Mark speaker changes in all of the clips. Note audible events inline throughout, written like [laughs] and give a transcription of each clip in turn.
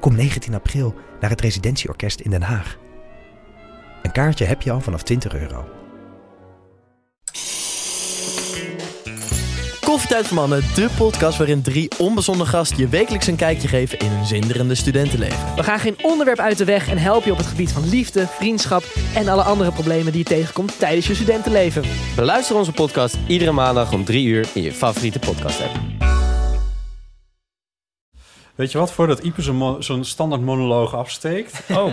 Speaker 1: Kom 19 april naar het Residentieorkest in Den Haag. Een kaartje heb je al vanaf 20 euro.
Speaker 2: Koffietijd voor Mannen, de podcast waarin drie onbezonnen gasten je wekelijks een kijkje geven in hun zinderende studentenleven.
Speaker 3: We gaan geen onderwerp uit de weg en helpen je op het gebied van liefde, vriendschap en alle andere problemen die je tegenkomt tijdens je studentenleven.
Speaker 4: Beluister onze podcast iedere maandag om 3 uur in je favoriete podcast app.
Speaker 5: Weet je wat, voordat Ipe zo'n mo- zo'n standaard monoloog
Speaker 6: [laughs]
Speaker 5: afsteekt...
Speaker 6: Oh.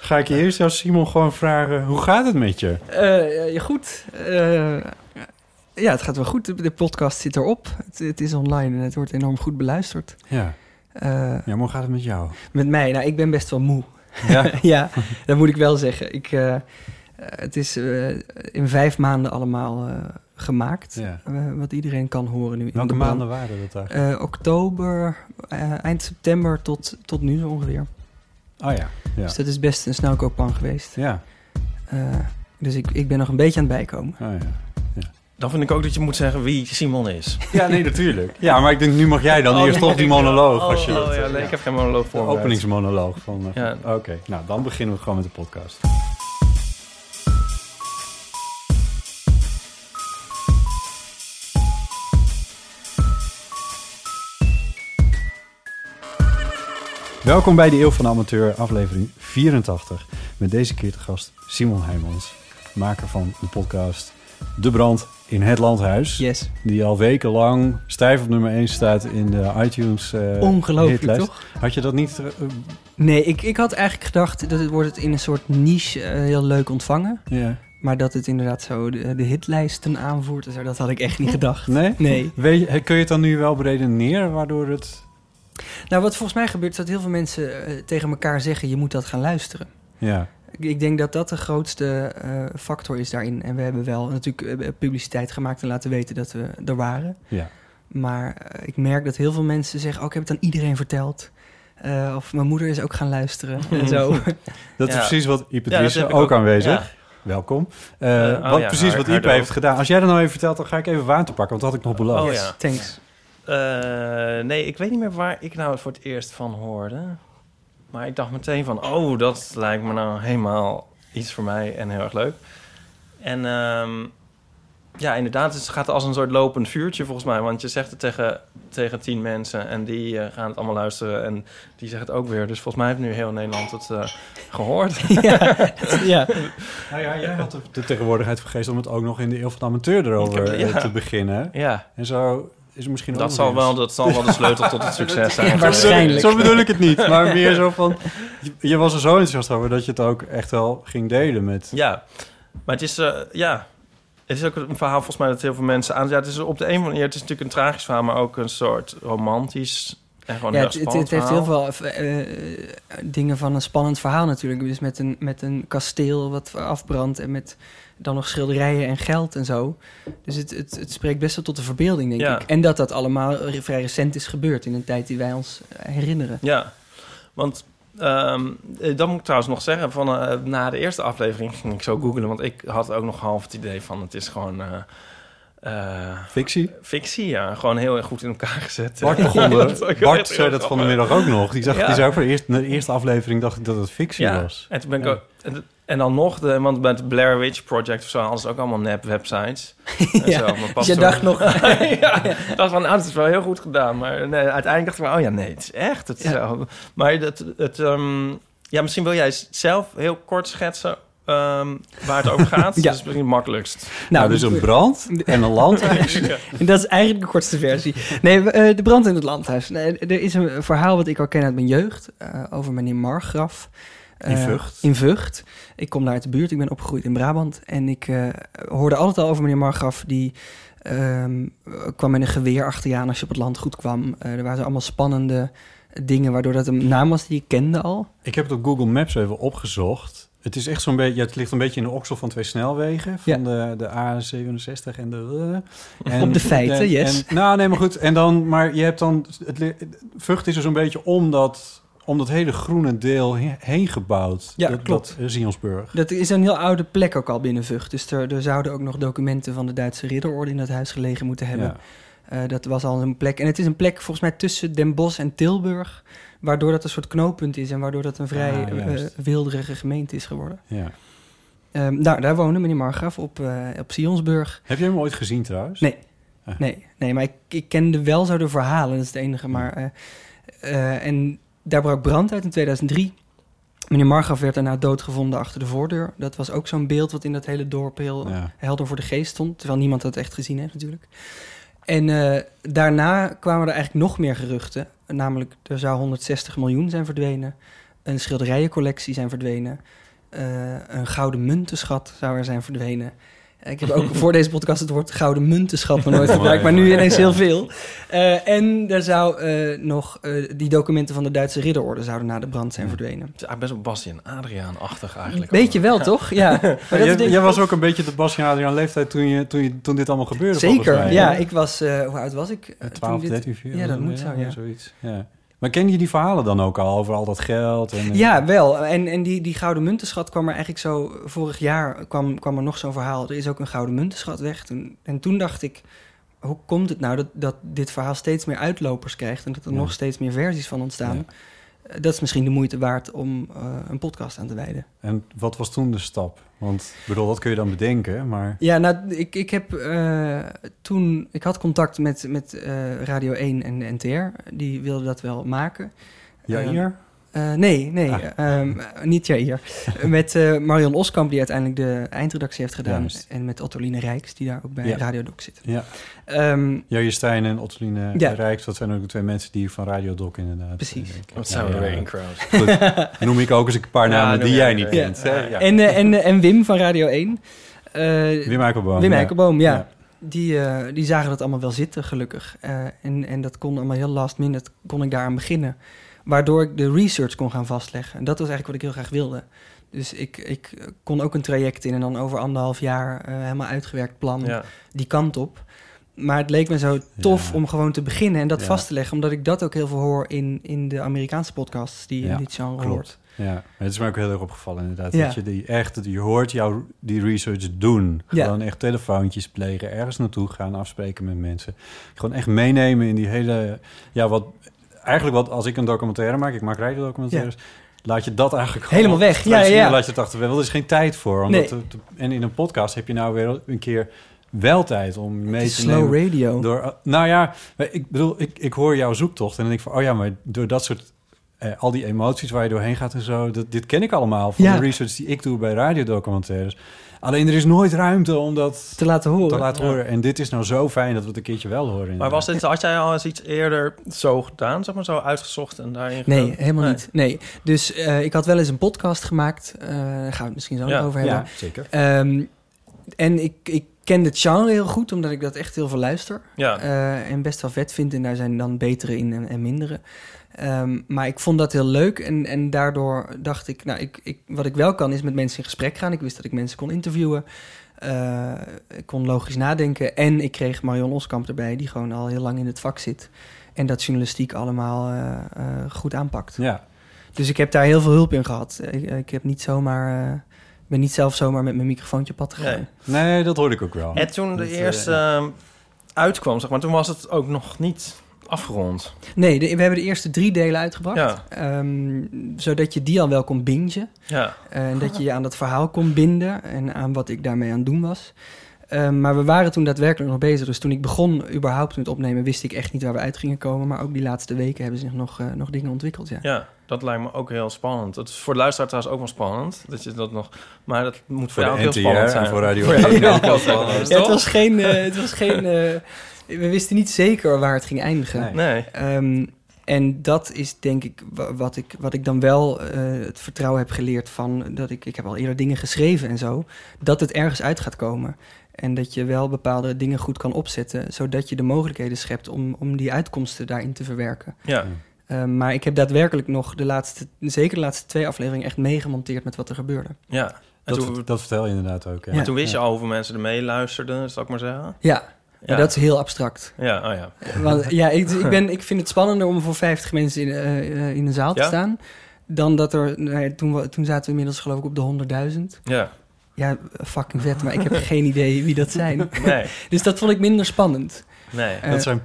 Speaker 5: ga ik je eerst jou, Simon, gewoon vragen... hoe gaat het met je?
Speaker 7: Eh, ja, goed. Eh, ja, het gaat wel goed. De, de podcast zit erop. Het, het is online en het wordt enorm goed beluisterd.
Speaker 5: Ja.
Speaker 7: Eh,
Speaker 5: ja, maar hoe gaat het met jou?
Speaker 7: met mij, nou, ik ben best wel moe.
Speaker 5: Ja.
Speaker 7: [laughs] ja, dat moet ik wel zeggen. Ik, eh, eh, het is eh, in vijf maanden allemaal eh, gemaakt.
Speaker 5: ja.
Speaker 7: Eh, wat iedereen kan horen nu. in
Speaker 5: Welke
Speaker 7: de band.
Speaker 5: maanden waren dat eigenlijk?
Speaker 7: Eh, oktober, eh, eind september tot, tot nu zo ongeveer.
Speaker 5: Oh ja. Ja.
Speaker 7: Dus dat is best een snelkooppan geweest.
Speaker 5: Ja.
Speaker 7: Eh, dus ik, ik ben nog een beetje aan het bijkomen.
Speaker 5: Oh, ja.
Speaker 6: Dan vind ik ook dat je moet zeggen wie Simon [laughs] is.
Speaker 5: ja, nee, natuurlijk. Ja, maar ik denk, nu mag jij dan eerst op die monoloog. als je
Speaker 6: Oh,
Speaker 5: dat,
Speaker 6: ja, nee,
Speaker 5: ja.
Speaker 6: ik heb geen monoloog
Speaker 5: De
Speaker 6: voor.
Speaker 5: openingsmonoloog van... eh,
Speaker 6: Ja.
Speaker 5: Oké, nou, dan beginnen we gewoon met de podcast. Welkom bij de Eeuw van de Amateur, aflevering 84. Met deze keer te gast Simon Heijmans, maker van de podcast De Brand in het Landhuis.
Speaker 7: Yes.
Speaker 5: Die al wekenlang stijf op nummer 1 staat in de iTunes eh
Speaker 7: Ongelooflijk,
Speaker 5: hitlijst.
Speaker 7: toch?
Speaker 5: Had je dat niet eh,
Speaker 7: Nee, ik, ik had eigenlijk gedacht dat het wordt het in een soort niche eh, heel leuk ontvangen.
Speaker 5: Ja.
Speaker 7: Maar dat het inderdaad zo de, de hitlijsten aanvoert en zo, dat had ik echt niet gedacht.
Speaker 5: Nee?
Speaker 7: Nee.
Speaker 5: Weet je, kun je het dan nu wel beredeneren waardoor het...
Speaker 7: Nou, wat volgens mij gebeurt is dat heel veel mensen eh, tegen elkaar zeggen, je moet dat gaan luisteren.
Speaker 5: Ja,
Speaker 7: Ik- Ik denk dat dat de grootste eh, factor is daarin. En we hebben wel natuurlijk eh, publiciteit gemaakt en laten weten dat we er waren.
Speaker 5: ja.
Speaker 7: Maar eh, ik merk dat heel veel mensen zeggen, oh, ik heb het aan iedereen verteld. Eh, of mijn moeder is ook gaan luisteren
Speaker 5: [laughs]
Speaker 7: en zo.
Speaker 5: Dat is
Speaker 6: Ja.
Speaker 5: precies wat Ipe
Speaker 6: Ja, dat
Speaker 5: Driessen,
Speaker 6: heb ik
Speaker 5: ook,
Speaker 6: ook.
Speaker 5: aanwezig.
Speaker 6: Ja.
Speaker 5: Welkom. Eh,
Speaker 6: Eh, oh
Speaker 5: wat,
Speaker 6: ja,
Speaker 5: precies
Speaker 6: haar-
Speaker 5: wat
Speaker 6: haar
Speaker 5: Ipe
Speaker 6: dood.
Speaker 5: heeft gedaan. Als jij dat nou even vertelt, dan ga ik even water pakken, want dat had ik nog beloofd.
Speaker 6: Oh, ja.
Speaker 7: Thanks.
Speaker 6: Eh, nee, ik weet niet meer waar ik nou het voor het eerst van hoorde. Maar ik dacht meteen van, oh, dat lijkt me nou helemaal iets voor mij en heel erg leuk. En ehm, ja, inderdaad, het gaat als een soort lopend vuurtje volgens mij. Want je zegt het tegen, tegen tien mensen en die eh, gaan het allemaal luisteren. En die zeggen het ook weer. Dus volgens mij heeft nu heel Nederland het eh, gehoord.
Speaker 7: [laughs]
Speaker 6: [laughs]
Speaker 7: ja.
Speaker 5: Nou ja, jij had de, de tegenwoordigheid vergeten om het ook nog in de Eeuw van de Amateur erover
Speaker 6: Ik heb-
Speaker 5: eh,
Speaker 6: ja.
Speaker 5: te beginnen.
Speaker 6: ja,
Speaker 5: En zo is het misschien ook
Speaker 6: dat
Speaker 5: nog
Speaker 6: zal,
Speaker 5: eens.
Speaker 6: wel, dat zal wel de sleutel
Speaker 5: [laughs]
Speaker 6: tot het succes zijn.
Speaker 5: Maar zo-
Speaker 7: Waarschijnlijk.
Speaker 5: Zo bedoel ik het niet, maar meer zo van... Je, je was er zo enthousiast over dat je het ook echt wel ging delen met...
Speaker 6: Ja, maar het is, eh, ja, het is ook een verhaal volgens mij dat heel veel mensen aan. Ja, het is op de een of andere manier, het is natuurlijk een tragisch verhaal, maar ook een soort romantisch en gewoon
Speaker 7: Ja,
Speaker 6: heel
Speaker 7: het, het,
Speaker 6: spannend
Speaker 7: het heeft heel
Speaker 6: verhaal.
Speaker 7: veel eh, eh, dingen van een spannend verhaal natuurlijk. Dus met een, met een kasteel wat afbrandt en met dan nog schilderijen en geld en zo. Dus het, het, het spreekt best wel tot de verbeelding, denk
Speaker 6: Ja.
Speaker 7: ik. En dat dat allemaal re- vrij recent is gebeurd in een tijd die wij ons herinneren.
Speaker 6: Ja, want ehm, eh, dat moet ik trouwens nog zeggen. Van, eh, na de eerste aflevering ging ik zo googelen, want ik had ook nog half het idee van het is gewoon... eh, eh,
Speaker 5: Fictie.
Speaker 6: fictie, ja. Gewoon heel erg goed in elkaar gezet.
Speaker 5: Bart
Speaker 6: [laughs] Ja,
Speaker 5: begon
Speaker 6: dat was
Speaker 5: er.
Speaker 6: ook
Speaker 5: Bart
Speaker 6: echt
Speaker 5: zei
Speaker 6: heel
Speaker 5: dat van de
Speaker 6: grappig.
Speaker 5: middag ook nog. Die, zag,
Speaker 6: Ja.
Speaker 5: die zei ook voor de eerste, na de eerste aflevering dacht ik dat het fictie
Speaker 6: Ja,
Speaker 5: was.
Speaker 6: en toen ben ik
Speaker 5: Ja.
Speaker 6: ook... En, en dan nog, de, want bij het Blair Witch Project of zo hadden ze ook allemaal
Speaker 7: [laughs]
Speaker 6: nep-websites. En
Speaker 7: Ja,
Speaker 6: zo, maar
Speaker 7: Dus
Speaker 6: pas
Speaker 7: je
Speaker 6: toen-
Speaker 7: dacht nog,
Speaker 6: [laughs] ja, ik dacht van, nou, dat is wel heel goed gedaan. Maar nee, uiteindelijk dacht ik van, oh ja, nee, het is echt. Het is
Speaker 7: Ja.
Speaker 6: wel- Maar dat, het, ehm, ja, misschien wil jij s- zelf heel kort schetsen ehm, waar het over
Speaker 7: [laughs]
Speaker 6: gaat.
Speaker 7: Ja.
Speaker 6: Dat is misschien het makkelijkst.
Speaker 5: Nou,
Speaker 7: nou,
Speaker 5: dus een brand en een landhuis.
Speaker 7: En dat is eigenlijk de kortste versie. Nee, we- eh, de brand in het landhuis. Nee, er is een verhaal wat ik al ken uit mijn jeugd. eh, over meneer Margraf. Eh,
Speaker 5: In Vught.
Speaker 7: In Vught. Ik kom daar uit de buurt. Ik ben opgegroeid in Brabant. En ik eh, hoorde altijd al over meneer Margraf. Die ehm, kwam met een geweer achter je aan als je op het landgoed kwam. Eh, er waren allemaal spannende dingen, waardoor dat een naam was die ik kende al.
Speaker 5: Ik heb het op Google Maps even opgezocht. Het is echt zo'n beetje, ja, het ligt een beetje in de oksel van twee snelwegen. Van de, de A67 en de... eh, en-
Speaker 7: [laughs] Op de feiten,
Speaker 5: en-
Speaker 7: yes.
Speaker 5: en- nou, nee, maar goed. En dan, maar je hebt dan... Het, li- Vught is er zo'n beetje om dat, om dat hele groene deel he- heen gebouwd.
Speaker 7: Ja,
Speaker 5: dat,
Speaker 7: klopt.
Speaker 5: Dat, eh, Zionsburg.
Speaker 7: Dat is een heel oude plek ook al binnen Vught. Dus er, er zouden ook nog documenten van de Duitse ridderorde in dat huis gelegen moeten hebben.
Speaker 5: Ja.
Speaker 7: Eh, dat was al een plek. En het is een plek volgens mij tussen Den Bosch en Tilburg. Waardoor dat een soort knooppunt is en waardoor dat een vrij
Speaker 5: Ah,
Speaker 7: eh,
Speaker 5: juist.
Speaker 7: wilderige gemeente is geworden.
Speaker 5: ja.
Speaker 7: Ehm, nou, daar woonde meneer Margraf op, eh, op Sionsburg.
Speaker 5: Heb jij hem ooit gezien trouwens?
Speaker 7: Nee.
Speaker 5: Ah.
Speaker 7: Nee, nee, maar ik, ik kende wel zo de verhalen, dat is het enige. Maar, eh, eh, en daar brak brand uit in 2003. Meneer Margraf werd daarna doodgevonden achter de voordeur. Dat was ook zo'n beeld wat in dat hele dorp heel
Speaker 5: Ja.
Speaker 7: helder voor de geest stond. Terwijl niemand dat echt gezien heeft natuurlijk. En eh, daarna kwamen er eigenlijk nog meer geruchten. Namelijk, er zou 160 miljoen zijn verdwenen. Een schilderijencollectie zijn verdwenen. eh, een gouden muntenschat zou er zijn verdwenen. Ik heb
Speaker 6: [laughs]
Speaker 7: ook voor deze podcast het woord gouden muntenschat nog nooit gebruikt, maar nu ineens heel veel. Eh, en er zou eh, nog eh, die documenten van de Duitse ridderorde zouden na de brand zijn verdwenen.
Speaker 6: Het is eigenlijk best wel Bassie en Adriaan-achtig eigenlijk.
Speaker 7: Weet je wel, toch?
Speaker 6: [laughs]
Speaker 7: [laughs] Ja. Maar dat is
Speaker 5: jij,
Speaker 7: denk ik
Speaker 5: jij was
Speaker 7: toch-
Speaker 5: ook een beetje de Bas en Adriaan leeftijd toen, je, toen, je, toen dit allemaal gebeurde.
Speaker 7: Zeker,
Speaker 5: volgens mij.
Speaker 7: ja. Ik was, eh, hoe oud was ik? eh,
Speaker 5: Eh,
Speaker 7: toen
Speaker 5: 12,
Speaker 7: dit-
Speaker 5: 13, 14.
Speaker 7: Ja, dat moet zo, ja.
Speaker 5: Zoiets. ja. Maar ken je die verhalen dan ook al over al dat geld? En, eh,
Speaker 7: Ja, wel. En, en die, die gouden muntenschat kwam er eigenlijk zo... Vorig jaar kwam, kwam er nog zo'n verhaal. Er is ook een gouden muntenschat weg. Toen, en toen dacht ik, hoe komt het nou dat, dat dit verhaal steeds meer uitlopers krijgt... en dat er
Speaker 5: Ja.
Speaker 7: nog steeds meer versies van ontstaan?
Speaker 5: Ja.
Speaker 7: Eh, Dat is misschien de moeite waard om eh, een podcast aan te wijden.
Speaker 5: En wat was toen de stap? Want ik bedoel, dat kun je dan bedenken, maar...
Speaker 7: Ja, nou, ik, ik heb eh, toen... Ik had contact met, met eh, Radio 1 en de NTR. Die wilden dat wel maken.
Speaker 5: Ja,
Speaker 7: Eh,
Speaker 5: hier?
Speaker 7: eh, nee, nee,
Speaker 5: Ah.
Speaker 7: ehm, niet jij
Speaker 5: [laughs]
Speaker 7: hier. met eh, Marion Oskam, die uiteindelijk de eindredactie heeft gedaan.
Speaker 5: Juist.
Speaker 7: En met Ottoline Rijks, die daar ook bij
Speaker 5: Ja.
Speaker 7: Radio Doc zit.
Speaker 5: Ja.
Speaker 7: Ehm,
Speaker 5: Joje Stijn en Ottoline
Speaker 7: Ja.
Speaker 5: Rijks, dat zijn ook de twee mensen die van Radio Doc inderdaad...
Speaker 7: Precies.
Speaker 5: eh,
Speaker 6: Wat zijn we
Speaker 5: ja,
Speaker 6: weer
Speaker 5: ja.
Speaker 6: in crowd.
Speaker 5: [laughs] Goed. Noem ik ook eens een paar namen die jij niet kent.
Speaker 6: Ja.
Speaker 7: en, eh, en, en Wim van Radio 1. eh,
Speaker 5: Wim Eikelboom.
Speaker 7: Wim
Speaker 5: ja.
Speaker 7: Eikenboom, ja.
Speaker 5: Ja.
Speaker 7: Die, eh, die zagen dat allemaal wel zitten, gelukkig. Eh, en, en dat kon allemaal heel last minute, kon ik daaraan beginnen. Waardoor ik de research kon gaan vastleggen. En dat was eigenlijk wat ik heel graag wilde. Dus ik, ik eh, kon ook een traject in en dan over anderhalf jaar eh, helemaal uitgewerkt plan
Speaker 6: Ja.
Speaker 7: die kant op. Maar het leek me zo tof
Speaker 5: Ja.
Speaker 7: om gewoon te beginnen en dat
Speaker 5: Ja.
Speaker 7: vast te leggen. Omdat ik dat ook heel veel hoor in, in de Amerikaanse podcasts die
Speaker 5: Ja,
Speaker 7: in dit genre
Speaker 5: klopt.
Speaker 7: hoort.
Speaker 5: Ja, maar het is mij ook heel erg opgevallen inderdaad.
Speaker 7: Ja.
Speaker 5: Dat je die echt, dat je hoort jou die research doen.
Speaker 7: Ja.
Speaker 5: Gewoon echt telefoontjes plegen, ergens naartoe gaan, afspreken met mensen. Gewoon echt meenemen in die hele, ja wat, eigenlijk wat als ik een documentaire maak, ik maak rijdendocumentaires, laat je dat eigenlijk gewoon-
Speaker 7: Helemaal weg. Ja,
Speaker 5: laat je-
Speaker 7: ja, ja.
Speaker 5: Laat je het achterwege, want er is geen tijd voor. Omdat
Speaker 7: Nee.
Speaker 5: het- en in een podcast heb je nou weer een keer wel tijd om mee
Speaker 7: Het
Speaker 5: te
Speaker 7: is slow
Speaker 5: nemen.
Speaker 7: radio.
Speaker 5: Door, nou ja, maar ik bedoel, ik, ik hoor jouw zoektocht en dan denk ik van, oh ja, maar door dat soort, eh, al die emoties waar je doorheen gaat en zo, dat, dit ken ik allemaal van
Speaker 7: Ja.
Speaker 5: de research die ik doe bij radiodocumentaires. Alleen er is nooit ruimte om dat
Speaker 7: te laten horen.
Speaker 5: te laten horen. En dit is nou zo fijn dat we het een keertje wel horen.
Speaker 6: Maar was dit, had jij al eens iets eerder zo gedaan, zeg maar, zo uitgezocht en daarin...
Speaker 7: Nee, eh,
Speaker 6: gedoken?
Speaker 7: helemaal
Speaker 6: Nee.
Speaker 7: niet. Nee. Dus eh, ik had wel eens een podcast gemaakt. Eh, daar gaan we het misschien zo nog
Speaker 6: Ja,
Speaker 7: over hebben.
Speaker 5: Ja, zeker.
Speaker 7: Ehm, en ik, ik ken het genre heel goed, omdat ik dat echt heel veel luister.
Speaker 6: Ja.
Speaker 7: Eh, en best wel vet vind. En daar zijn dan betere in en, en mindere. Ehm, maar ik vond dat heel leuk. En, en daardoor dacht ik, nou, ik, ik, wat ik wel kan is met mensen in gesprek gaan. Ik wist dat ik mensen kon interviewen. Eh, ik kon logisch nadenken. En ik kreeg Marion Oskamp erbij, die gewoon al heel lang in het vak zit. En dat journalistiek allemaal eh, eh, goed aanpakt.
Speaker 5: Ja,
Speaker 7: Dus ik heb daar heel veel hulp in gehad. Ik, ik heb niet zomaar, eh, ben niet zelf zomaar met mijn microfoontje op pad gegaan.
Speaker 6: Nee.
Speaker 5: nee, dat hoorde ik ook wel.
Speaker 6: En toen de
Speaker 5: Dat, eh,
Speaker 6: eerste ehm, uitkwam, zeg maar, toen was het ook nog niet afgerond.
Speaker 7: Nee, de- we hebben de eerste drie delen uitgebracht.
Speaker 6: Ja.
Speaker 7: Ehm, zodat je die al wel kon bingen.
Speaker 6: Ja.
Speaker 7: Eh, en dat je je aan dat verhaal kon binden en aan wat ik daarmee aan het doen was. Ehm, maar we waren toen daadwerkelijk nog bezig. Dus toen ik begon überhaupt met opnemen, wist ik echt niet waar we uit gingen komen. Maar ook die laatste weken hebben zich nog, eh, nog dingen ontwikkeld. Ja.
Speaker 6: ja, dat lijkt me ook heel spannend. Het is voor de luisteraar trouwens ook wel spannend, dat je dat nog... Maar dat moet voor,
Speaker 5: voor
Speaker 6: jou
Speaker 5: de
Speaker 6: ook
Speaker 5: NTR
Speaker 6: heel spannend zijn.
Speaker 5: en voor
Speaker 6: [laughs]
Speaker 5: Radio
Speaker 6: jou
Speaker 5: één.
Speaker 6: ook heel spannend,
Speaker 7: Ja, het
Speaker 6: toch?
Speaker 7: was geen. eh, het was geen eh, we wisten niet zeker waar het ging eindigen.
Speaker 5: Nee.
Speaker 6: Nee.
Speaker 7: Ehm, en dat is denk ik wa- wat ik, wat ik dan wel eh, het vertrouwen heb geleerd van dat ik, ik heb al eerder dingen geschreven en zo, dat het ergens uit gaat komen. En dat je wel bepaalde dingen goed kan opzetten, zodat je de mogelijkheden schept om, om die uitkomsten daarin te verwerken.
Speaker 6: Ja.
Speaker 7: Eh, maar ik heb daadwerkelijk nog de laatste, zeker de laatste twee afleveringen echt meegemonteerd met wat er gebeurde.
Speaker 6: Ja. En
Speaker 5: Dat,
Speaker 6: toen,
Speaker 5: vert- dat vertel je inderdaad ook. Ja.
Speaker 6: [laughs] maar toen wist je al hoeveel mensen er mee luisterden, zal ik maar zeggen.
Speaker 7: Ja, maar
Speaker 6: Ja,
Speaker 7: dat is heel abstract.
Speaker 6: ja, oh ja. [laughs]
Speaker 7: Want ja, ik, ik, ben, ik vind het spannender om voor 50 mensen in, eh, eh, in een zaal te
Speaker 6: Ja?
Speaker 7: staan. Dan dat er, nou ja, toen, we- toen zaten we inmiddels geloof ik op de 100.000.
Speaker 6: Ja,
Speaker 7: Ja, fucking vet, maar ik heb geen idee wie dat zijn.
Speaker 6: [laughs] nee,
Speaker 7: [laughs] Dus dat vond ik minder spannend.
Speaker 6: nee.
Speaker 7: eh,
Speaker 5: Dat zijn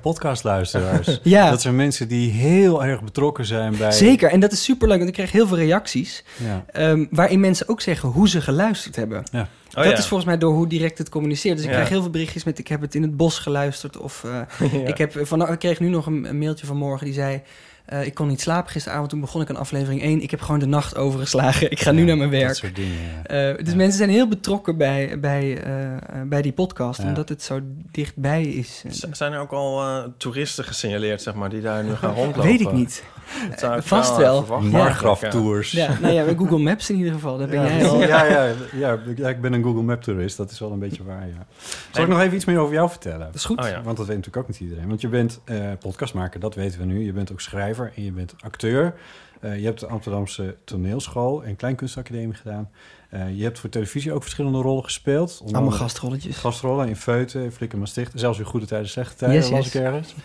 Speaker 7: [laughs]
Speaker 5: podcastluisteraars.
Speaker 7: Ja,
Speaker 5: Dat zijn mensen die heel erg betrokken zijn bij...
Speaker 7: zeker. En dat is superleuk, want ik kreeg heel veel reacties.
Speaker 5: Ja.
Speaker 7: ehm, waarin mensen ook zeggen hoe ze geluisterd hebben.
Speaker 6: Oh,
Speaker 7: dat
Speaker 6: ja.
Speaker 7: is volgens mij door hoe direct het communiceert. Dus ik
Speaker 6: Ja.
Speaker 7: krijg heel veel berichtjes met ik heb het in het bos geluisterd. Of eh,
Speaker 5: [laughs]
Speaker 6: Ja.
Speaker 7: ik, heb van, ik kreeg nu nog een, een mailtje vanmorgen die zei... eh, ik kon niet slapen gisteravond, toen begon ik aan aflevering 1. Ik heb gewoon de nacht overgeslagen. Ik ga nu
Speaker 5: Ja,
Speaker 7: naar mijn
Speaker 5: Dat
Speaker 7: werk.
Speaker 5: soort dingen, ja.
Speaker 7: Eh, dus
Speaker 5: Ja.
Speaker 7: mensen zijn heel betrokken bij, bij, eh, eh, bij die podcast,
Speaker 5: Ja.
Speaker 7: omdat het zo dichtbij is.
Speaker 6: Z- zijn er ook al eh, toeristen gesignaleerd, zeg maar, die daar nu gaan rondlopen?
Speaker 7: Weet ik niet. Eh,
Speaker 6: Dat zou ik eh,
Speaker 7: Vast wel.
Speaker 6: verwachten.
Speaker 5: Margraf
Speaker 6: Ja.
Speaker 5: Tours.
Speaker 7: Ja, nou ja, bij Google Maps in ieder geval, daar ben
Speaker 5: Ja,
Speaker 7: jij al.
Speaker 5: Ja, ja, ja, ik- ja, ik ben een Google Map toerist. Dat is wel een beetje waar, ja. Zal ik nog even iets meer over jou vertellen?
Speaker 7: Dat is goed.
Speaker 6: Oh ja.
Speaker 5: Want dat weet natuurlijk ook niet iedereen. Want je bent eh, podcastmaker, dat weten we nu. Je bent ook schrijver en je bent acteur. Eh, je hebt de Amsterdamse toneelschool en kleinkunstacademie gedaan. Eh, je hebt voor televisie ook verschillende rollen gespeeld. Onder
Speaker 7: Allemaal
Speaker 5: andere
Speaker 7: gastrolletjes.
Speaker 5: Gastrollen in Feuten, in Flikker Maastricht. Zelfs in Goede Tijden, Slechte Tijden
Speaker 7: Yes,
Speaker 5: las
Speaker 7: yes.
Speaker 5: ik ergens. [laughs]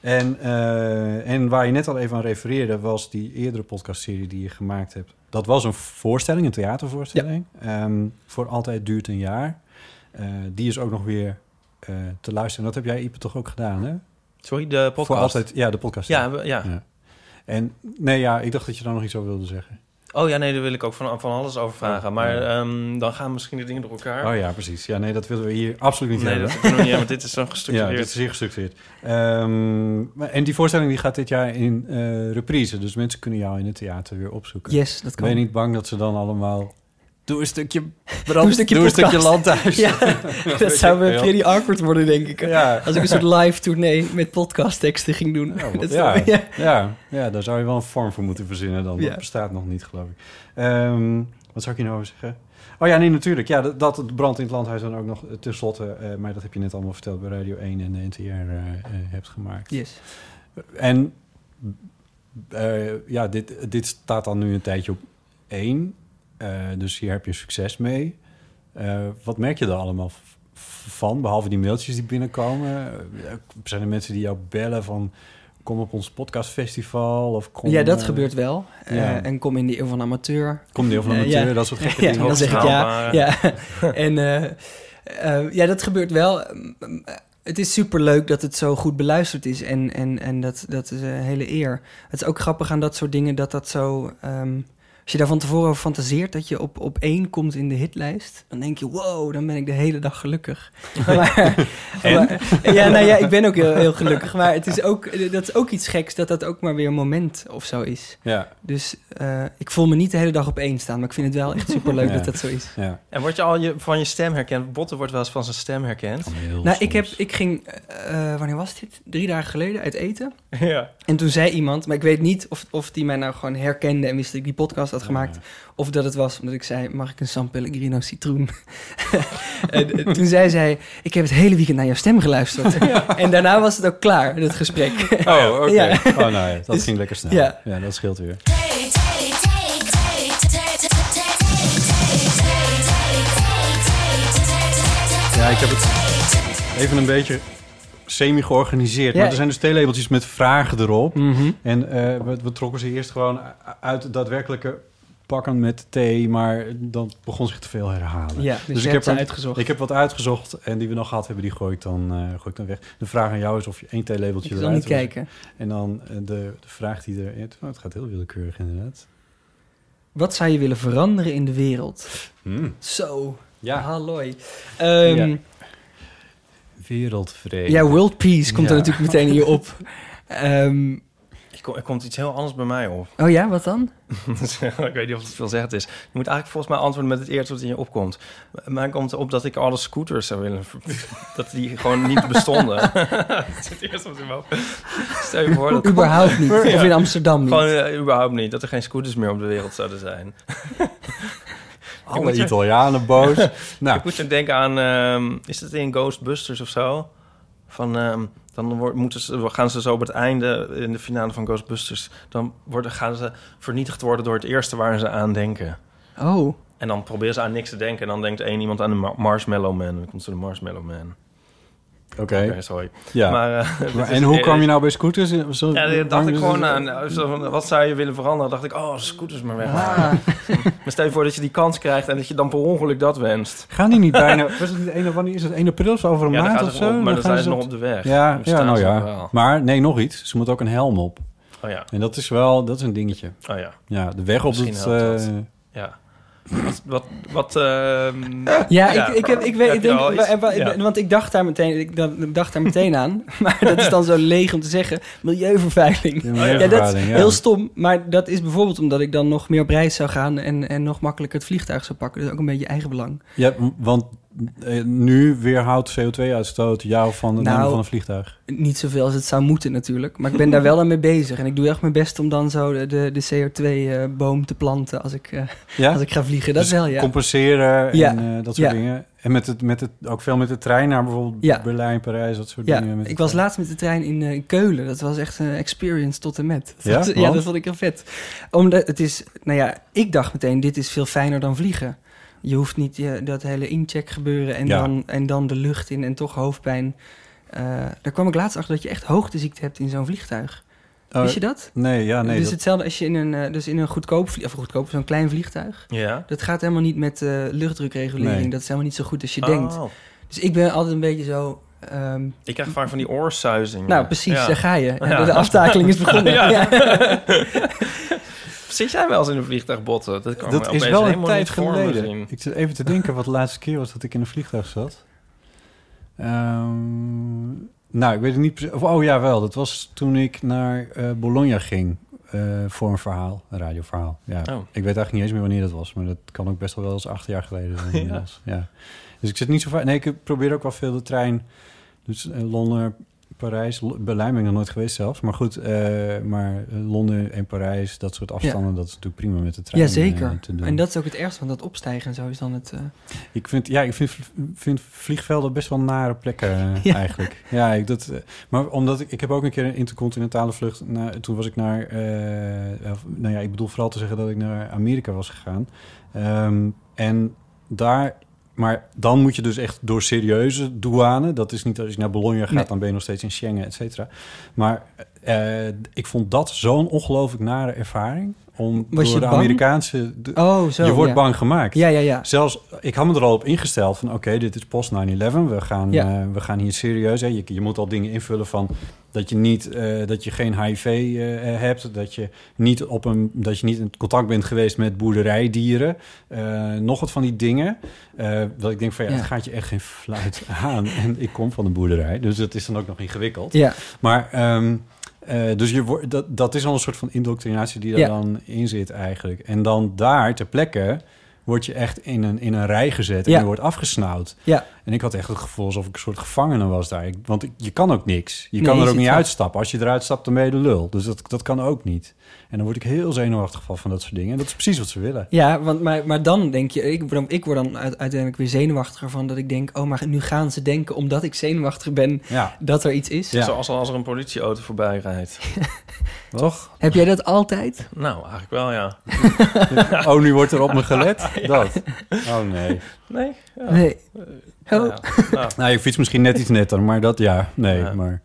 Speaker 5: en, eh, en waar je net al even aan refereerde... was die eerdere podcastserie die je gemaakt hebt. Dat was een voorstelling, een theatervoorstelling. Ehm, voor Altijd duurt een jaar. Eh, die is ook nog weer eh, te luisteren. En dat heb jij, Ipe, toch ook gedaan, hè?
Speaker 6: Sorry, de podcast.
Speaker 5: Voor Altijd, ja, de podcast.
Speaker 6: Ja, we- ja.
Speaker 5: En nee, ja, ik dacht dat je daar nog iets over wilde zeggen.
Speaker 6: Oh ja, nee, daar wil ik ook van, van alles over vragen.
Speaker 5: Oh,
Speaker 6: maar
Speaker 5: ja.
Speaker 6: ehm, dan gaan misschien de dingen door elkaar.
Speaker 5: Oh ja, precies. Ja, nee, dat willen we hier absoluut niet
Speaker 6: nee,
Speaker 5: hebben.
Speaker 6: dat kunnen we niet hebben. Dit is
Speaker 5: [laughs]
Speaker 6: zo
Speaker 5: Ja, dat
Speaker 6: gestructureerd.
Speaker 5: is zeer gestructureerd. Ehm, maar- en die voorstelling die gaat dit jaar in eh, reprise. Dus mensen kunnen jou in het theater weer opzoeken.
Speaker 7: Yes, dat
Speaker 5: Ben je
Speaker 7: kan.
Speaker 5: niet bang dat ze dan allemaal... Doe een stukje brand,
Speaker 7: Doe een stukje podcast. [laughs]
Speaker 5: land thuis. [laughs]
Speaker 7: Ja, dat zou wel pretty awkward worden, denk ik.
Speaker 5: Ja.
Speaker 7: Als ik een soort live tournee met podcastteksten ging doen. [laughs]
Speaker 5: Ja,
Speaker 7: Dat is
Speaker 5: ja,
Speaker 7: dan- ja.
Speaker 5: ja, ja, daar zou je wel een vorm voor moeten verzinnen dan.
Speaker 7: Ja.
Speaker 5: Dat bestaat nog niet, geloof ik. Ehm, wat zou ik hier nou over zeggen? Oh ja, nee, natuurlijk. Ja, dat, dat de brand in het landhuis dan ook nog eh, tenslotte... eh maar dat heb je net allemaal verteld bij Radio 1 en de NTR eh, eh, hebt gemaakt.
Speaker 7: Yes.
Speaker 5: En eh, ja, dit, dit staat dan nu een tijdje op één. Eh, dus hier heb je succes mee. Eh, wat merk je er allemaal v- v- van? Behalve die mailtjes die binnenkomen. Eh, Zijn er mensen die jou bellen van... kom op ons podcastfestival? Of kom,
Speaker 7: ja, dat
Speaker 5: eh,
Speaker 7: gebeurt wel.
Speaker 5: ja.
Speaker 7: Eh, en kom in de eeuw van amateur.
Speaker 5: Kom deel van de
Speaker 7: Eh,
Speaker 5: amateur,
Speaker 7: ja.
Speaker 5: dat soort gekke
Speaker 7: [laughs] Ja,
Speaker 5: dingen.
Speaker 7: dan zeg ik ja.
Speaker 6: Hoogstaanbare.
Speaker 7: ja. [laughs] en eh, eh, ja, dat gebeurt wel. Mm, mm, Het is superleuk dat het zo goed beluisterd is. En, en, en dat, dat is een hele eer. Het is ook grappig aan dat soort dingen dat dat zo... ehm, als je daar van tevoren over fantaseert dat je op, op één komt in de hitlijst... dan denk je, wow, dan ben ik de hele dag
Speaker 5: [laughs]
Speaker 7: gelukkig. Maar, maar- [laughs] ja, nou ja, ik ben ook heel, heel gelukkig. Maar het is ook, dat is ook iets geks dat dat ook maar weer een moment of zo is.
Speaker 5: Ja,
Speaker 7: Dus eh, ik voel me niet de hele dag op één staan, maar ik vind het wel echt superleuk
Speaker 5: Ja.
Speaker 7: dat dat zo is.
Speaker 5: ja.
Speaker 6: En word je al je, van je stem herkend? Botten wordt wel eens van zijn stem herkend.
Speaker 5: Oh,
Speaker 7: Nou, ik, heb, ik ging, eh, eh, wanneer was dit? Drie dagen geleden uit eten.
Speaker 6: ja.
Speaker 7: En toen zei iemand, maar ik weet niet of, of die mij nou gewoon herkende en wist dat ik die podcast had gemaakt. Of dat het was omdat ik zei, mag ik een San Pellegrino citroen? en, eh, toen zei zij, ik heb het hele weekend naar jouw stem geluisterd. En daarna was het ook klaar, het
Speaker 5: [laughs]
Speaker 7: gesprek.
Speaker 5: Oh,
Speaker 7: [laughs]
Speaker 5: oké.
Speaker 7: Ja.
Speaker 5: Oh, nou ja, dat
Speaker 7: Dus-
Speaker 5: ging lekker snel.
Speaker 7: ja.
Speaker 5: ja, dat scheelt weer. Ja, ik heb het even een beetje semi-georganiseerd.
Speaker 7: Ja. Mhm.
Speaker 5: Maar er zijn dus theelabeltjes met vragen erop. En eh, we, we trokken ze eerst gewoon uit het daadwerkelijke pakken met thee. Maar dan begon zich te veel herhalen.
Speaker 7: Ja, dus,
Speaker 5: Dus
Speaker 7: ik
Speaker 5: ik
Speaker 7: heb ze
Speaker 5: heb-
Speaker 7: uitgezocht.
Speaker 5: Ik heb wat uitgezocht en die we nog gehad hebben, die gooi ik dan, eh, gooi ik dan weg. De vraag aan jou is of je één theelabeltje
Speaker 7: Ik wil
Speaker 5: eruit
Speaker 7: niet
Speaker 5: wil-
Speaker 7: kijken.
Speaker 5: En dan eh, de, de vraag die er... ja, het gaat heel willekeurig inderdaad.
Speaker 7: Wat zou je willen veranderen in de wereld?
Speaker 5: Hmm.
Speaker 7: Zo,
Speaker 5: Ja,
Speaker 7: halloi. Ehm,
Speaker 5: Ja. wereldvrede.
Speaker 7: Ja, world peace komt er
Speaker 5: Ja.
Speaker 7: natuurlijk meteen in je op. Ehm,
Speaker 6: Ik kom, er komt iets heel anders bij mij op.
Speaker 7: oh ja, wat dan?
Speaker 6: [laughs] ik weet niet of het veel zeggen is. Je moet eigenlijk volgens mij antwoorden met het eerste wat in je opkomt. Mij komt op dat ik alle scooters zou willen... ver- [laughs] dat die gewoon niet
Speaker 5: [laughs]
Speaker 7: [laughs]
Speaker 6: bestonden. [laughs] dat is het eerste wat in me op. Stel je voor dat...
Speaker 7: Überhaupt niet. Of in
Speaker 6: Ja.
Speaker 7: Amsterdam niet.
Speaker 6: Gewoon eh, überhaupt niet. Dat er geen scooters meer op de wereld zouden
Speaker 5: [laughs]
Speaker 6: zijn.
Speaker 5: Alle Italianen
Speaker 6: [laughs]
Speaker 5: boos. nou,
Speaker 6: Ik moet dan denken aan... ehm, is dat in Ghostbusters of zo? Van ehm, Dan wordt, moeten ze, gaan ze zo op het einde, in de finale van Ghostbusters... dan worden, gaan ze vernietigd worden door het eerste waar ze aan denken.
Speaker 7: Oh,
Speaker 6: En dan proberen ze aan niks te denken. En dan denkt één iemand aan de Ma- Marshmallow Man. En dan komt ze de Marshmallow Man.
Speaker 5: Oké,
Speaker 6: Oké, sorry.
Speaker 5: ja.
Speaker 6: [laughs] Maar,
Speaker 5: [laughs]
Speaker 6: eh, dit
Speaker 5: Maar
Speaker 6: is-
Speaker 5: en hoe kwam je nou bij scooters? Zo-
Speaker 6: Ja, daar dacht ik
Speaker 5: hangen ze-
Speaker 6: gewoon aan. zo van, Wat zou je willen veranderen? dacht ik, oh, scooters maar weg.
Speaker 7: Ah.
Speaker 6: Maar stel je voor dat je die kans krijgt en dat je dan per ongeluk dat wenst.
Speaker 5: Gaan die niet bijna... Was het niet 1, of wanneer is het 1 april of zo, over een
Speaker 6: Ja, dan
Speaker 5: maand
Speaker 6: gaan
Speaker 5: of
Speaker 6: ze
Speaker 5: zo?
Speaker 6: op, maar dan
Speaker 5: gaan
Speaker 6: zijn ze
Speaker 5: ze
Speaker 6: nog op de weg.
Speaker 5: Ja,
Speaker 6: Dan
Speaker 5: ja
Speaker 6: staan
Speaker 5: nou
Speaker 6: ze
Speaker 5: ja.
Speaker 6: nog wel.
Speaker 5: Maar nee, nog iets. Ze moet ook een helm op.
Speaker 6: Oh ja,
Speaker 5: En dat is wel... Dat is een dingetje.
Speaker 6: oh ja,
Speaker 5: Ja, de weg op
Speaker 6: Misschien
Speaker 5: het...
Speaker 6: helpt
Speaker 5: eh,
Speaker 6: ja. Wat, wat, wat ehm,
Speaker 7: Ja,
Speaker 6: Ja.
Speaker 7: Ik, ik, heb, ik weet,
Speaker 6: Heb
Speaker 7: ik
Speaker 6: je
Speaker 7: denk,
Speaker 6: al
Speaker 7: wa-
Speaker 6: iets?
Speaker 7: wa-
Speaker 6: Ja.
Speaker 7: want ik dacht daar meteen, ik, dacht- ik dacht daar meteen aan, [laughs] maar dat is dan zo leeg om te zeggen, milieuvervuiling.
Speaker 5: de
Speaker 7: Ja, dat is
Speaker 5: milieuvervuiling, ja.
Speaker 7: heel stom, maar dat is bijvoorbeeld omdat ik dan nog meer op reis zou gaan en, en nog makkelijker het vliegtuig zou pakken. Dus ook een beetje eigen belang.
Speaker 5: Ja, m- want eh, nu weerhoudt CO2-uitstoot jou van het
Speaker 7: Nou,
Speaker 5: nemen van een vliegtuig.
Speaker 7: Niet zoveel als het zou moeten natuurlijk, maar ik ben daar wel aan mee bezig. En ik doe echt mijn best om dan zo de, de, CO2-boom eh, te planten als ik, eh,
Speaker 5: Ja?
Speaker 7: als ik ga vliegen. Dat
Speaker 5: Dus
Speaker 7: wel, ja.
Speaker 5: compenseren en
Speaker 7: Ja.
Speaker 5: eh, dat soort
Speaker 7: Ja.
Speaker 5: dingen. En met het, met het, ook veel met de trein naar bijvoorbeeld
Speaker 7: Ja.
Speaker 5: Berlijn, Parijs, dat soort
Speaker 7: Ja,
Speaker 5: dingen. Met de
Speaker 7: ik was
Speaker 5: trein.
Speaker 7: laatst met de trein in eh, Keulen. Dat was echt een experience tot en met.
Speaker 5: Ja?
Speaker 7: Dat,
Speaker 5: Want?
Speaker 7: dat vond ik heel vet. Omdat het is, nou ja, ik dacht meteen, dit is veel fijner dan vliegen. Je hoeft niet je, dat hele incheck gebeuren en,
Speaker 5: Ja.
Speaker 7: dan, en dan de lucht in en toch hoofdpijn. Eh, daar kwam ik laatst achter dat je echt hoogteziekte hebt in zo'n vliegtuig.
Speaker 5: Oh,
Speaker 7: Wist je dat?
Speaker 5: Nee, ja, nee.
Speaker 7: dus
Speaker 5: dat-
Speaker 7: hetzelfde als je in een, eh, dus in een goedkoop, vlie- of goedkoop, zo'n klein vliegtuig.
Speaker 6: ja.
Speaker 7: Dat gaat helemaal niet met eh, luchtdrukregulering.
Speaker 5: Nee.
Speaker 7: Dat is helemaal niet zo goed als je
Speaker 6: Oh.
Speaker 7: denkt. Dus ik ben altijd een beetje zo... ehm,
Speaker 6: Ik krijg vaak van die oorsuizingen.
Speaker 7: nou, precies,
Speaker 6: Ja.
Speaker 7: daar ga je. Ja,
Speaker 6: Ja.
Speaker 7: De aftakeling is begonnen.
Speaker 6: Ja.
Speaker 7: Ja.
Speaker 6: [laughs] Zit jij wel eens in een vliegtuig botten? Dat,
Speaker 5: dat
Speaker 6: kan me
Speaker 5: is
Speaker 6: opeens
Speaker 5: wel een
Speaker 6: helemaal
Speaker 5: tijd
Speaker 6: niet voor me
Speaker 5: geleden.
Speaker 6: zien.
Speaker 5: Ik zit even te denken wat de laatste keer was dat ik in een vliegtuig zat. Ehm, nou, ik weet het niet precies. Of, oh ja, wel. Dat was toen ik naar eh, Bologna ging eh, voor een verhaal, een radioverhaal. Ja.
Speaker 6: Oh.
Speaker 5: Ik weet eigenlijk niet eens meer wanneer dat was, maar dat kan ook best wel eens acht jaar geleden
Speaker 6: [laughs]
Speaker 5: zijn.
Speaker 6: Ja.
Speaker 5: inmiddels. Ja. Dus ik zit niet zo vaak. Nee, ik probeer ook wel veel de trein. Dus eh, Londen, Parijs, L- Berlijn ben ik nog nooit geweest zelfs. Maar goed, eh, maar eh, Londen en Parijs, dat soort afstanden, dat is natuurlijk prima met de trein.
Speaker 7: ja,
Speaker 5: eh,
Speaker 7: zeker.
Speaker 5: te doen.
Speaker 7: En dat is ook het ergste, want dat opstijgen en zo is dan het... eh,
Speaker 5: Ik vind, ja, ik vind, vind vliegvelden best wel nare
Speaker 7: [laughs]
Speaker 5: plekken eh,
Speaker 7: Ja.
Speaker 5: eigenlijk. Ja, ik, dat, eh, maar omdat ik, ik heb ook een keer een intercontinentale vlucht. Naar, toen was ik naar, eh, of, nou ja, ik bedoel vooral te zeggen dat ik naar Amerika was gegaan. Ehm, en daar, maar dan moet je dus echt door serieuze douane. Dat is niet als je naar Bologna gaat,
Speaker 7: Nee.
Speaker 5: dan ben je nog steeds in Schengen, et cetera. Maar eh, ik vond dat zo'n ongelooflijk nare ervaring. Om
Speaker 7: Was
Speaker 5: door
Speaker 7: je
Speaker 5: de
Speaker 7: bang?
Speaker 5: Amerikaanse... de-
Speaker 7: Oh, zo.
Speaker 5: je wordt
Speaker 7: ja.
Speaker 5: bang gemaakt.
Speaker 7: Ja, ja, ja.
Speaker 5: Zelfs, ik had me er al op ingesteld van... oké, dit is post 9-11, we, gaan
Speaker 7: Ja.
Speaker 5: eh, we gaan hier serieus... Hè, je, je moet al dingen invullen van dat je, niet, eh, dat je geen HIV eh, hebt... Dat je, niet op een, dat je niet in contact bent geweest met boerderijdieren... eh, nog wat van die dingen. Eh, dat ik denk van ja,
Speaker 7: Ja.
Speaker 5: het gaat je echt geen fluit aan. En ik kom van een boerderij, dus dat is dan ook nog ingewikkeld.
Speaker 7: Ja,
Speaker 5: Maar ehm, eh, dus je wordt, dat, dat is al een soort van indoctrinatie die daar
Speaker 7: Ja.
Speaker 5: dan in zit eigenlijk. En dan daar ter plekke word je echt in een, in een rij gezet en
Speaker 7: Ja.
Speaker 5: je wordt afgesnauwd.
Speaker 7: Ja.
Speaker 5: En ik had echt het gevoel alsof ik een soort gevangene was daar. Ik- Want ik- je kan ook niks. Je
Speaker 7: Nee,
Speaker 5: kan
Speaker 7: je
Speaker 5: er ook
Speaker 7: zit
Speaker 5: niet
Speaker 7: vast.
Speaker 5: uitstappen. Als je eruit stapt, dan ben je de lul. Dus dat, dat kan ook niet. En dan word ik heel zenuwachtig van, van dat soort dingen. En dat is precies wat ze willen.
Speaker 7: ja want, maar, maar dan denk je... Ik, word dan- ik word dan uit- uiteindelijk weer zenuwachtiger van dat ik denk... Oh, maar nu gaan ze denken, omdat ik zenuwachtig ben,
Speaker 5: Ja,
Speaker 7: dat er iets is.
Speaker 5: Ja.
Speaker 6: Zoals als er een politieauto voorbij
Speaker 7: [laughs]
Speaker 6: rijdt.
Speaker 5: toch?
Speaker 7: Heb jij dat altijd?
Speaker 6: Nou, eigenlijk wel, ja.
Speaker 5: [laughs] Oh, nu wordt er op me [laughs] gelet? Dat. Oh, nee.
Speaker 6: Nee? Ja.
Speaker 7: Nee.
Speaker 6: Nou
Speaker 7: Oh.
Speaker 6: ja. Nou,
Speaker 5: Nou, je fietst misschien net iets netter, maar dat ja. Nee,
Speaker 6: Ja.
Speaker 5: maar...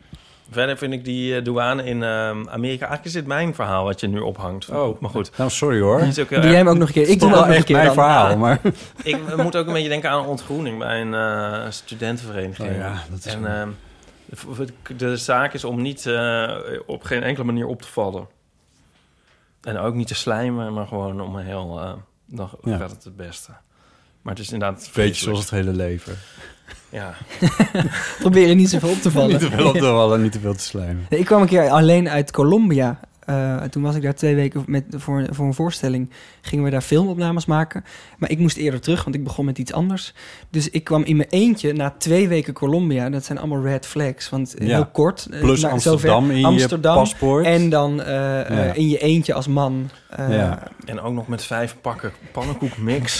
Speaker 6: Verder vind ik die eh, douane in ehm, Amerika... Eigenlijk is dit mijn verhaal wat je nu ophangt.
Speaker 5: Oh.
Speaker 6: maar goed.
Speaker 5: Nou, sorry hoor.
Speaker 6: Die is ook heel
Speaker 7: Doe jij hem
Speaker 6: erg-
Speaker 7: ook nog een keer? Ik doe
Speaker 5: Toch
Speaker 7: hem ook
Speaker 5: wel
Speaker 7: nog een
Speaker 5: echt
Speaker 7: keer
Speaker 5: mijn
Speaker 7: dan.
Speaker 5: verhaal, maar...
Speaker 6: [laughs] Ik moet ook een beetje denken aan ontgroening bij een eh, studentenvereniging.
Speaker 5: Oh ja, dat is
Speaker 6: en
Speaker 5: wel-
Speaker 6: ehm, de, de zaak is om niet eh, op geen enkele manier op te vallen. En ook niet te slijmen, maar gewoon om een heel... eh, dan
Speaker 5: Ja.
Speaker 6: gaat het het beste. Maar het is inderdaad...
Speaker 5: Beetje zoals
Speaker 6: vreselijk.
Speaker 5: het hele leven.
Speaker 6: Ja.
Speaker 5: [laughs]
Speaker 7: Probeer je niet zoveel op te
Speaker 5: Niet
Speaker 7: vallen.
Speaker 5: te veel op
Speaker 7: [laughs]
Speaker 5: te vallen, niet te veel te slijmen.
Speaker 7: Nee, ik kwam een keer alleen uit Colombia. Eh, toen was ik daar twee weken met, voor, voor een voorstelling. Gingen we daar filmopnames maken. Maar ik moest eerder terug, want ik begon met iets anders. Dus ik kwam in mijn eentje na twee weken Colombia. Dat zijn allemaal red flags. Want eh,
Speaker 5: Ja.
Speaker 7: heel kort. eh,
Speaker 5: Plus
Speaker 7: nou, zover.
Speaker 5: Amsterdam in
Speaker 7: Amsterdam
Speaker 5: je paspoort.
Speaker 7: En dan eh, eh,
Speaker 5: Ja.
Speaker 7: in je eentje als man. Eh,
Speaker 5: Ja.
Speaker 6: En ook nog met vijf pakken pannenkoekmix.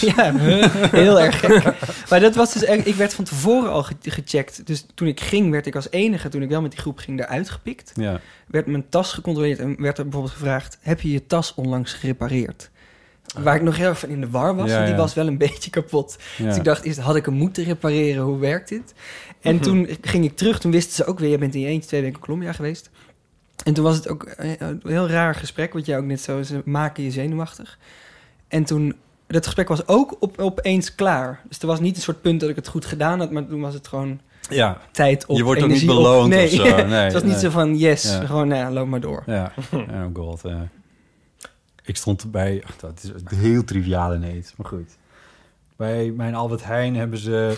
Speaker 7: [laughs] Ja, heel erg
Speaker 5: [laughs]
Speaker 7: gek. [laughs] Maar dat was dus echt, ik werd van tevoren al ge- gecheckt. Dus toen ik ging, werd ik als enige, toen ik wel met die groep ging, eruit gepikt.
Speaker 5: Ja.
Speaker 7: Werd mijn tas gecontroleerd en werd er bijvoorbeeld gevraagd: Heb je je tas onlangs gerepareerd? Waar ik nog heel erg van in de war was,
Speaker 5: Ah. Ja,
Speaker 7: want die
Speaker 5: ja.
Speaker 7: was wel een [laughs] beetje kapot.
Speaker 5: Ja. Mhm.
Speaker 7: Dus ik dacht eerst, had ik hem moeten repareren? Hoe werkt dit? En toen ging ik terug. Toen wisten ze ook weer, je bent in je eentje twee weken Colombia geweest. En toen was het ook eh, een heel raar gesprek, wat jij ook net zo... Ze maken je zenuwachtig. En toen... Dat gesprek was ook op, opeens klaar. Dus er was niet een soort punt dat ik het goed gedaan had... maar toen was het gewoon
Speaker 5: ja.
Speaker 7: tijd op,
Speaker 5: Je wordt ook niet
Speaker 7: energie op.
Speaker 5: beloond of zo. Nee,
Speaker 7: [laughs] het was niet
Speaker 5: nee.
Speaker 7: zo van, yes,
Speaker 5: Ja.
Speaker 7: gewoon nou, ja, loop maar door. [laughs]
Speaker 5: Ja, oh god. ja. Ik stond erbij, ach, dat is een heel triviaal ineens, maar goed. Bij mijn Albert Heijn hebben
Speaker 7: [laughs]
Speaker 5: ze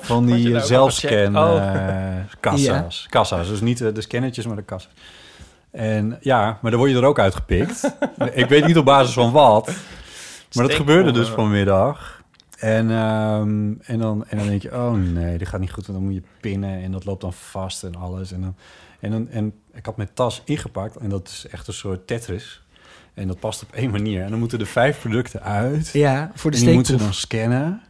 Speaker 5: van
Speaker 6: Had
Speaker 5: die
Speaker 6: je
Speaker 5: eh,
Speaker 7: nou
Speaker 6: daar ook
Speaker 5: zelfscan
Speaker 6: al
Speaker 7: Oh.
Speaker 6: gecheckt?
Speaker 5: eh, kassa's. Kassa's, dus niet eh, de scannetjes, maar de kassa's. En ja, maar dan word je er ook
Speaker 7: [laughs]
Speaker 5: uitgepikt. ik weet niet op basis van wat, maar dat gebeurde dus vanmiddag. En, ehm, en, dan, en dan denk je, oh nee, dit gaat niet goed, want dan moet je pinnen en dat loopt dan vast en alles. En, dan, en, dan, en ik had mijn tas ingepakt en dat is echt een soort Tetris. En dat past op één manier. En dan moeten er vijf producten uit.
Speaker 7: Ja, voor de
Speaker 5: en die moeten ze
Speaker 7: steekproef.
Speaker 5: dan scannen.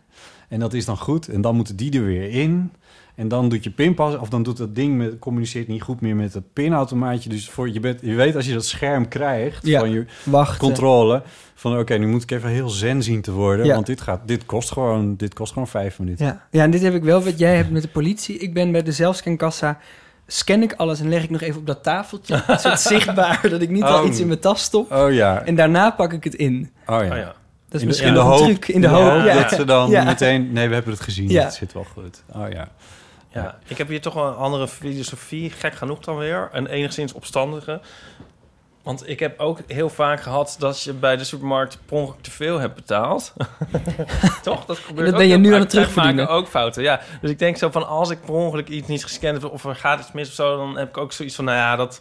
Speaker 5: En dat is dan goed. En dan moeten die er weer in. En dan doet je pinpas, of dan doet dat ding, met, communiceert niet goed meer met het pinautomaatje. Dus voor, je, bent, je weet als je dat scherm krijgt
Speaker 7: Ja. eh.
Speaker 5: van je,
Speaker 7: Wachten.
Speaker 5: controle. Van oké, nu moet ik even heel zen zien te worden.
Speaker 7: Ja.
Speaker 5: Want dit, gaat, dit, kost gewoon, dit kost gewoon vijf minuten.
Speaker 7: Ja. ja, en dit heb ik wel wat jij hebt met de politie. Ik ben bij de zelfscankassa, scan ik alles en leg ik nog even op dat tafeltje. Een soort zichtbaar, dat ik niet al
Speaker 5: Oh.
Speaker 7: iets in mijn tas stop.
Speaker 5: Oh ja.
Speaker 7: En daarna pak ik het in.
Speaker 5: oh
Speaker 6: Oh
Speaker 5: ja.
Speaker 6: ja.
Speaker 7: Dat is
Speaker 5: In de-
Speaker 7: misschien
Speaker 5: in de
Speaker 7: nog een
Speaker 5: hoop-
Speaker 7: truc. In de hoop, ja.
Speaker 5: Dat ze dan
Speaker 7: Ja.
Speaker 5: meteen... Nee, we hebben het gezien.
Speaker 7: Ja.
Speaker 5: Het zit wel goed. Oh ja.
Speaker 6: Ja, ik heb hier toch wel een andere filosofie, gek genoeg dan weer. Een enigszins opstandige. Want ik heb ook heel vaak gehad dat je bij de supermarkt per ongeluk te veel hebt
Speaker 7: [laughs]
Speaker 6: betaald. toch? Dat gebeurt
Speaker 7: dat
Speaker 6: ook
Speaker 7: ben je
Speaker 6: heel
Speaker 7: nu
Speaker 6: vaak.
Speaker 7: aan het
Speaker 6: Wij
Speaker 7: terugverdienen.
Speaker 6: maken ook fouten, ja. Dus ik denk zo van, als ik per ongeluk iets niet gescand heb... of er gaat iets mis of zo, dan heb ik ook zoiets van, nou ja, dat...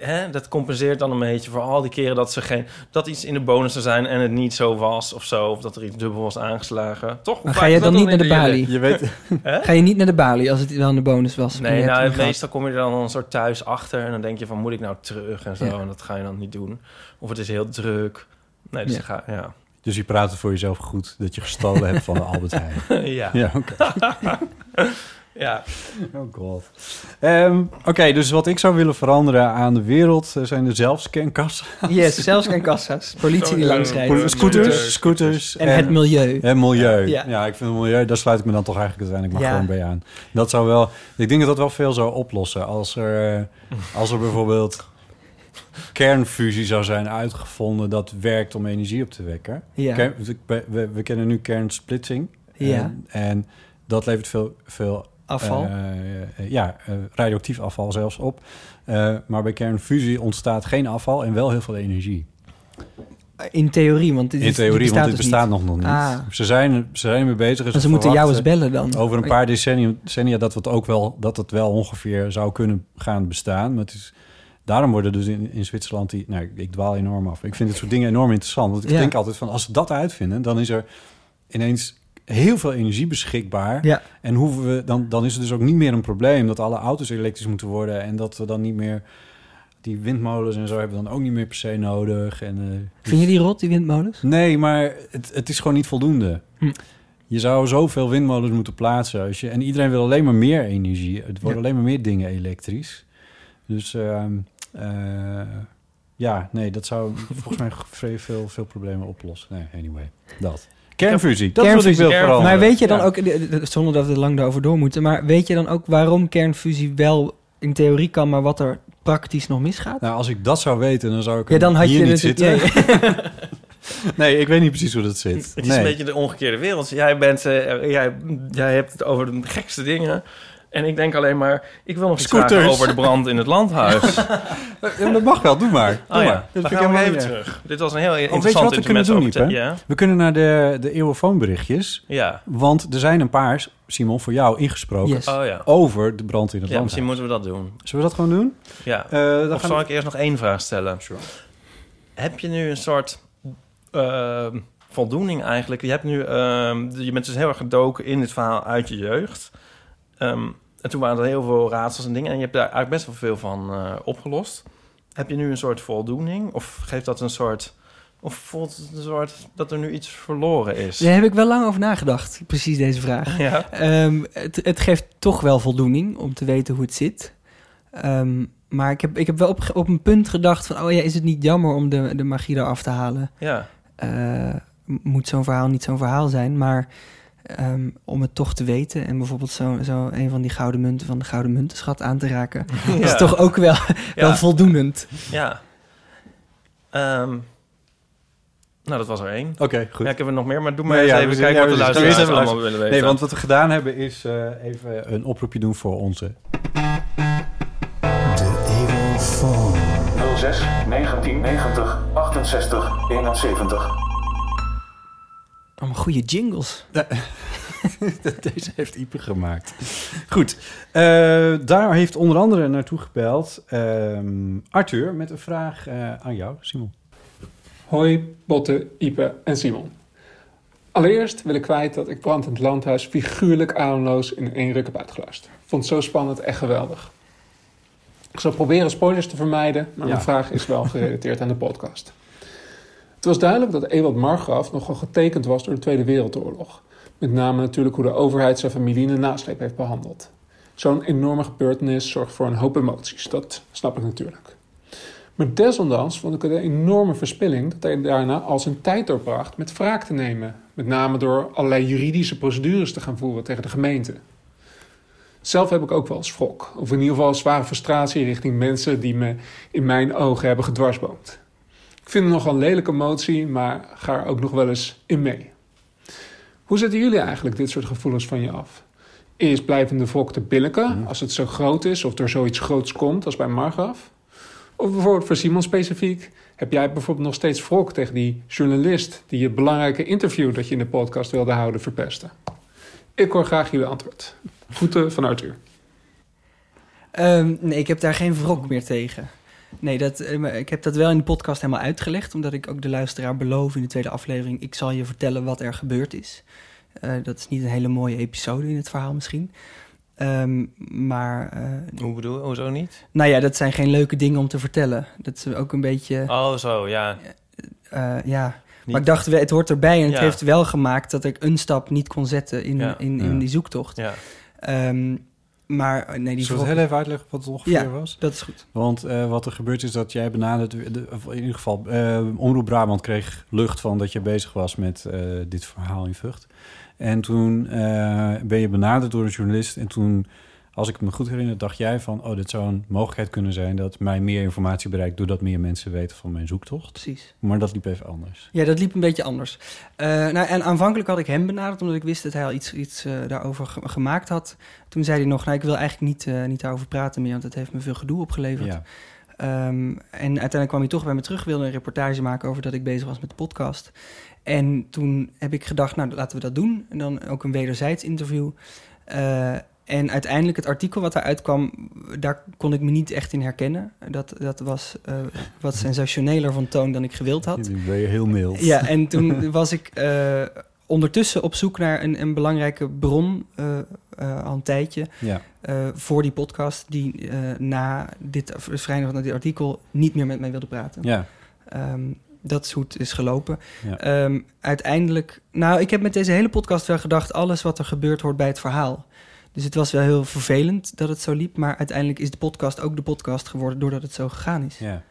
Speaker 6: Hè, dat compenseert dan een beetje voor al die keren dat, ze geen, dat iets in de bonus zou zijn... en het niet zo was of zo, of dat er iets dubbel was aangeslagen. Toch? Hoe
Speaker 7: Maar
Speaker 6: vaak
Speaker 7: ga jij
Speaker 6: is dat
Speaker 7: dan niet naar de
Speaker 6: in jullie-
Speaker 7: balie?
Speaker 5: Je weet...
Speaker 6: [laughs]
Speaker 7: Ga je niet naar de balie als het wel in de bonus was? Maar je
Speaker 6: Nee,
Speaker 7: hebt
Speaker 6: nou,
Speaker 7: hem gehad.
Speaker 6: meestal kom je er dan een soort thuis achter en dan denk je van moet ik nou terug en zo
Speaker 7: Ja.
Speaker 6: en dat ga je dan niet doen. Of het is heel druk. Nee, dus
Speaker 7: Ja.
Speaker 6: ja. Ga, ja.
Speaker 5: Dus je praat het voor jezelf goed dat je gestolen hebt van de Albert Heijn.
Speaker 6: ja.
Speaker 5: [laughs] Ja, oké.
Speaker 6: Ja.
Speaker 5: [laughs] Oh god. Ehm, oké, dus wat ik zou willen veranderen aan de wereld eh, zijn de zelfscankassen. [laughs]
Speaker 7: Yes, zelfscankassa's. Politie die
Speaker 6: Zo,
Speaker 7: langs
Speaker 6: eh,
Speaker 7: rijdt.
Speaker 6: politie.
Speaker 5: Oh, Scooters, scooters.
Speaker 7: En het milieu.
Speaker 5: En milieu.
Speaker 7: Ja.
Speaker 5: Ja. ik vind het milieu, daar sluit ik me dan toch eigenlijk uiteindelijk maar
Speaker 7: Ja.
Speaker 5: gewoon bij aan. Dat zou wel, ik denk dat dat wel veel zou oplossen. Als er, eh, als er bijvoorbeeld kernfusie zou zijn uitgevonden dat werkt om energie op te wekken.
Speaker 7: Ja.
Speaker 5: Kern- we, we- we kennen nu kernsplitsing.
Speaker 7: Ja.
Speaker 5: En, en dat levert veel, veel
Speaker 7: Afval.
Speaker 5: eh, eh, ja, eh, radioactief afval zelfs op. Eh, maar bij kernfusie ontstaat geen afval en wel heel veel energie.
Speaker 7: in theorie, want dit,
Speaker 5: In
Speaker 7: is- dit
Speaker 5: theorie, want dit
Speaker 7: dus
Speaker 5: bestaat
Speaker 7: niet.
Speaker 5: nog nog niet.
Speaker 7: Ah.
Speaker 5: Ze, zijn, ze zijn ermee bezig. en
Speaker 7: Maar ze moeten jou eens
Speaker 5: verwachten
Speaker 7: bellen dan.
Speaker 5: Over een paar decennia, decennia dat, we het ook wel, dat het wel ongeveer zou kunnen gaan bestaan. Maar het is, daarom worden dus in, in Zwitserland die... Nou, ik, ik dwaal enorm af. Ik vind dit soort dingen enorm interessant. Want ik
Speaker 7: Ja.
Speaker 5: denk altijd van, als ze dat uitvinden... dan is er ineens heel veel energie beschikbaar.
Speaker 7: Ja.
Speaker 5: En hoeven we, dan, dan is het dus ook niet meer een probleem... dat alle auto's elektrisch moeten worden... en dat we dan niet meer... Die windmolens en zo hebben we dan ook niet meer per se nodig. En, eh,
Speaker 7: Vind je die rot, die windmolens?
Speaker 5: Nee, maar het, het is gewoon niet voldoende.
Speaker 7: Hm.
Speaker 5: Je zou zoveel windmolens moeten plaatsen. Als je, en iedereen wil alleen maar meer energie. Het worden alleen maar meer dingen elektrisch. Dus ehm, eh, ja, nee, dat zou volgens mij [laughs] vrij veel, veel problemen oplossen. Nee, anyway, dat. Kernfusie, dat is wat ik
Speaker 7: Kernfusie.
Speaker 5: wil veranderen.
Speaker 7: Maar weet je dan
Speaker 5: Ja.
Speaker 7: ook, zonder dat we er lang daarover door moeten, maar weet je dan ook waarom kernfusie wel in theorie kan, maar wat er praktisch nog misgaat?
Speaker 5: Nou, als ik dat zou weten, dan zou ik
Speaker 7: ja, dan had
Speaker 5: hier
Speaker 7: je dus
Speaker 5: niet
Speaker 7: het.
Speaker 5: zitten. [laughs] Nee, ik weet niet precies hoe dat zit.
Speaker 6: Het is
Speaker 5: nee.
Speaker 6: een beetje de omgekeerde wereld. Dus Jij, bent, eh, jij, jij hebt het over de gekste dingen. En ik denk alleen maar, ik wil nog iets
Speaker 5: Scooters.
Speaker 6: vragen over de brand in het landhuis. oh
Speaker 5: [laughs] Ja, maar dat mag wel, doe maar. Doe maar.
Speaker 6: ja,
Speaker 5: Dat
Speaker 6: dan
Speaker 5: vind ik
Speaker 6: gaan we
Speaker 5: helemaal
Speaker 6: even
Speaker 5: niet erg.
Speaker 6: terug. Dit was een heel
Speaker 5: Oh, je
Speaker 6: interessant
Speaker 5: wat we kunnen
Speaker 6: intermezzo
Speaker 5: doen,
Speaker 6: over
Speaker 5: Iep,
Speaker 6: te- Ja,
Speaker 5: We kunnen naar de, de eeuwenfoonberichtjes.
Speaker 6: ja.
Speaker 5: Want er zijn een paar, Simon, voor jou ingesproken
Speaker 7: Yes.
Speaker 6: Oh ja.
Speaker 5: over de brand in het
Speaker 6: Ja,
Speaker 5: land.
Speaker 6: misschien moeten we dat doen.
Speaker 5: Zullen we dat gewoon doen?
Speaker 6: Ja.
Speaker 5: Eh, dan
Speaker 6: Of
Speaker 5: gaan
Speaker 6: zal
Speaker 5: we-
Speaker 6: ik eerst nog één vraag stellen? Heb je nu een soort ehm, voldoening eigenlijk? Je, hebt nu, ehm, je bent dus heel erg gedoken in dit verhaal uit je jeugd. Ehm, en toen waren er heel veel raadsels en dingen. En je hebt daar eigenlijk best wel veel van eh, opgelost. Heb heb je nu een soort voldoening? Of geeft dat een soort... Of voelt het een soort dat er nu iets verloren is?
Speaker 7: Daar heb ik wel lang over nagedacht, precies deze vraag.
Speaker 6: [laughs] Ja.
Speaker 7: Ehm, het, het geeft toch wel voldoening om te weten hoe het zit. Ehm, maar ik heb, ik heb wel op, op een punt gedacht van... oh ja, is het niet jammer om de, de magie eraf te halen?
Speaker 6: ja.
Speaker 7: Eh, moet zo'n verhaal niet zo'n verhaal zijn? Maar ehm, om het toch te weten... en bijvoorbeeld zo, zo een van die gouden munten van de gouden muntenschat aan te
Speaker 6: [laughs]
Speaker 7: raken...
Speaker 6: Ja.
Speaker 7: is toch ook wel, wel
Speaker 6: [laughs] Ja.
Speaker 7: voldoenend.
Speaker 6: Ja. Ehm, nou, dat was er één.
Speaker 5: Oké, goed.
Speaker 6: Ja, ik heb er nog meer, maar doe maar
Speaker 5: Nee,
Speaker 6: eens
Speaker 5: ja,
Speaker 6: even
Speaker 5: we-
Speaker 6: kijken
Speaker 5: ja,
Speaker 6: wat de
Speaker 5: we- we-
Speaker 6: luisteraars
Speaker 5: we-
Speaker 6: allemaal willen weten.
Speaker 5: Nee, want wat we gedaan hebben is eh, even een oproepje doen voor onze.
Speaker 8: 06 1990 68 71.
Speaker 7: Allemaal goede
Speaker 5: [laughs]
Speaker 7: jingles.
Speaker 5: Deze heeft Ipe gemaakt. Goed, eh, daar heeft onder andere naartoe gebeld ehm, Arthur met een vraag eh, aan jou, Simon.
Speaker 9: Hoi, Botte, Ipe en Simon. Allereerst wil ik kwijt dat ik Brand in het Landhuis figuurlijk ademloos in één ruk heb uitgeluisterd. Vond het zo spannend, echt geweldig. Ik zal proberen spoilers te vermijden, maar
Speaker 5: Ja.
Speaker 9: mijn vraag is wel gerelateerd aan de podcast. Het was duidelijk dat Ewald Margraf nogal getekend was door de Tweede Wereldoorlog. Met name natuurlijk hoe de overheid zijn familie in de nasleep heeft behandeld. Zo'n enorme gebeurtenis zorgt voor een hoop emoties, dat snap ik natuurlijk. Maar desondanks vond ik het een enorme verspilling dat hij daarna al zijn tijd doorbracht met wraak te nemen. Met name door allerlei juridische procedures te gaan voeren tegen de gemeente. Zelf heb ik ook wel eens wrok, of in ieder geval zware frustratie richting mensen die me in mijn ogen hebben gedwarsboomd. Ik vind het nogal een lelijke motie, maar ga er ook nog wel eens in mee. Hoe zetten jullie eigenlijk dit soort gevoelens van je af? Eerst blijven de wrok te billiken als het zo groot is of er zoiets groots komt als bij Margraf? Of bijvoorbeeld voor Simon specifiek. Heb jij bijvoorbeeld nog steeds wrok tegen die journalist die je belangrijke interview dat je in de podcast wilde houden verpestte? Ik hoor graag jullie antwoord. Groeten van Arthur.
Speaker 7: Ehm, nee, ik heb daar geen wrok meer tegen. Nee, dat, eh, maar ik heb dat wel in de podcast helemaal uitgelegd. Omdat ik ook de luisteraar beloof in de tweede aflevering... ik zal je vertellen wat er gebeurd is. Eh, dat is niet een hele mooie episode in het verhaal misschien. Ehm, maar eh,
Speaker 6: Hoe bedoel je? Hoezo niet?
Speaker 7: nou ja, dat zijn geen leuke dingen om te vertellen. Dat is ook een beetje...
Speaker 6: Oh, zo, ja.
Speaker 7: eh, ja.
Speaker 6: Ah. Niet-
Speaker 7: Maar ik dacht, we- het hoort erbij. En het
Speaker 6: Ja.
Speaker 7: heeft wel gemaakt dat ik een stap niet kon zetten in,
Speaker 6: Ja.
Speaker 7: in, in
Speaker 5: Ja.
Speaker 7: die zoektocht.
Speaker 6: ja.
Speaker 7: Ehm, maar eh, nee, die
Speaker 5: Zullen we
Speaker 7: wrok-
Speaker 5: het heel even uitleggen wat het ongeveer
Speaker 7: Ja.
Speaker 5: was?
Speaker 7: dat is goed.
Speaker 5: Want eh, wat er gebeurd is dat jij benaderd... de- of in ieder geval, eh, Omroep Brabant kreeg lucht van dat je bezig was met eh, dit verhaal in Vught. En toen eh, ben je benaderd door een journalist. En toen, als ik me goed herinner, dacht jij van... oh, dit zou een mogelijkheid kunnen zijn dat mij meer informatie bereikt... doordat meer mensen weten van mijn zoektocht.
Speaker 7: Precies.
Speaker 5: Maar dat liep even anders.
Speaker 7: Ja, dat liep een beetje anders. Eh, nou, en aanvankelijk had ik hem benaderd, omdat ik wist dat hij al iets, iets eh, daarover ge- gemaakt had. Toen zei hij nog, nou, ik wil eigenlijk niet, eh, niet daarover praten meer, want dat heeft me veel gedoe opgeleverd.
Speaker 5: Ja.
Speaker 7: Ehm, en uiteindelijk kwam hij toch bij me terug, wilde een reportage maken over dat ik bezig was met de podcast. En toen heb ik gedacht, nou laten we dat doen. En dan ook een wederzijds interview. Eh, en uiteindelijk het artikel wat daaruit kwam, daar kon ik me niet echt in herkennen. Dat, dat was eh, wat sensationeler van toon dan ik gewild had.
Speaker 5: Nu ben je heel mild.
Speaker 7: Ja, en
Speaker 5: [laughs]
Speaker 7: toen was ik eh, ondertussen op zoek naar een, een belangrijke bron eh, eh, al een tijdje
Speaker 5: Ja.
Speaker 7: eh, voor die podcast, die eh, na dit verschijnen van dit artikel niet meer met mij wilde praten.
Speaker 5: ja.
Speaker 7: Ehm, dat is hoe het is gelopen.
Speaker 5: Ja.
Speaker 7: Ehm, uiteindelijk, nou, ik heb met deze hele podcast wel gedacht: alles wat er gebeurt hoort bij het verhaal. Dus het was wel heel vervelend dat het zo liep, maar uiteindelijk is de podcast ook de podcast geworden doordat het zo gegaan is.
Speaker 5: ja.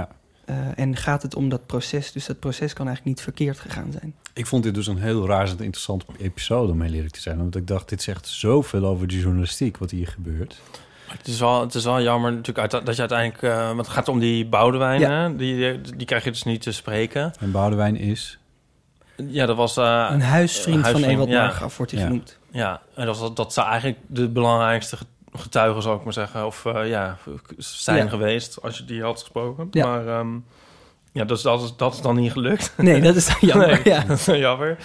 Speaker 7: Eh, en gaat het om dat proces, dus dat proces kan eigenlijk niet verkeerd gegaan zijn.
Speaker 5: Ik vond dit dus een heel razend interessante episode, om heel eerlijk te zijn. Want ik dacht, dit zegt zoveel over de journalistiek, wat hier gebeurt.
Speaker 6: Maar Het is wel, het is wel jammer natuurlijk uit- dat je uiteindelijk... eh, want het gaat om die Boudewijn,
Speaker 7: Ja.
Speaker 6: hè? Die, die, die krijg je dus niet te spreken.
Speaker 5: En Boudewijn is...
Speaker 6: Ja, dat was... eh,
Speaker 7: Een huisvriend,
Speaker 6: Een huisvriend,
Speaker 7: van Ewald
Speaker 6: ja.
Speaker 7: Margraf wordt hij
Speaker 5: Ja.
Speaker 7: genoemd.
Speaker 6: ja, en dat, was, dat zijn eigenlijk de belangrijkste getuigen, zou ik maar zeggen. Of eh, ja, zijn
Speaker 7: Ja.
Speaker 6: geweest, als je die had gesproken.
Speaker 7: Ja.
Speaker 6: Maar ehm, ja, dus dat is, dat is dan niet gelukt. [laughs]
Speaker 7: Nee, dat is dan jammer.
Speaker 6: Nee.
Speaker 7: Ja.
Speaker 6: Jammer.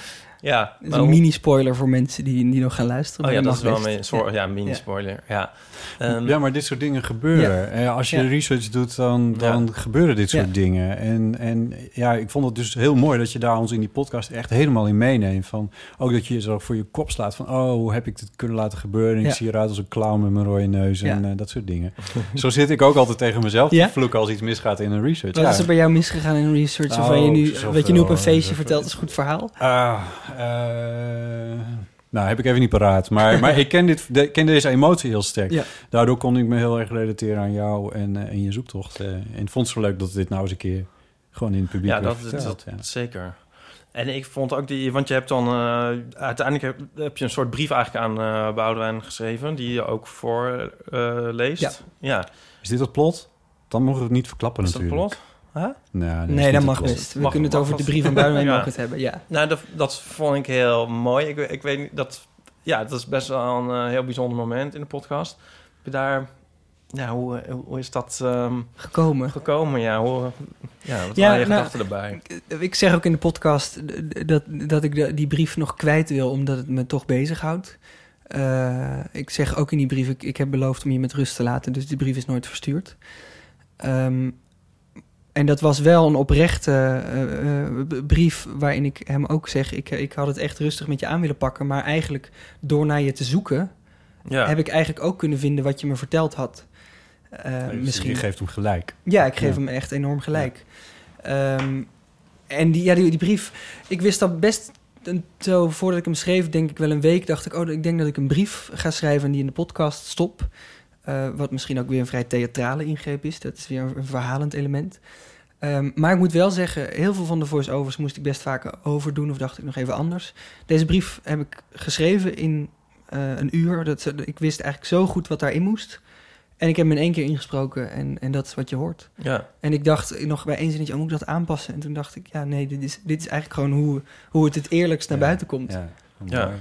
Speaker 6: Ja,
Speaker 7: Dat is
Speaker 6: maar
Speaker 7: een
Speaker 6: hoe-
Speaker 7: mini-spoiler voor mensen die, die nog gaan luisteren.
Speaker 6: Oh ja,
Speaker 7: maar mag
Speaker 6: dat is wel
Speaker 7: best.
Speaker 6: een soort ja, mini-spoiler. Ja. Ehm,
Speaker 5: ja, maar dit soort dingen gebeuren. Eh, Als je
Speaker 7: Ja.
Speaker 5: research doet, dan, dan gebeuren dit soort
Speaker 7: Ja.
Speaker 5: dingen. En, en ja, ik vond het dus heel mooi dat je daar ons in die podcast echt helemaal in meeneemt. Van, ook dat je zo voor je kop slaat van, oh, hoe heb ik dit kunnen laten gebeuren? En
Speaker 7: Ja.
Speaker 5: Ik zie eruit als een clown met mijn rode neus en
Speaker 7: Ja.
Speaker 5: eh, dat soort dingen. zo zit ik ook altijd tegen mezelf
Speaker 7: Ja?
Speaker 5: te vloeken als iets misgaat in een research.
Speaker 7: Wat
Speaker 5: Ja.
Speaker 7: is er bij jou misgegaan in research? of
Speaker 5: Oh,
Speaker 7: waar je nu,
Speaker 5: zoveel, eh,
Speaker 7: wat je nu op een feestje
Speaker 5: zoveel.
Speaker 7: vertelt is een goed verhaal?
Speaker 5: Ah, eh, nou, heb ik even niet
Speaker 9: [laughs]
Speaker 5: paraat. Maar,
Speaker 6: [laughs]
Speaker 5: maar ik ken, dit, de- ken deze emotie heel sterk.
Speaker 7: Ja.
Speaker 5: Daardoor kon ik me heel erg relateren aan jou en, eh, en je zoektocht. eh. en ik vond het zo leuk dat dit nou eens een keer gewoon in het publiek
Speaker 6: Ja,
Speaker 5: werd
Speaker 6: dat, dat,
Speaker 5: verteld, ja.
Speaker 6: dat- zeker. En ik vond ook die, want je hebt dan eh, uiteindelijk heb, heb je een soort brief eigenlijk aan eh Boudewijn geschreven, die je ook voorleest.
Speaker 7: Ja.
Speaker 6: leest. ja.
Speaker 5: Is dit het plot? Dan mogen we het niet verklappen
Speaker 6: Is dat
Speaker 5: natuurlijk.
Speaker 6: plot?
Speaker 5: Nee,
Speaker 7: nee,
Speaker 5: dat, is niet
Speaker 7: dat
Speaker 5: het
Speaker 7: mag
Speaker 5: plot.
Speaker 7: best. We
Speaker 6: Mag-
Speaker 7: kunnen het
Speaker 6: mag
Speaker 7: over de
Speaker 6: dat?
Speaker 7: brief van Buitenwijn
Speaker 6: [laughs] Ja.
Speaker 7: ook het hebben. Ja.
Speaker 6: Nou, dat, dat vond ik heel mooi. Ik, ik weet niet, dat, ja, dat is best wel een eh, heel bijzonder moment in de podcast. Heb je Daar, ja, hoe, eh, hoe is dat ehm,
Speaker 7: Gekomen.
Speaker 6: gekomen? Ja, hoe, ja wat
Speaker 7: Ja,
Speaker 6: waren je
Speaker 7: nou,
Speaker 6: gedachten erbij?
Speaker 7: Ik zeg ook in de podcast d- dat, dat ik de- die brief nog kwijt wil, omdat het me toch bezighoudt. Eh, ik zeg ook in die brief, ik, ik heb beloofd om je met rust te laten, dus die brief is nooit verstuurd. Ehm, en dat was wel een oprechte eh, eh, b- brief waarin ik hem ook zeg, ik, ik had het echt rustig met je aan willen pakken, maar eigenlijk door naar je te zoeken,
Speaker 6: Ja.
Speaker 7: heb ik eigenlijk ook kunnen vinden wat je me verteld had. Eh,
Speaker 5: Nee,
Speaker 7: misschien
Speaker 5: Je Dus geeft hem gelijk.
Speaker 7: ja, ik geef
Speaker 5: Ja.
Speaker 7: hem echt enorm gelijk. Ehm, en die, ja, die, die brief, ik wist dat best een- zo voordat ik hem schreef, denk ik wel een week, dacht ik, oh, ik denk dat ik een brief ga schrijven en die in de podcast stop. Eh, wat misschien ook weer een vrij theatrale ingreep is. Dat is weer een, een verhalend element. Ehm, maar ik moet wel zeggen, heel veel van de voice-overs moest ik best vaak overdoen of dacht ik nog even anders. Deze brief heb ik geschreven in eh, een uur. Dat, ze- ik wist eigenlijk zo goed wat daarin moest. En ik heb hem in één keer ingesproken en, en dat is wat je hoort.
Speaker 6: ja.
Speaker 7: En ik dacht nog bij één zinnetje, oh, moet ik dat aanpassen? En toen dacht ik, ja, nee, dit is, dit is eigenlijk gewoon hoe, hoe het het eerlijkst naar
Speaker 5: Ja,
Speaker 7: buiten komt.
Speaker 5: Ja.
Speaker 6: Ja.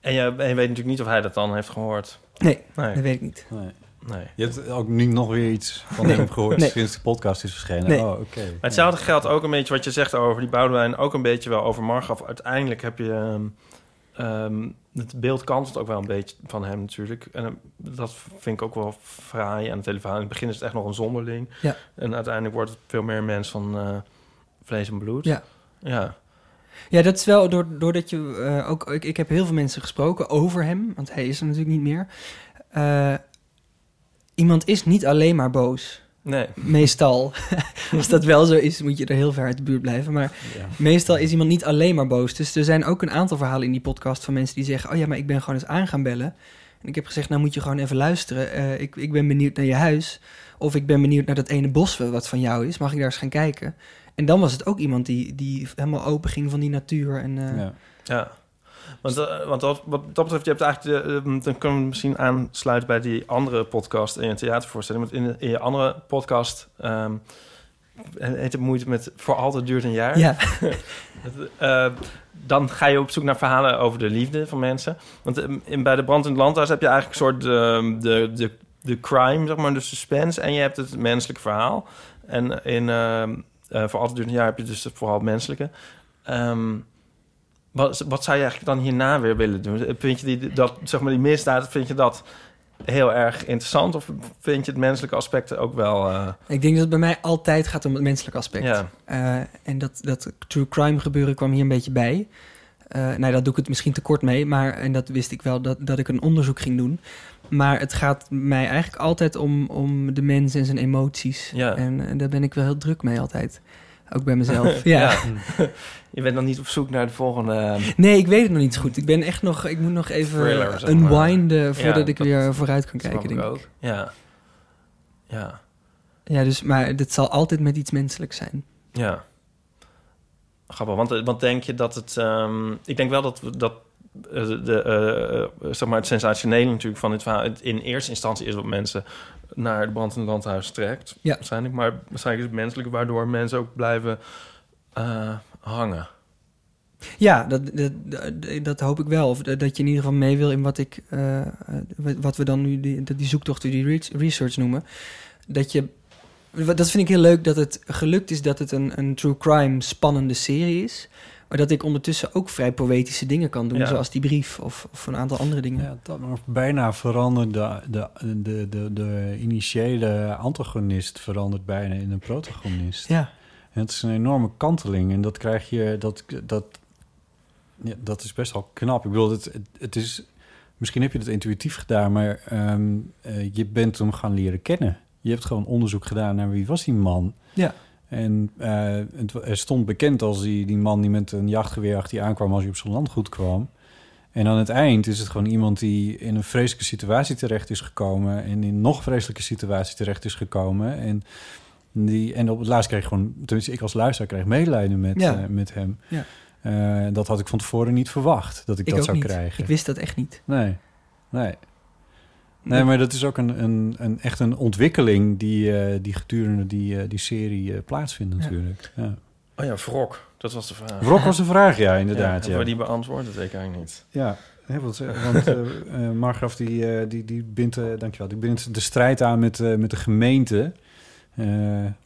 Speaker 6: En, je, en je weet natuurlijk niet of hij dat dan heeft gehoord.
Speaker 7: Nee,
Speaker 6: Nee,
Speaker 7: dat weet ik niet.
Speaker 5: Nee.
Speaker 6: nee.
Speaker 5: Je hebt ook niet nog weer iets van hem gehoord
Speaker 7: Nee.
Speaker 5: sinds de podcast is verschenen.
Speaker 7: Nee.
Speaker 5: Oh, oké.
Speaker 6: Maar hetzelfde geldt ook een beetje wat je zegt over die Boudewijn. Ook een beetje wel over Margraf. Uiteindelijk heb je... ehm, ehm, het beeld kantelt ook wel een beetje van hem natuurlijk. En ehm, dat vind ik ook wel fraai aan het hele verhaal. In het begin is het echt nog een zonderling.
Speaker 7: Ja.
Speaker 6: En uiteindelijk wordt het veel meer een mens van eh, vlees en bloed.
Speaker 7: Ja.
Speaker 6: Ja.
Speaker 7: Ja, dat is wel door- doordat je eh, ook... Ik, ik heb heel veel mensen gesproken over hem, want hij is er natuurlijk niet meer. Eh, iemand is niet alleen maar boos,
Speaker 6: Nee.
Speaker 7: meestal. [laughs] Als dat wel zo is, moet je er heel ver uit de buurt blijven. Maar
Speaker 5: Ja.
Speaker 7: meestal is iemand niet alleen maar boos. Dus er zijn ook een aantal verhalen in die podcast van mensen die zeggen... oh ja, maar ik ben gewoon eens aan gaan bellen. En ik heb gezegd, nou moet je gewoon even luisteren. Eh, ik, ik ben benieuwd naar je huis. Of ik ben benieuwd naar dat ene bos wat van jou is. Mag ik daar eens gaan kijken? En dan was het ook iemand die, die helemaal open ging van die natuur. En, eh,
Speaker 5: Ja.
Speaker 6: Ja. Want, eh, want dat, wat dat betreft, je hebt eigenlijk... de- ehm, dan kunnen we misschien aansluiten bij die andere podcast in je theatervoorstelling. Want in, in je andere podcast... ehm heet het moeite met... Voor altijd duurt een jaar.
Speaker 7: ja.
Speaker 6: [laughs] Eh, dan ga je op zoek naar verhalen over de liefde van mensen. Want eh, in, bij de brand in het landhuis heb je eigenlijk een soort eh, de, de, de crime, zeg maar, de suspense. En je hebt het menselijke verhaal. En in eh, eh, Voor Altijd Duurt een Jaar heb je dus vooral het menselijke. Ehm, wat, wat zou je eigenlijk dan hierna weer willen doen? Vind je die, dat, zeg maar, die misdaad, vind je dat heel erg interessant? Of vind je het menselijke aspect ook wel... eh,
Speaker 7: Ik denk dat het bij mij altijd gaat om het menselijk aspect.
Speaker 6: Ja.
Speaker 7: Eh, en dat, dat true crime gebeuren kwam hier een beetje bij. Eh nou, daar doe ik het misschien te kort mee, maar en dat wist ik wel dat, dat ik een onderzoek ging doen. Maar het gaat mij eigenlijk altijd om, om de mens en zijn emoties.
Speaker 6: Ja.
Speaker 7: En, eh, daar ben ik wel heel druk mee altijd. Ook bij
Speaker 6: [laughs]
Speaker 7: mezelf. [laughs] ja.
Speaker 6: je bent dan niet op zoek naar de volgende... ehm,
Speaker 7: Nee, ik weet het nog niet zo goed. Ik ben echt nog, ik moet nog even
Speaker 6: Thriller, zeg maar.
Speaker 7: unwinden voordat
Speaker 6: Ja,
Speaker 7: ik
Speaker 6: dat
Speaker 7: weer vooruit kan
Speaker 6: Snap
Speaker 7: kijken. Denk
Speaker 6: ik
Speaker 7: ik.
Speaker 6: ook. Ja. Ja.
Speaker 7: Ja, dus, maar dit zal altijd met iets menselijks zijn.
Speaker 6: Ja. Grappig, want, eh, want denk je dat het... ehm, ik denk wel dat, we- dat eh, de, eh, eh, zeg maar het sensationele natuurlijk van dit verhaal... het in eerste instantie is wat mensen naar het brandende landhuis trekt.
Speaker 7: Ja.
Speaker 6: Waarschijnlijk, maar waarschijnlijk is het menselijke... waardoor mensen ook blijven eh, hangen.
Speaker 7: Ja, dat, dat, dat, dat hoop ik wel. Of dat dat je in ieder geval mee wil in wat ik, eh, eh, wat we dan nu die, dat die zoektocht, die re- research noemen. Dat je, dat vind ik heel leuk dat het gelukt is dat het een, een true crime spannende serie is. Maar dat ik ondertussen ook vrij poëtische dingen kan doen,
Speaker 6: Ja.
Speaker 7: zoals die brief of, of een aantal andere dingen.
Speaker 5: Ja, dat maar bijna verandert de, de, de, de, de initiële antagonist verandert bijna in een protagonist.
Speaker 7: Ja.
Speaker 5: En het is een enorme kanteling en dat krijg je, dat, dat, ja, dat is best wel knap. Ik bedoel, het, het, het is, misschien heb je dat intuïtief gedaan, maar ehm, eh, je bent hem gaan leren kennen. Je hebt gewoon onderzoek gedaan naar wie was die man.
Speaker 7: Ja.
Speaker 5: En eh, het, er stond bekend als die, die man die met een jachtgeweer achter je aankwam als je op zijn landgoed kwam. En aan het eind is het gewoon iemand die in een vreselijke situatie terecht is gekomen. En in een nog vreselijke situatie terecht is gekomen. En, die, en op het laatst kreeg ik gewoon, tenminste ik als luisteraar kreeg medelijden met,
Speaker 7: Ja.
Speaker 5: eh, met hem.
Speaker 7: Ja.
Speaker 5: Eh, dat had ik van tevoren niet verwacht dat ik,
Speaker 7: Ik
Speaker 5: dat
Speaker 7: ook
Speaker 5: zou
Speaker 7: niet.
Speaker 5: krijgen.
Speaker 7: Ik wist dat echt niet.
Speaker 5: Nee, nee. Nee, maar dat is ook een, een, een, echt een ontwikkeling die, eh, die gedurende die, eh, die serie eh, plaatsvindt natuurlijk. Ja.
Speaker 6: Oh ja, wrok. Dat was de vraag.
Speaker 5: Wrok was de vraag, ja,
Speaker 6: [laughs] Ja,
Speaker 5: inderdaad.
Speaker 6: hebben
Speaker 5: Ja,
Speaker 6: we die beantwoord? Dat weet ik eigenlijk niet.
Speaker 5: Ja, hè, want, eh, want eh, eh, Margraf die, eh, die, die bindt, eh, dankjewel, die bindt de strijd aan met, eh, met de gemeente. eh,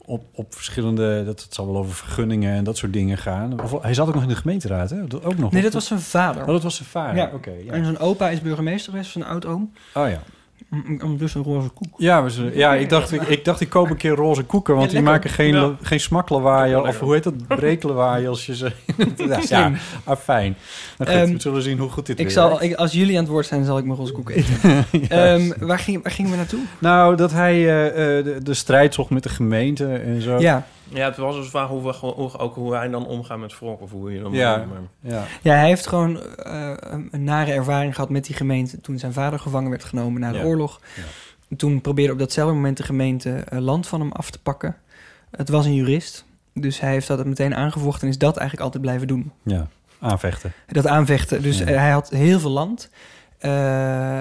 Speaker 5: op, op verschillende, dat, dat zal wel over vergunningen en dat soort dingen gaan. Of, hij zat ook nog in de gemeenteraad, hè? Dat ook nog.
Speaker 7: Nee,
Speaker 5: Of-
Speaker 7: dat was zijn vader.
Speaker 5: Oh, dat was zijn vader.
Speaker 7: Ja.
Speaker 5: Oké, ja.
Speaker 7: En zijn opa is burgemeester geweest, zijn oud-oom.
Speaker 5: Oh ja.
Speaker 7: Mm, mm, Dus een roze koek.
Speaker 5: Ja, we zullen- ja ik, dacht, ik, ik dacht, ik koop een keer roze koeken, want
Speaker 7: Ja,
Speaker 5: die
Speaker 7: lekker.
Speaker 5: maken geen,
Speaker 6: Ja.
Speaker 5: la- geen smaklawaaien.
Speaker 6: Ja,
Speaker 5: Of
Speaker 6: lekker.
Speaker 5: hoe heet dat? Breeklawaaien als
Speaker 7: [laughs]
Speaker 5: je ze... [laughs] ja, ja,
Speaker 7: Slim.
Speaker 5: ah, fijn. Nou goed,
Speaker 7: Ehm,
Speaker 5: we zullen zien hoe goed dit
Speaker 7: Ik
Speaker 5: weer
Speaker 7: zal,
Speaker 5: werkt.
Speaker 7: ik, als jullie aan het woord zijn, zal ik mijn roze koek eten.
Speaker 5: [laughs] Ja.
Speaker 7: Ehm, waar, ging, waar gingen we naartoe?
Speaker 5: Nou, dat hij eh, eh, de, de strijd zocht met de gemeente en zo.
Speaker 7: Ja.
Speaker 6: Ja, het was dus de vraag hoe, we, hoe, ook hoe hij dan omgaat met wrok. Of hoe je dan...
Speaker 5: Ja.
Speaker 6: Maar-
Speaker 5: Ja.
Speaker 7: ja, hij heeft gewoon eh, een een nare ervaring gehad met die gemeente toen zijn vader gevangen werd genomen na de
Speaker 5: Ja.
Speaker 7: oorlog. Toen probeerde op datzelfde moment de gemeente eh, land van hem af te pakken. Het was een jurist, dus hij heeft dat meteen aangevochten en is dat eigenlijk altijd blijven doen.
Speaker 5: ja, aanvechten.
Speaker 7: Dat aanvechten. Dus
Speaker 5: Ja.
Speaker 7: eh, hij had heel veel land. Eh,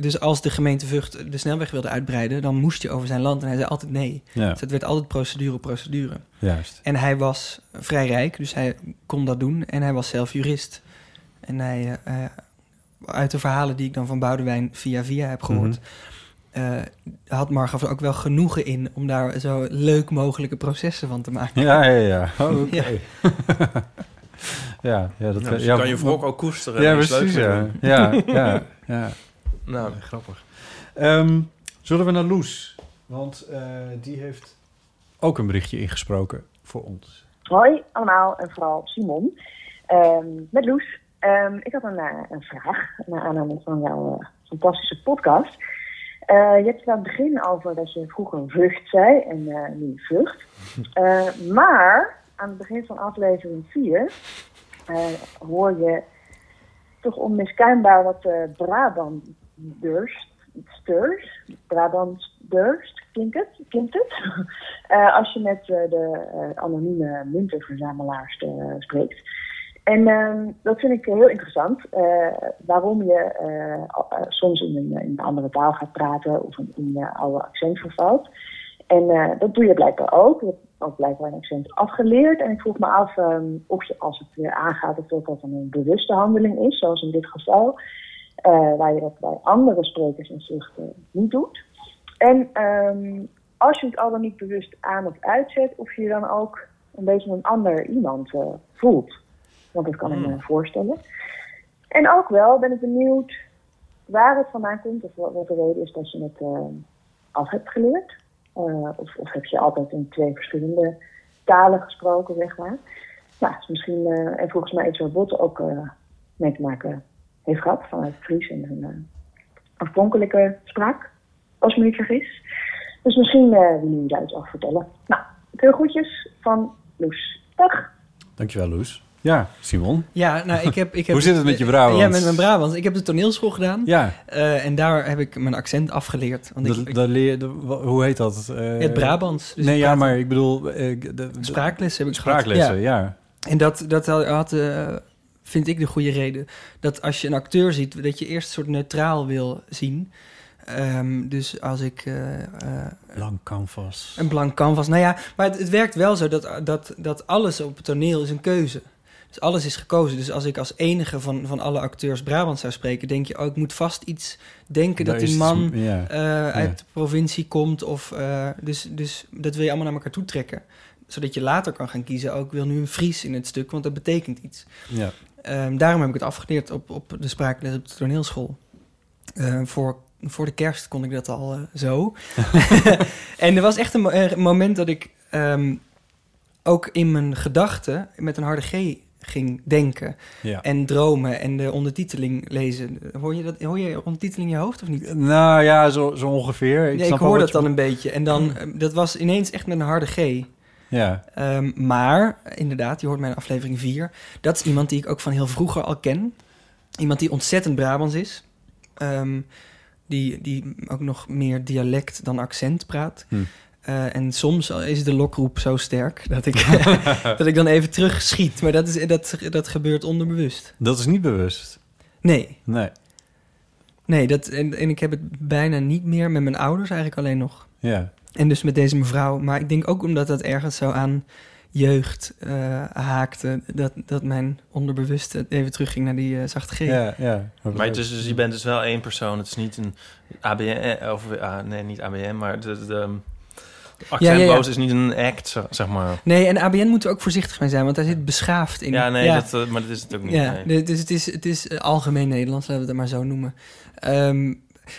Speaker 7: dus als de gemeente Vught de snelweg wilde uitbreiden, dan moest je over zijn land. En hij zei altijd nee.
Speaker 5: Ja,
Speaker 7: Dus het werd altijd procedure, procedure.
Speaker 5: juist.
Speaker 7: En hij was vrij rijk, dus hij kon dat doen. En hij was zelf jurist. En hij, eh, eh, uit de verhalen die ik dan van Boudewijn via via heb gehoord...
Speaker 5: Mhm.
Speaker 7: eh, had Margaf er ook wel genoegen in om daar zo leuk mogelijke processen van te maken.
Speaker 5: Ja, ja, ja.
Speaker 7: [laughs]
Speaker 5: Oh, Oké.
Speaker 7: Ja.
Speaker 5: [laughs] ja, ja, dat
Speaker 6: Nou, dus
Speaker 5: ja,
Speaker 6: kan je wrok ook koesteren.
Speaker 5: Ja,
Speaker 6: en iets
Speaker 5: precies.
Speaker 6: leuks mee
Speaker 5: Ja,
Speaker 6: doen.
Speaker 5: ja,
Speaker 7: [laughs]
Speaker 5: ja. ja.
Speaker 6: Nou,
Speaker 5: grappig. Ehm, zullen we naar Loes? Want eh, die heeft ook een berichtje ingesproken voor ons.
Speaker 10: Hoi allemaal en vooral Simon. Ehm, met Loes. Ehm, ik had een, eh, een vraag naar aanleiding van jouw eh, fantastische podcast. Eh, je hebt het aan het begin over dat je vroeger een vlucht zei en eh, nu een vlucht. Eh, maar aan het begin van aflevering 4 eh, hoor je toch onmiskenbaar wat eh Brabanters, steurs, Brabanters, klinkt het? Klinkt het? Eh, als je met eh, de eh, anonieme muntenverzamelaars eh, spreekt. En ehm, dat vind ik heel interessant. eh, waarom je eh, al- eh, soms in een, in een andere taal gaat praten of een- in je oude accent vervalt. En eh, dat doe je blijkbaar ook. Je hebt ook blijkbaar een accent afgeleerd. En ik vroeg me af ehm, of je, als het weer aangaat, of dat dat dan een bewuste handeling is, zoals in dit geval. eh, waar je dat bij andere sprekers en zuchten niet doet. En ehm, als je het al dan niet bewust aan of uitzet, of je dan ook een beetje een ander iemand eh, voelt. Want dat kan ik me voorstellen. En ook wel ben ik benieuwd waar het vandaan komt of wat wat de reden is dat je het eh, af hebt geleerd. Eh, of, of heb je altijd in twee verschillende talen gesproken, zeg maar. Nou, is misschien, eh, en volgens mij is waar Bot ook eh, mee te maken heeft gehad vanuit Fries en hun eh, afpronkelijke spraak, als ik me niet vergis. Dus misschien eh willen jullie daar iets over vertellen. Nou, veel groetjes van Loes. Dag!
Speaker 5: Dankjewel, Loes. Ja, Simon.
Speaker 7: [laughs] Ja, nou, ik heb... Ik heb
Speaker 5: [laughs]
Speaker 7: eh,
Speaker 5: Hoe zit het met je Brabant?
Speaker 7: Ja, met mijn Brabant. Ik heb de toneelschool gedaan.
Speaker 5: Ja,
Speaker 7: Eh, en daar heb ik mijn accent afgeleerd. Want ik,
Speaker 5: dat-
Speaker 7: ik-
Speaker 5: dat leer, dat- wa- hoe heet dat? Eh,
Speaker 7: het Brabants. Dus
Speaker 5: nee,
Speaker 7: ik
Speaker 5: ja,
Speaker 7: praat-
Speaker 5: maar ik bedoel... eh, de- de-
Speaker 7: Spraaklessen heb ik gehad.
Speaker 5: Spraaklessen,
Speaker 7: Ja.
Speaker 5: ja.
Speaker 7: En dat, dat had, had, eh, vind ik de goede reden. Dat als je een acteur ziet, dat je eerst een soort neutraal wil zien. Ehm, dus als ik eh, eh,
Speaker 5: Lang canvas.
Speaker 7: een blank canvas... Nou ja, maar het, het werkt wel zo dat, dat, dat alles op het toneel is een keuze. Dus alles is gekozen. Dus als ik als enige van, van alle acteurs Brabant zou spreken, denk je, oh, ik moet vast iets denken
Speaker 5: Daar
Speaker 7: dat
Speaker 5: is
Speaker 7: die
Speaker 5: iets-
Speaker 7: man
Speaker 5: ja,
Speaker 7: eh, uit de provincie komt. Of, eh, dus, dus dat wil je allemaal naar elkaar toe trekken. Zodat je later kan gaan kiezen, oh, ik wil nu een Fries in het stuk, want dat betekent iets.
Speaker 5: Ja.
Speaker 7: Ehm, daarom heb ik het afgeleerd op, op de spraakles op de toneelschool. Ehm, voor, voor de kerst kon ik dat al eh,
Speaker 5: [laughs]
Speaker 7: zo. [laughs] en er was echt een mo- eh, moment dat ik ehm, ook in mijn gedachten met een harde G ging denken.
Speaker 5: Ja.
Speaker 7: En dromen en de ondertiteling lezen. Hoor je, dat, hoor je ondertiteling in je hoofd of niet?
Speaker 5: Nou ja, zo, zo ongeveer. Ik,
Speaker 7: ja, ik
Speaker 5: snap wel
Speaker 7: hoor
Speaker 5: wat
Speaker 7: dat
Speaker 5: je
Speaker 7: dan
Speaker 5: bedoelt. Mm.
Speaker 7: een beetje. En dan, eh, dat was ineens echt met een harde G.
Speaker 5: Ja.
Speaker 7: Ehm, maar inderdaad, je hoort mijn aflevering 4. Dat is iemand die ik ook van heel vroeger al ken. Iemand die ontzettend Brabants is. Ehm, die, die ook nog meer dialect dan accent praat.
Speaker 5: Hm.
Speaker 7: Eh, en soms is de lokroep zo sterk dat
Speaker 5: [laughs]
Speaker 7: ik, [laughs] dat ik dan even terugschiet. Maar dat, is, dat, dat gebeurt onderbewust.
Speaker 5: Dat is niet bewust.
Speaker 7: Nee,
Speaker 5: Nee.
Speaker 7: nee dat, en, en ik heb het bijna niet meer met mijn ouders eigenlijk alleen nog.
Speaker 5: Ja.
Speaker 7: En dus met deze mevrouw. Maar ik denk ook omdat dat ergens zo aan jeugd eh, haakte. Dat, dat mijn onderbewuste even terugging naar die eh, zachte G.
Speaker 5: Ja, ja.
Speaker 6: Maar het is, dus je bent dus wel één persoon. Het is niet een ABN, of ah, nee, niet ABN, maar de, de, de
Speaker 7: ja,
Speaker 6: accentloos
Speaker 7: ja.
Speaker 6: is niet een act, zo- zeg maar.
Speaker 7: Nee, en ABN moeten we ook voorzichtig mee zijn, want daar zit beschaafd in.
Speaker 6: Ja, nee, Dat, eh, maar dat is het ook niet.
Speaker 7: Ja,
Speaker 6: nee.
Speaker 7: dit- dus het is, het is eh, algemeen Nederlands, laten we het maar zo noemen. Ehm,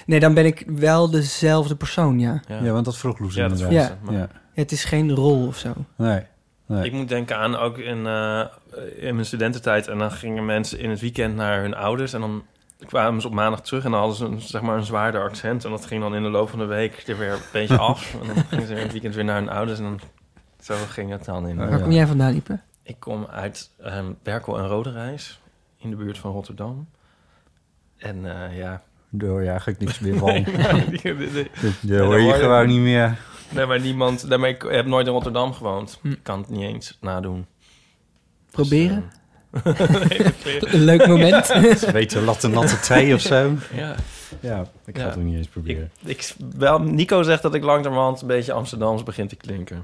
Speaker 7: nee, dan ben ik wel dezelfde persoon, ja.
Speaker 6: Ja.
Speaker 5: Ja, want dat vroeg Loes
Speaker 6: Ja, dat
Speaker 5: inderdaad.
Speaker 7: vroeg
Speaker 6: ze, maar-
Speaker 5: Ja.
Speaker 7: Ja, Het is geen rol of zo.
Speaker 5: Nee. nee.
Speaker 6: Ik moet denken aan ook in, eh, in mijn studententijd. En dan gingen mensen in het weekend naar hun ouders. En dan kwamen ze op maandag terug en dan hadden ze een, zeg maar een zwaarder accent. En dat ging dan in de loop van de week er weer een
Speaker 5: [laughs]
Speaker 6: beetje af. En dan gingen ze in het weekend weer naar hun ouders. En dan, zo ging het dan in. eh.
Speaker 5: Oh,
Speaker 7: Waar
Speaker 5: ja.
Speaker 7: kom jij vandaan, Ipe?
Speaker 6: Ik kom uit ehm, Berkel en Roderijs in de buurt van Rotterdam. En eh, ja...
Speaker 5: Door ja, ik niks
Speaker 6: [laughs]
Speaker 5: meer van.
Speaker 6: nou, Die- die- die-
Speaker 5: Dat eh,
Speaker 6: daar
Speaker 5: hoor je
Speaker 6: hoor je-
Speaker 5: gewoon niet meer.
Speaker 6: nee, maar niemand... Nee, maar ik heb nooit in Rotterdam gewoond.
Speaker 7: Hm.
Speaker 6: Ik kan het niet eens nadoen.
Speaker 7: Proberen?
Speaker 6: Dus,
Speaker 7: [laughs]
Speaker 6: eh, nee, ik probeer-
Speaker 7: Een leuk [laughs] moment.
Speaker 5: [laughs] Ze weten latte natte thee of zo.
Speaker 6: ja.
Speaker 5: Ja, ik ga
Speaker 6: Ja.
Speaker 5: het ook niet eens
Speaker 6: Ik,
Speaker 5: proberen.
Speaker 6: ik, wel, Nico zegt dat ik langzamerhand een beetje Amsterdams begin te klinken.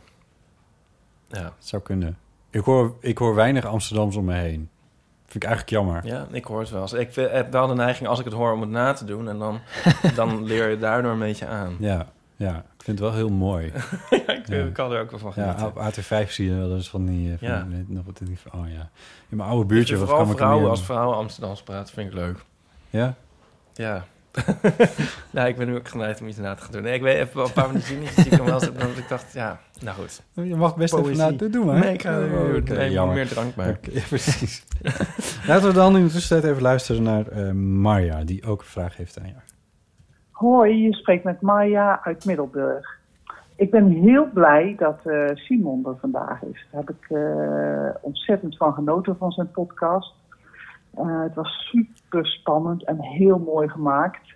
Speaker 6: Ja,
Speaker 5: Het zou kunnen. Ik hoor, ik hoor weinig Amsterdams om me heen. Vind ik eigenlijk jammer.
Speaker 6: ja ik hoor het wel. eens. Ik vind- heb wel de neiging als ik het hoor om het na te doen. En
Speaker 5: [laughs]
Speaker 6: dan, dan leer je daardoor een beetje aan.
Speaker 5: Ja, ja. Ik vind het wel heel mooi.
Speaker 6: Ja, [laughs] ik eh,
Speaker 5: Ja.
Speaker 6: kan er ook wel van
Speaker 5: Ja,
Speaker 6: genieten.
Speaker 5: op AT5 zie je wel eens van die... eh, Van
Speaker 6: Ja.
Speaker 5: die- nog wat in die- oh ja. In mijn oude
Speaker 6: Dus
Speaker 5: buurtje. Wat
Speaker 6: vooral
Speaker 5: kan ik er
Speaker 6: vrouwen,
Speaker 5: meer-
Speaker 6: als vrouwen Amsterdams praten, vind ik leuk.
Speaker 5: Ja?
Speaker 6: Ja. [laughs] nou, ik ben nu ook geneigd om iets na te gaan doen. Nee, ik weet even een paar minuten niet. Ik kan wel eens, want ik dacht, ja, nou goed.
Speaker 5: Je mag best
Speaker 6: Poëzie.
Speaker 5: even... Nou, doe maar.
Speaker 6: Nee, ik ga
Speaker 5: Oh, oké,
Speaker 6: nee, ik moet
Speaker 5: jammer.
Speaker 6: meer drank maken.
Speaker 5: Oké, [laughs] precies. Laten we dan in de tussentijd even luisteren naar eh Marja, die ook een vraag heeft aan jou.
Speaker 11: Hoi, je spreekt met Maya uit Middelburg. Ik ben heel blij dat eh, Simon er vandaag is. Daar heb ik eh, ontzettend van genoten van zijn podcast. Eh, het was super spannend en heel mooi gemaakt.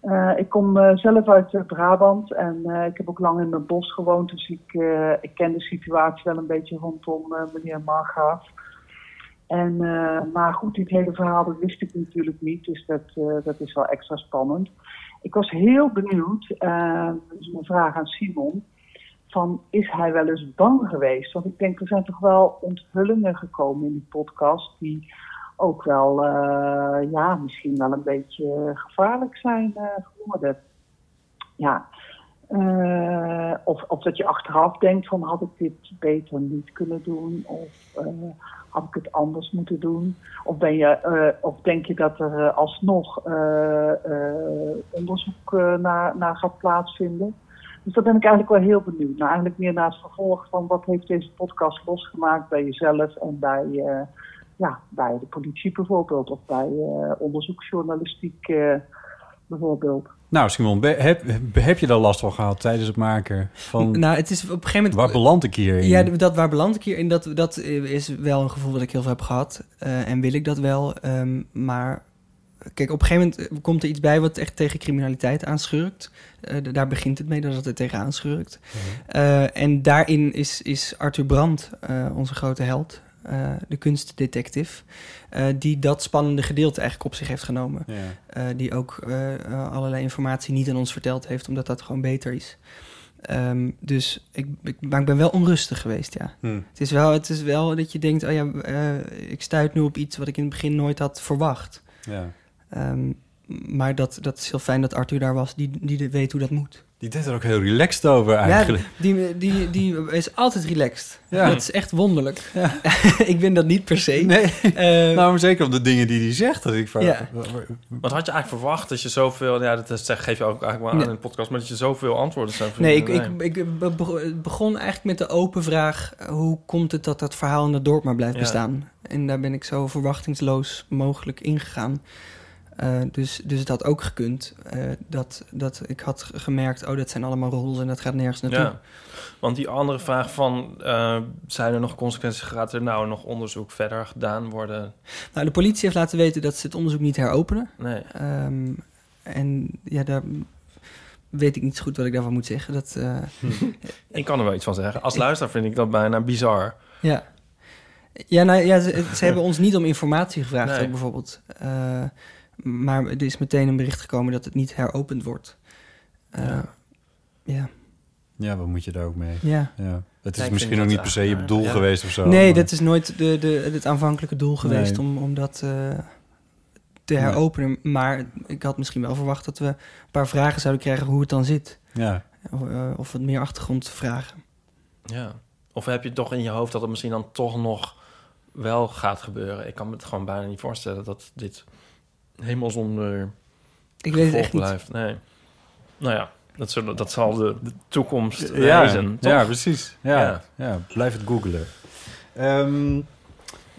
Speaker 11: Eh, ik kom eh, zelf uit eh, Brabant en eh, ik heb ook lang in het bos gewoond. Dus ik, eh, ik ken de situatie wel een beetje rondom eh, meneer Margaaf. En, eh, maar goed, dit hele verhaal dat wist ik natuurlijk niet. Dus dat, eh, dat is wel extra spannend. Ik was heel benieuwd, eh, dat is mijn vraag aan Simon, van is hij wel eens bang geweest? Want ik denk, er zijn toch wel onthullingen gekomen in die podcast die ook wel, eh, ja, misschien wel een beetje gevaarlijk zijn eh, geworden. Ja. Eh, of, of dat je achteraf denkt van had ik dit beter niet kunnen doen of eh, had ik het anders moeten doen. Of, ben je, eh, of denk je dat er eh, alsnog eh, eh, onderzoek eh, naar, naar gaat plaatsvinden? Dus daar ben ik eigenlijk wel heel benieuwd naar. Eigenlijk meer naar het vervolg van wat heeft deze podcast losgemaakt bij jezelf en bij, eh, ja, bij de politie bijvoorbeeld. Of bij eh, onderzoeksjournalistiek eh, bijvoorbeeld.
Speaker 5: Nou, Simon, be- heb, heb je daar last van gehad tijdens het maken van...
Speaker 7: Nou, het is op een gegeven moment...
Speaker 5: waar beland ik hier in?
Speaker 7: Ja, dat, waar beland ik hier in? Dat, dat is wel een gevoel dat ik heel veel heb gehad. eh, en wil ik dat wel. ehm, maar kijk, op een gegeven moment eh, komt er iets bij wat echt tegen criminaliteit aanschurkt. Eh, d- daar begint het mee dat het er tegen aanschurkt. Eh, en daarin is, is Arthur Brandt eh, onze grote held. eh, de kunstdetective. eh, die dat spannende gedeelte eigenlijk op zich heeft genomen.
Speaker 5: Ja.
Speaker 7: Eh, die ook eh, eh, allerlei informatie niet aan ons verteld heeft, omdat dat gewoon beter is. Ehm, dus ik, ik, maar ik ben wel onrustig geweest, ja.
Speaker 5: Hmm.
Speaker 7: Het, is wel, het is wel dat je denkt, oh ja, eh, ik stuit nu op iets wat ik in het begin nooit had verwacht.
Speaker 5: Ja.
Speaker 7: Ehm, maar dat, dat is heel fijn dat Arthur daar was, die, die weet hoe dat moet.
Speaker 5: Die deed er ook heel relaxed over eigenlijk.
Speaker 7: Ja, die, die, die is altijd relaxed.
Speaker 5: Ja.
Speaker 7: Dat is echt wonderlijk. [laughs] ik ben dat niet per se.
Speaker 5: Nee.
Speaker 7: [laughs] Eh,
Speaker 5: [laughs] Nou, maar zeker op de dingen die hij zegt. Dat ik van,
Speaker 7: Ja.
Speaker 6: Wat had je eigenlijk verwacht dat je zoveel... Ja, dat is- zeg, geef je ook eigenlijk wel aan
Speaker 7: Nee.
Speaker 6: in de podcast... maar dat je zoveel antwoorden zou
Speaker 7: nee, ik,
Speaker 6: vinden.
Speaker 7: ik, ik be- be- begon eigenlijk met de open vraag... eh, hoe komt het dat dat verhaal in het dorp maar blijft
Speaker 6: Ja.
Speaker 7: bestaan? En daar ben ik zo verwachtingsloos mogelijk ingegaan. Eh, dus, dus het had ook gekund. eh, dat, dat ik had g- gemerkt, oh, dat zijn allemaal roddels en dat gaat nergens naartoe.
Speaker 6: Ja, want die andere vraag van... eh, zijn er nog consequenties? Gaat er nou nog onderzoek verder gedaan worden?
Speaker 7: Nou, de politie heeft laten weten dat ze het onderzoek niet heropenen.
Speaker 6: Nee.
Speaker 7: Ehm, en ja, daar weet ik niet zo goed wat ik daarvan moet zeggen. Dat, eh,
Speaker 6: [laughs]
Speaker 7: [laughs]
Speaker 6: Ik kan er wel iets van zeggen. Als luisteraar vind ik dat bijna bizar.
Speaker 7: ja. Ja, nou, ja, ze,
Speaker 6: [laughs]
Speaker 7: ze hebben ons niet om informatie gevraagd,
Speaker 6: Nee.
Speaker 7: ook bijvoorbeeld. Eh, maar er is meteen een bericht gekomen dat het niet heropend wordt. Eh,
Speaker 6: Ja.
Speaker 7: ja.
Speaker 5: Ja, wat moet je daar ook mee?
Speaker 7: ja.
Speaker 5: Ja. Het is
Speaker 6: vind
Speaker 5: misschien
Speaker 6: dat
Speaker 5: ook niet per se je
Speaker 6: raar.
Speaker 5: doel
Speaker 6: Ja.
Speaker 5: geweest of zo.
Speaker 7: Nee,
Speaker 5: maar-
Speaker 7: dat is nooit de, de, het aanvankelijke doel geweest
Speaker 5: Nee.
Speaker 7: om, om dat eh, te heropenen. Maar ik had misschien wel verwacht dat we een paar vragen zouden krijgen hoe het dan zit.
Speaker 5: Ja.
Speaker 7: Of, eh, of wat meer achtergrondvragen.
Speaker 6: Ja. Of heb je toch in je hoofd dat het misschien dan toch nog wel gaat gebeuren? Ik kan me het gewoon bijna niet voorstellen dat dit helemaal zonder
Speaker 7: Ik weet het
Speaker 6: gevolg
Speaker 7: echt niet.
Speaker 6: blijft. Nee. Nou ja, dat, zullen, dat zal de, de toekomst eh,
Speaker 5: ja,
Speaker 6: wezen. toch?
Speaker 5: ja, precies. Ja,
Speaker 6: Ja.
Speaker 5: ja. blijf het googlen. Ehm,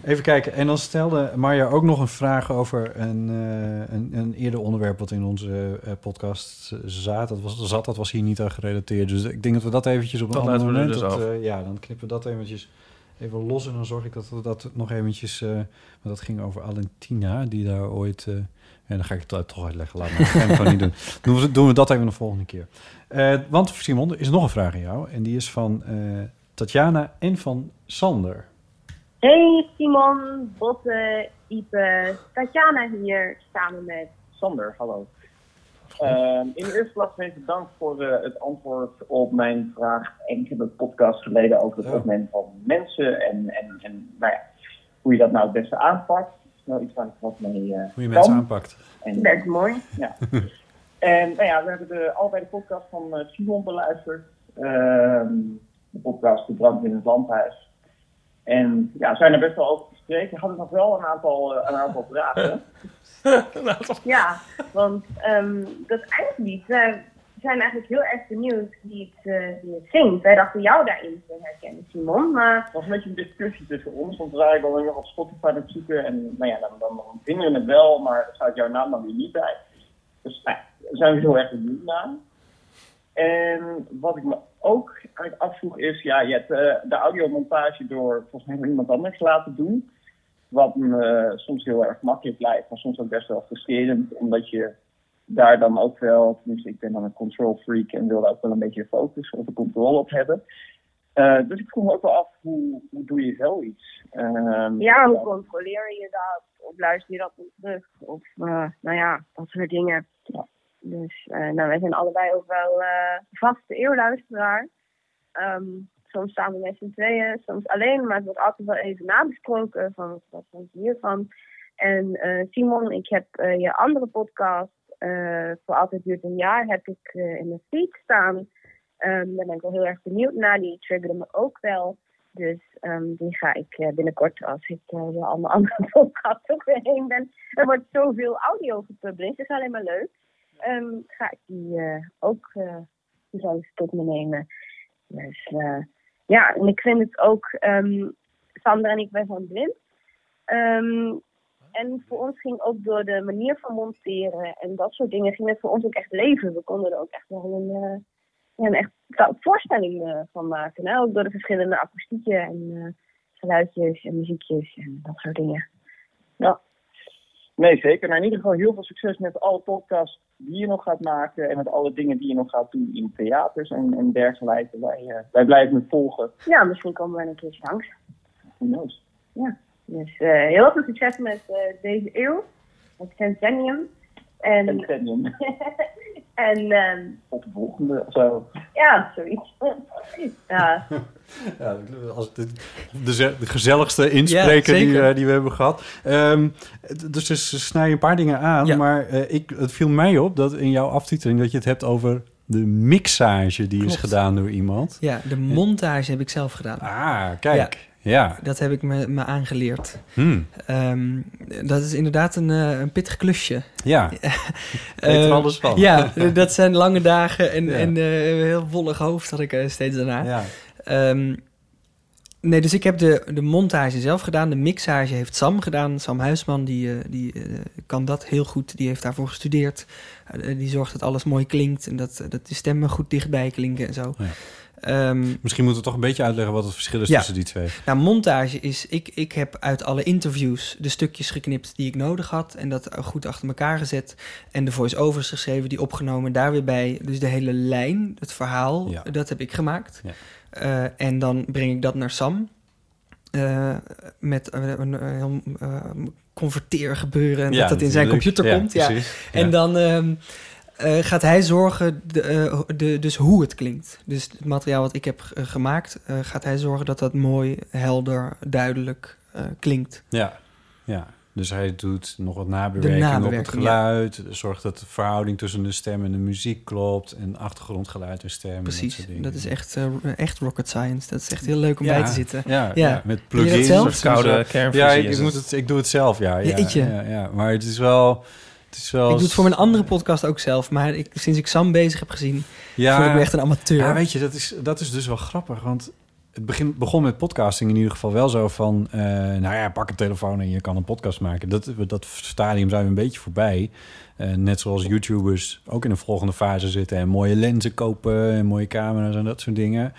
Speaker 5: even kijken. En dan stelde Marja ook nog een vraag over een, eh, een, een eerder onderwerp... wat in onze eh, podcast zat. Dat was, zat. Dat was hier niet aan gerelateerd. Dus ik denk dat we dat eventjes op een
Speaker 6: Dat
Speaker 5: ander
Speaker 6: laten we er
Speaker 5: moment...
Speaker 6: dus
Speaker 5: dat,
Speaker 6: af.
Speaker 5: eh, ja, dan knippen we dat eventjes even los. En dan zorg ik dat we dat nog eventjes... eh, want dat ging over Alentina, die daar ooit... eh, en dan ga ik het uit- toch uitleggen. Laat maar. Dat gaan we gewoon niet [laughs] doen. Doen we, doen we dat even de volgende keer. Eh, want Simon, er is nog een vraag aan jou. En die is van eh, Tatjana en van Sander.
Speaker 12: Hey Simon, Botte, Ipe, Tatjana hier samen met
Speaker 13: Sander, hallo. Ehm, in de eerste plaats even dank voor eh, het antwoord op mijn vraag enkele podcasts geleden over het
Speaker 5: Ja.
Speaker 13: opnemen van mensen en, en, en nou ja, hoe je dat nou het beste aanpakt. Dat is wel iets waar ik wat mee eh
Speaker 5: Hoe je
Speaker 13: kan.
Speaker 5: mensen aanpakt.
Speaker 13: En,
Speaker 12: Bert Mooi.
Speaker 13: ja. [laughs] en nou ja, we hebben de, allebei de podcast van eh, Simon beluisterd. Ehm, de podcast De Brand in het Landhuis. En ja, zijn er best wel over gespreken. Hadden nog wel een aantal, eh, een aantal vragen.
Speaker 12: Ja, want ehm, dat eindlied, wij zijn eigenlijk heel erg benieuwd wie het, eh, wie het zingt. Wij dachten jou daarin te herkennen, Simon. Maar
Speaker 13: Het was een beetje een discussie tussen ons, want we waren wel heel erg op Spotify aan het zoeken. En nou ja, dan, dan, dan vinden we het wel, maar er staat jouw naam dan weer niet bij. Dus nou, ja, daar zijn we heel erg benieuwd naar. En wat ik me ook eigenlijk afvroeg is, ja, je hebt eh, de audiomontage door volgens mij door iemand anders laten doen. Wat me eh, soms heel erg makkelijk lijkt, maar soms ook best wel frustrerend, omdat je daar dan ook wel, tenminste ik ben dan een control freak en wil daar ook wel een beetje focus of de controle op hebben. Eh, dus ik vroeg me ook wel af, hoe, hoe doe je zoiets? Ehm,
Speaker 12: ja, hoe controleer je dat? Of luister je dat dan terug? Of eh, nou ja, dat soort dingen.
Speaker 13: Ja.
Speaker 12: Dus eh, nou, wij zijn allebei ook wel eh, vaste eeuwluisteraar. Ehm, soms staan we met z'n tweeën, soms alleen. Maar het wordt altijd wel even nabesproken van wat vond je hiervan. En eh, Simon, ik heb eh, je andere podcast, eh, Voor Altijd Duurt een Jaar, heb ik eh, in mijn feed staan. Ehm, daar ben ik wel heel erg benieuwd naar. Die triggerde me ook wel. Dus ehm, die ga ik eh, binnenkort, als ik eh, door allemaal [laughs] andere podcasts ook weer heen ben. Er wordt zoveel audio gepubliceerd, dat is alleen maar leuk. Ehm, ga ik die eh, ook eh die zal ik tot me nemen. Dus eh, ja, en ik vind het ook, ehm Sandra en ik, wij zijn blind. Ehm, en voor ons ging ook door de manier van monteren en dat soort dingen, ging het voor ons ook echt leven. We konden er ook echt wel een, eh, ja, een echt vo- voorstelling eh, van maken. Hè? Ook door de verschillende akoestieken en eh, geluidjes en muziekjes en dat soort dingen.
Speaker 13: Nee, zeker. Nou, in ieder geval heel veel succes met alle podcasts die je nog gaat maken en met alle dingen die je nog gaat doen in theaters en, en dergelijke. Wij, eh, wij blijven het volgen.
Speaker 12: Ja, misschien komen we een keertje langs.
Speaker 13: Who knows?
Speaker 12: Dus eh, heel veel succes met eh, deze eeuw, het centennium. En
Speaker 13: Centennium.
Speaker 12: [laughs] En ehm,
Speaker 13: Op de volgende of zo.
Speaker 12: ja, zoiets. [laughs] ja.
Speaker 5: Ja, als de, de, ze- de gezelligste inspreker
Speaker 7: Ja,
Speaker 5: die,
Speaker 7: zeker.
Speaker 5: eh, die we hebben gehad. Ehm, d- dus ze ze snijden een paar dingen aan. Maar eh, ik, het viel mij op dat in jouw aftiteling dat je het hebt over de mixage die is
Speaker 7: Klopt.
Speaker 5: gedaan door iemand.
Speaker 7: Ja, de montage heb ik zelf gedaan.
Speaker 5: Ah, kijk. Ja.
Speaker 7: Dat heb ik me, me aangeleerd.
Speaker 5: Hmm.
Speaker 7: Ehm, dat is inderdaad een, eh, een pittig klusje. [laughs]
Speaker 5: Ja.
Speaker 7: Eh,
Speaker 5: Weet er alles van. [laughs]
Speaker 7: Ja, dat zijn lange dagen en,
Speaker 5: Ja.
Speaker 7: en eh, een heel wollig hoofd had ik eh, steeds daarna.
Speaker 5: Ja.
Speaker 7: Ehm, nee, dus ik heb de, de montage zelf gedaan. De mixage heeft Sam gedaan. Sam Huisman, die, eh, die eh, kan dat heel goed. Die heeft daarvoor gestudeerd. Eh, die zorgt dat alles mooi klinkt en dat, eh, dat de stemmen goed dichtbij klinken en zo.
Speaker 5: Ja.
Speaker 7: Ehm,
Speaker 5: Misschien moeten we toch een beetje uitleggen wat het verschil is
Speaker 7: Ja.
Speaker 5: tussen die twee.
Speaker 7: nou, montage is, ik, ik heb uit alle interviews de stukjes geknipt die ik nodig had. En dat goed achter elkaar gezet. En de voice-overs geschreven, die opgenomen, daar weer bij. Dus de hele lijn, het verhaal,
Speaker 5: Ja.
Speaker 7: dat heb ik gemaakt.
Speaker 5: Ja.
Speaker 7: Eh, en dan breng ik dat naar Sam. Eh, met een, een, een heel eh, converteergebeuren. En
Speaker 5: Ja,
Speaker 7: dat dat in zijn
Speaker 5: natuurlijk.
Speaker 7: computer
Speaker 5: Ja,
Speaker 7: komt. Ja.
Speaker 5: precies. Ja.
Speaker 7: En dan ehm, eh, gaat hij zorgen, de, eh, de, dus hoe het klinkt. Dus het materiaal wat ik heb eh, gemaakt, eh, gaat hij zorgen dat dat mooi, helder, duidelijk eh, klinkt.
Speaker 5: Ja, ja. Dus hij doet nog wat nabewerking,
Speaker 7: De
Speaker 5: op het
Speaker 7: nabewerking,
Speaker 5: geluid. Zorgt dat de verhouding tussen de stem en de muziek klopt. En achtergrondgeluid en stem. en dat,
Speaker 7: Precies.
Speaker 5: soort dingen.
Speaker 7: Dat is echt, eh, echt rocket science. Dat is echt heel leuk om bij te zitten.
Speaker 5: Ja, ja. met
Speaker 7: Doe je dat
Speaker 5: plugins.
Speaker 7: zelf?
Speaker 5: of zo.
Speaker 6: Koude eh, kernfusie
Speaker 5: Ja, ik,
Speaker 6: is
Speaker 5: ik,
Speaker 6: het.
Speaker 5: moet het, ik doe het zelf, ja. ja,
Speaker 7: Jeetje.
Speaker 5: ja, ja. Maar het is wel... Het is wel
Speaker 7: Ik doe het voor mijn andere podcast ook zelf. Maar ik, sinds ik Sam bezig heb gezien, voel ik me echt een amateur.
Speaker 5: Ja, weet je, dat is, dat is dus wel grappig. Want het begin, begon met podcasting in ieder geval wel zo van... eh, nou ja, pak een telefoon en je kan een podcast maken. Dat, dat stadium zijn we een beetje voorbij. Eh, net zoals YouTubers ook in de volgende fase zitten... en mooie lenzen kopen en mooie camera's en dat soort dingen.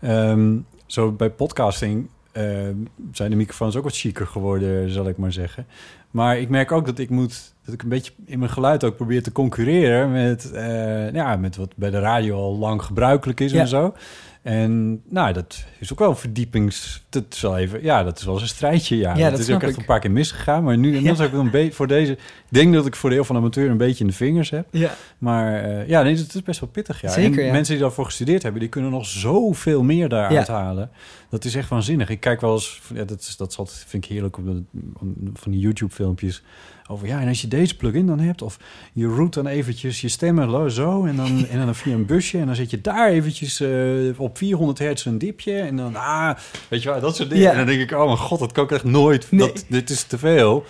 Speaker 5: Ehm, zo bij podcasting ehm, zijn de microfoons ook wat chiquer geworden, zal ik maar zeggen. Maar ik merk ook dat ik moet dat ik een beetje in mijn geluid ook probeer te concurreren met, eh, ja, met wat bij de radio al lang gebruikelijk is
Speaker 7: Ja.
Speaker 5: en zo. En nou, dat is ook wel een verdiepings. Dat is wel even, ja, dat is wel eens een strijdje. Ja,
Speaker 7: Ja, dat
Speaker 5: dat is
Speaker 7: snap
Speaker 5: ook echt
Speaker 7: ik.
Speaker 5: een paar keer misgegaan.
Speaker 7: [laughs]
Speaker 5: Maar nu, en dat heb ik wel een beetje voor deze. Ik denk dat ik voor de heel van de amateur een beetje in de vingers heb.
Speaker 7: Ja.
Speaker 5: Maar eh, ja, nee, dat is best wel pittig. Ja.
Speaker 7: Zeker,
Speaker 5: en
Speaker 7: ja.
Speaker 5: mensen die daarvoor gestudeerd hebben, die kunnen nog zoveel meer daaruit
Speaker 7: Ja.
Speaker 5: halen. Dat is echt waanzinnig. Ik kijk wel eens, ja, dat, is, dat is altijd- vind ik heerlijk, om, de- om- van die YouTube-filmpjes. Over ja, en als je deze plugin dan hebt, of je route dan eventjes je stemmen lo- zo en dan,
Speaker 7: [laughs]
Speaker 5: en dan via een busje. En dan zet je daar eventjes eh, op 400 hertz een dipje. En dan, ah, weet je wel, dat soort dingen.
Speaker 7: Ja.
Speaker 5: En dan denk ik, oh mijn god, dat kan ik echt nooit. Dat, dit is te veel.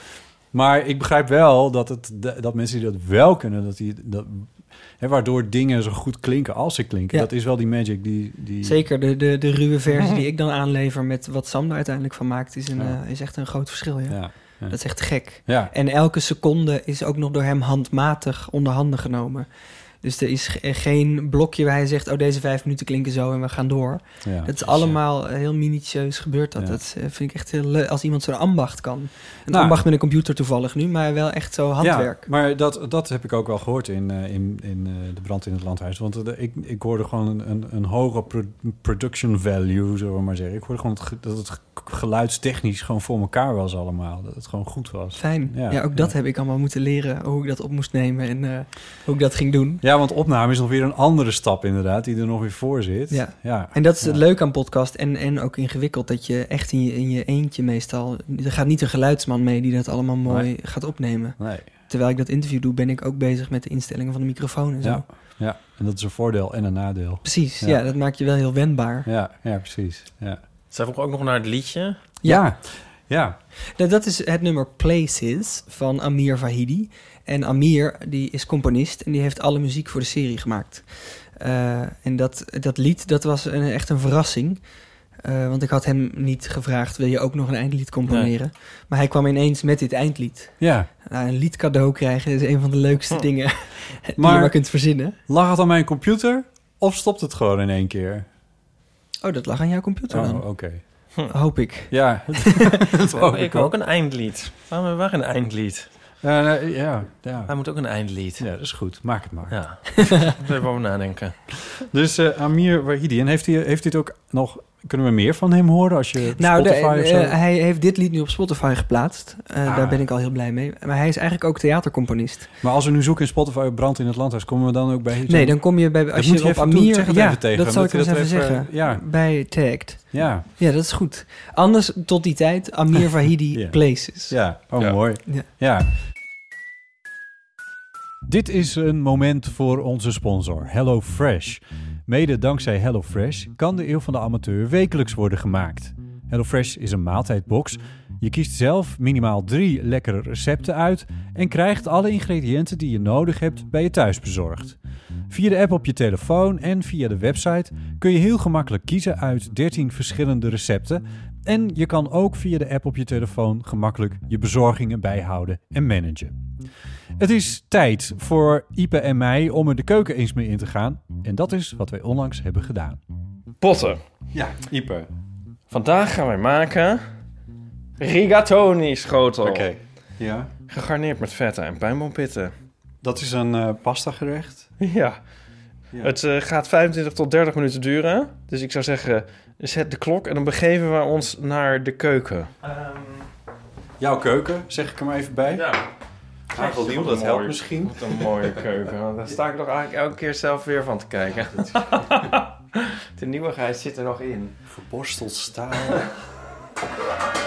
Speaker 5: Maar ik begrijp wel dat, het, dat mensen die dat wel kunnen, dat die, dat, hè, waardoor dingen zo goed klinken als ze klinken.
Speaker 7: Ja.
Speaker 5: Dat is wel die magic die... die
Speaker 7: Zeker, de, de, de ruwe versie die ik dan aanlever met wat Sam er uiteindelijk van maakt, is, een,
Speaker 5: Ja.
Speaker 7: eh, is echt een groot verschil. Ja.
Speaker 5: Ja, ja.
Speaker 7: Dat is echt gek.
Speaker 5: Ja.
Speaker 7: En elke seconde is ook nog door hem handmatig onder handen genomen. Dus er is ge- er geen blokje waar hij zegt, oh deze vijf minuten klinken zo en we gaan door.
Speaker 5: Ja,
Speaker 7: het
Speaker 5: precies,
Speaker 7: is allemaal eh, heel minutieus gebeurt dat.
Speaker 5: Ja.
Speaker 7: Dat is, eh, vind ik echt heel leuk als iemand zo'n ambacht kan. Een
Speaker 5: Nou.
Speaker 7: ambacht met een computer toevallig nu, maar wel echt zo handwerk.
Speaker 5: Ja, maar dat, dat heb ik ook wel gehoord in, eh, in, in eh, de brand in het landhuis. Want eh, ik, ik hoorde gewoon een, een, een hoge pro- production value, zullen we maar zeggen. Ik hoorde gewoon het ge- dat het geluidstechnisch gewoon voor elkaar was allemaal. Dat het gewoon goed was.
Speaker 7: Fijn. Ja, ook
Speaker 5: ja.
Speaker 7: dat heb ik allemaal moeten leren, hoe ik dat op moest nemen en eh, hoe ik dat ging doen.
Speaker 5: Ja, want opname is nog weer een andere stap inderdaad, die er nog weer voor zit.
Speaker 7: Ja.
Speaker 5: ja.
Speaker 7: En dat is
Speaker 5: Ja.
Speaker 7: het leuke aan podcast en, en ook ingewikkeld dat je echt in je, in je eentje meestal... Er gaat niet een geluidsman mee die dat allemaal mooi
Speaker 5: Nee.
Speaker 7: gaat opnemen.
Speaker 5: Nee.
Speaker 7: Terwijl ik dat interview doe, ben ik ook bezig met de instellingen van de microfoon en zo.
Speaker 5: Ja. ja, en dat is een voordeel en een nadeel.
Speaker 7: Precies, ja.
Speaker 5: Ja,
Speaker 7: dat maakt je wel heel wendbaar.
Speaker 5: ja, ja, precies. Ja.
Speaker 6: Zij vroeg ook nog naar het liedje.
Speaker 5: Ja. ja.
Speaker 7: Nou, dat is het nummer Places van Amir Vahidi. En Amir die is componist en die heeft alle muziek voor de serie gemaakt. Eh, en dat, dat lied dat was een, echt een verrassing. Eh, want ik had hem niet gevraagd, wil je ook nog een eindlied componeren? Maar hij kwam ineens met dit eindlied.
Speaker 5: Ja. Hm.
Speaker 7: Nou, een lied cadeau krijgen is een van de leukste dingen [laughs] die
Speaker 5: Maar-
Speaker 7: je maar kunt verzinnen.
Speaker 5: Lag het aan mijn computer of stopt het gewoon in één keer?
Speaker 7: Oh, dat lag aan jouw computer
Speaker 5: Oh,
Speaker 7: dan.
Speaker 5: oké.
Speaker 7: Hoop ik.
Speaker 6: [laughs]
Speaker 5: Ja, dat
Speaker 6: Oh,
Speaker 5: hoop
Speaker 6: ik
Speaker 5: ik
Speaker 6: wil ook
Speaker 5: ook.
Speaker 6: een eindlied. Waarom hebben we geen eindlied?
Speaker 5: Ja, nee, ja, ja.
Speaker 6: Hij moet ook een eindlied.
Speaker 5: ja, dat is goed. Maak het maar.
Speaker 6: Ja, daar moeten we over nadenken.
Speaker 5: Dus eh, Amir Wahidi, en heeft hij, heeft hij het ook nog Kunnen we meer van hem horen als je
Speaker 7: Nou, de-
Speaker 5: Spotify of zo? Ah.
Speaker 7: eh, hij heeft dit lied nu op Spotify geplaatst. Eh, Daar ben ik al heel blij mee. Maar hij is eigenlijk ook theatercomponist.
Speaker 5: maar als we nu zoeken in Spotify brand in het landhuis, komen we dan ook bij...
Speaker 7: Nee, dan kom je bij...
Speaker 5: Dat
Speaker 7: Als je,
Speaker 5: moet je
Speaker 7: op
Speaker 5: even doen.
Speaker 7: Amir...
Speaker 5: Zeg het
Speaker 7: ja,
Speaker 5: even tegen
Speaker 7: dat
Speaker 5: hem,
Speaker 7: zal ik
Speaker 5: dat
Speaker 7: eens
Speaker 5: hij
Speaker 7: even
Speaker 5: dat even-
Speaker 7: zeggen.
Speaker 5: ja.
Speaker 7: Bij Tagged.
Speaker 5: Ja.
Speaker 7: Ja, dat is goed. Anders tot die tijd
Speaker 5: [laughs]
Speaker 7: Amir Vahidi
Speaker 5: Ja.
Speaker 7: Places.
Speaker 5: Ja, oh mooi.
Speaker 7: Ja.
Speaker 5: ja. Dit is een moment voor onze sponsor, HelloFresh. Mede dankzij HelloFresh kan de Eeuw van de Amateur wekelijks worden gemaakt. HelloFresh is een maaltijdbox. Je kiest zelf minimaal drie lekkere recepten uit en krijgt alle ingrediënten die je nodig hebt bij je thuisbezorgd. Via de app op je telefoon en via de website kun je heel gemakkelijk kiezen uit 13 verschillende recepten. En je kan ook via de app op je telefoon gemakkelijk je bezorgingen bijhouden en managen. Het is tijd voor Ipe en mij om er de keuken eens mee in te gaan. En dat is wat wij onlangs hebben gedaan.
Speaker 6: [laughs] Potten.
Speaker 5: Ja,
Speaker 6: Ieper. Vandaag gaan wij maken rigatoni schotel. Oké.
Speaker 5: Ja.
Speaker 6: Gegarneerd met feta en pijnboompitten.
Speaker 5: Dat is een eh, pasta gerecht.
Speaker 6: [laughs] Ja. Het eh, gaat 25 tot 30 minuten duren. Dus ik zou zeggen, zet de klok en dan begeven we ons naar de keuken.
Speaker 5: Jouw keuken, zeg ik er maar even bij. Ja. Hagelnieuw,
Speaker 6: Wat een
Speaker 5: dat helpt
Speaker 6: mooie-
Speaker 5: misschien.
Speaker 6: Wat een
Speaker 5: [laughs]
Speaker 6: mooie keuken. Want Daar sta ik nog eigenlijk elke keer zelf weer van te kijken. de nieuwigheid zit er nog in.
Speaker 5: Verborsteld staal.
Speaker 6: [laughs] [laughs]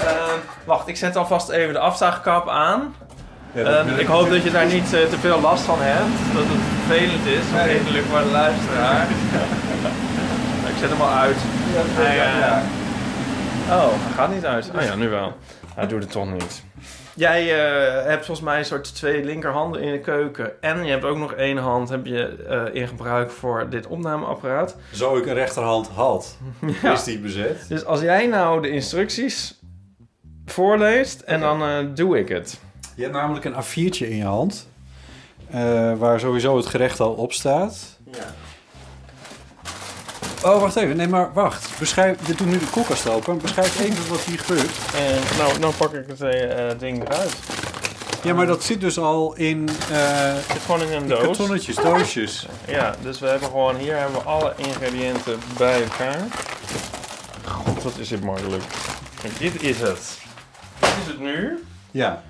Speaker 6: Ehm, wacht, ik zet alvast even de afzaagkap aan.
Speaker 5: Ja, dat
Speaker 6: Ehm,
Speaker 5: wil ik
Speaker 6: ik hoop dat
Speaker 5: natuurlijk.
Speaker 6: je daar niet eh, te veel last van hebt. Dat het vervelend is, vervelend voor de [laughs] luisteraar. ik zet hem al uit. Hij, eh, Oh, hij gaat niet uit. Oh ja, nu wel. Hij doet het toch niet. Jij eh, hebt volgens mij een soort twee linkerhanden in de keuken. En je hebt ook nog één hand heb je, eh, in gebruik voor dit opnameapparaat.
Speaker 5: Zo ik een rechterhand had,
Speaker 6: [laughs] Ja.
Speaker 5: is die bezet.
Speaker 6: Dus als jij nou de instructies voorleest en dan eh, doe ik het.
Speaker 5: Je hebt namelijk een A4'tje in je hand. eh, waar sowieso het gerecht al op staat. Oh, wacht even. Nee, maar wacht. Beschrijf, je doet nu de koelkast open. Beschrijf even wat hier gebeurt.
Speaker 6: En nou, nou pak ik het eh, ding eruit.
Speaker 5: Ja, maar dat zit dus al in... eh
Speaker 6: gewoon in een doos.
Speaker 5: kartonnetjes, doosjes.
Speaker 6: [laughs] Ja, dus we hebben gewoon hier hebben we alle ingrediënten bij elkaar. God, wat is dit makkelijk. En dit is het. Dit is het nu.
Speaker 5: Ja.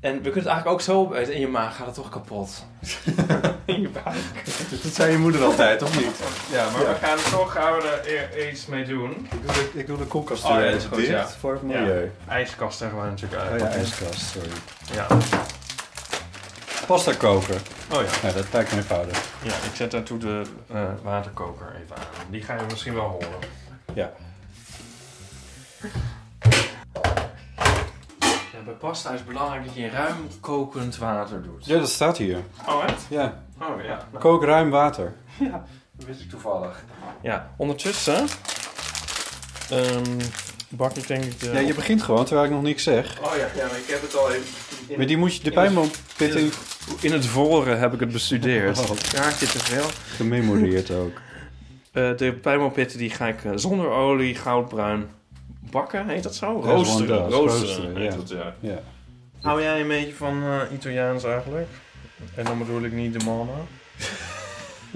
Speaker 6: En we kunnen het eigenlijk ook zo opeten. In je maag gaat het toch [laughs] kapot. in je buik.
Speaker 5: Dat zei je moeder altijd, of niet?
Speaker 6: Ja, maar we gaan toch gaan we er e- iets mee doen.
Speaker 5: Ik doe de, ik doe de koelkast
Speaker 6: Oh,
Speaker 5: weer
Speaker 6: ja, dat is
Speaker 5: even
Speaker 6: goed,
Speaker 5: dicht
Speaker 6: ja.
Speaker 5: voor het
Speaker 6: Ja.
Speaker 5: milieu.
Speaker 6: IJskast zeggen we natuurlijk
Speaker 5: Oh
Speaker 6: uit.
Speaker 5: ja, ijskast, sorry.
Speaker 6: Ja.
Speaker 5: Pasta koken.
Speaker 6: Oh ja.
Speaker 5: Nou, dat lijkt me eenvoudig.
Speaker 6: Ja, ik zet daartoe de eh, waterkoker even aan. Die ga je misschien wel horen.
Speaker 5: Ja.
Speaker 6: Ja, bij pasta is het belangrijk dat je ruim kokend water doet.
Speaker 5: Ja, dat staat hier.
Speaker 6: Oh, echt?
Speaker 5: Ja.
Speaker 6: Oh ja. Nou,
Speaker 5: Kook ruim water.
Speaker 6: ja, dat wist ik toevallig. Ja, ondertussen ehm, bak ik denk ik de...
Speaker 5: Ja, je begint gewoon terwijl ik nog niks zeg.
Speaker 6: Oh ja, ja, maar ik heb het al even... in-
Speaker 5: Maar die moet je de
Speaker 6: in het-
Speaker 5: pijnboompit in
Speaker 6: In het voren heb ik het bestudeerd.
Speaker 5: Oh.
Speaker 6: Daar zit er veel.
Speaker 5: gememoreerd
Speaker 6: [laughs]
Speaker 5: ook.
Speaker 6: Eh, de pijnboompitten die ga ik eh, zonder olie, goudbruin bakken. Heet dat zo?
Speaker 5: Ja,
Speaker 6: Roosteren.
Speaker 5: gewoon dat, roosteren,
Speaker 6: heet
Speaker 5: ja.
Speaker 6: dat, ja.
Speaker 5: Ja.
Speaker 6: Hou jij een beetje van eh, Italiaans eigenlijk? En dan bedoel ik niet de mama.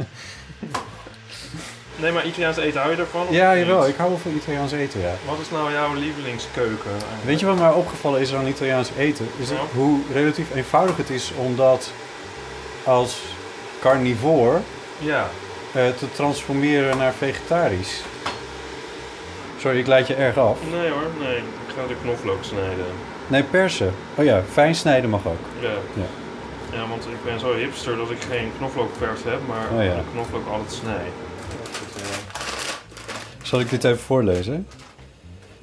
Speaker 5: [laughs]
Speaker 6: nee, maar Italiaans eten hou je ervan? of
Speaker 5: Ja,
Speaker 6: niet?
Speaker 5: jawel. Ik hou wel van Italiaans eten, ja.
Speaker 6: Wat is nou jouw lievelingskeuken? eigenlijk?
Speaker 5: Weet je wat mij opgevallen is aan Italiaans eten? Is
Speaker 6: Ja.
Speaker 5: hoe relatief eenvoudig het is om dat als carnivoor
Speaker 6: Ja.
Speaker 5: eh, te transformeren naar vegetarisch. Sorry, ik leid je erg af.
Speaker 6: Nee hoor, nee. Ik ga de knoflook snijden.
Speaker 5: Nee, persen. Oh ja, fijn snijden mag ook.
Speaker 6: Ja.
Speaker 5: Ja.
Speaker 6: Ja, want ik ben zo hipster dat ik geen knoflookpers heb, maar
Speaker 5: Oh ja.
Speaker 6: de knoflook altijd snij.
Speaker 5: Zal ik dit even voorlezen?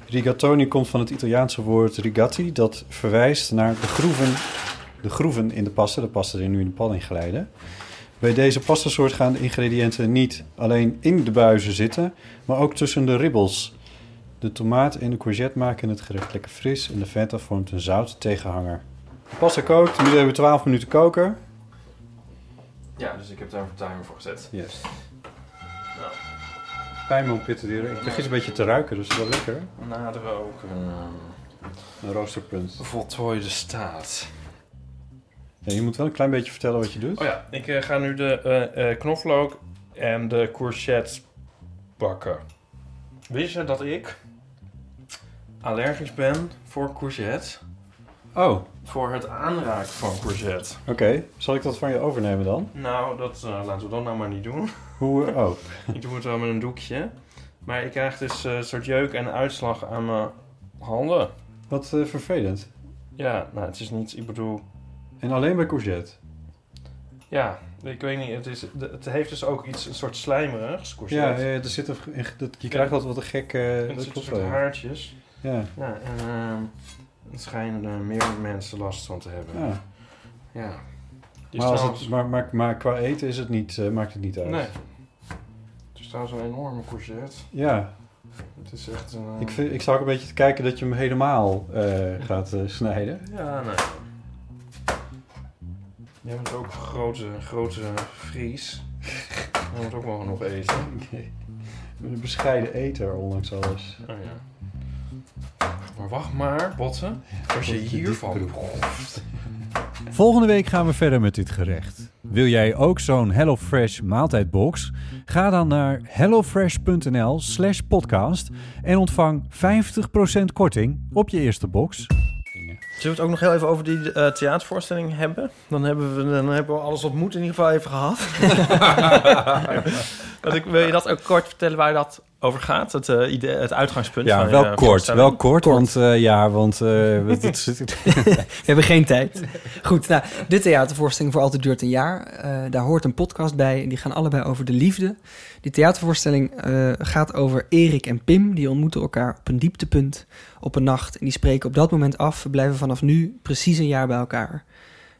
Speaker 5: Rigatoni komt van het Italiaanse woord rigatti, dat verwijst naar de groeven, de groeven in de pasta, de pasta die nu in de pan inglijden. Bij deze pastasoort gaan de ingrediënten niet alleen in de buizen zitten, maar ook tussen de ribbels. De tomaat en de courgette maken het gerecht lekker fris en de feta vormt een zoute tegenhanger. De pasta kookt, nu hebben we 12 minuten koken.
Speaker 6: Ja, dus ik heb daar een timer voor gezet.
Speaker 5: Yes.
Speaker 6: Nou,
Speaker 5: Pijnboompitten die Ik begin een beetje te ruiken, dus dat is wel lekker.
Speaker 6: nader ook een ehm,
Speaker 5: Een roosterpunt.
Speaker 6: voltooide staat.
Speaker 5: Ja, je moet wel een klein beetje vertellen wat je doet.
Speaker 6: Oh ja, ik eh, ga nu de eh, eh, knoflook en de courgette bakken. Wist je dat ik allergisch ben voor courgette?
Speaker 5: Oh,
Speaker 6: Voor het aanraken van courgette.
Speaker 5: oké. Zal ik dat van je overnemen dan?
Speaker 6: Nou, dat eh, laten we dan nou maar niet doen. [laughs]
Speaker 5: Hoe, eh, oh.
Speaker 6: ik doe het wel met een doekje. Maar ik krijg dus eh, een soort jeuk en uitslag aan mijn handen.
Speaker 5: Wat eh, vervelend.
Speaker 6: Ja, nou, het is niet, ik bedoel,
Speaker 5: En alleen bij courgette.
Speaker 6: ja, ik weet niet, het, is, het heeft dus ook iets, een soort slijmerigs, courgette.
Speaker 5: Ja, ja, er zit een, een- dat, je krijgt altijd wat een gek... eh,
Speaker 6: Het
Speaker 5: dat
Speaker 6: zit een
Speaker 5: klopt
Speaker 6: soort
Speaker 5: wel.
Speaker 6: haartjes.
Speaker 5: Ja.
Speaker 6: en ehm het schijnen er meer mensen last van te hebben.
Speaker 5: Ja.
Speaker 6: Ja. Die
Speaker 5: Maar, als
Speaker 6: staat-
Speaker 5: het, maar, maar, maar qua eten is het niet, eh, maakt het niet uit.
Speaker 6: Nee. Er staat een enorme courgette.
Speaker 5: Ja.
Speaker 6: Het is echt een... eh,
Speaker 5: Ik, vind, ik sta ook een beetje te kijken dat je hem helemaal eh, gaat eh, snijden.
Speaker 6: Ja, nee. Jij bent ook een grote, grote Fries. Jij moet ook wel nog eten.
Speaker 5: [laughs] Ik ben Een bescheiden eter, ondanks alles.
Speaker 6: Oh ja. Maar wacht maar, botten. Als je
Speaker 5: Wat je
Speaker 6: hiervan
Speaker 5: dit
Speaker 6: proeft.
Speaker 14: Volgende week gaan we verder met dit gerecht. Wil jij ook zo'n HelloFresh maaltijdbox? Ga dan naar hellofresh.nl slash podcast en ontvang 50% korting op je eerste box.
Speaker 6: Zullen we het ook nog heel even over die eh, theatervoorstelling hebben? Dan hebben, we, dan hebben we alles wat moet in ieder geval even
Speaker 5: [laughs]
Speaker 6: gehad. Want ik, wil je dat ook kort vertellen waar dat over gaat? Het, eh, idee, het uitgangspunt van
Speaker 5: Ja,
Speaker 6: je eh,
Speaker 5: wel kort,
Speaker 6: voorstelling?
Speaker 5: wel kort, want eh, ja, want...
Speaker 7: [laughs]
Speaker 5: eh, het- het zit-
Speaker 7: We hebben geen tijd. Goed, nou, de theatervoorstelling voor Altijd Duurt een Jaar. Eh, daar hoort een podcast bij. en Die gaan allebei over de liefde. Die theatervoorstelling eh, gaat over Erik en Pim. Die ontmoeten elkaar op een dieptepunt op een nacht. En die spreken op dat moment af. We blijven vanaf nu precies een jaar bij elkaar.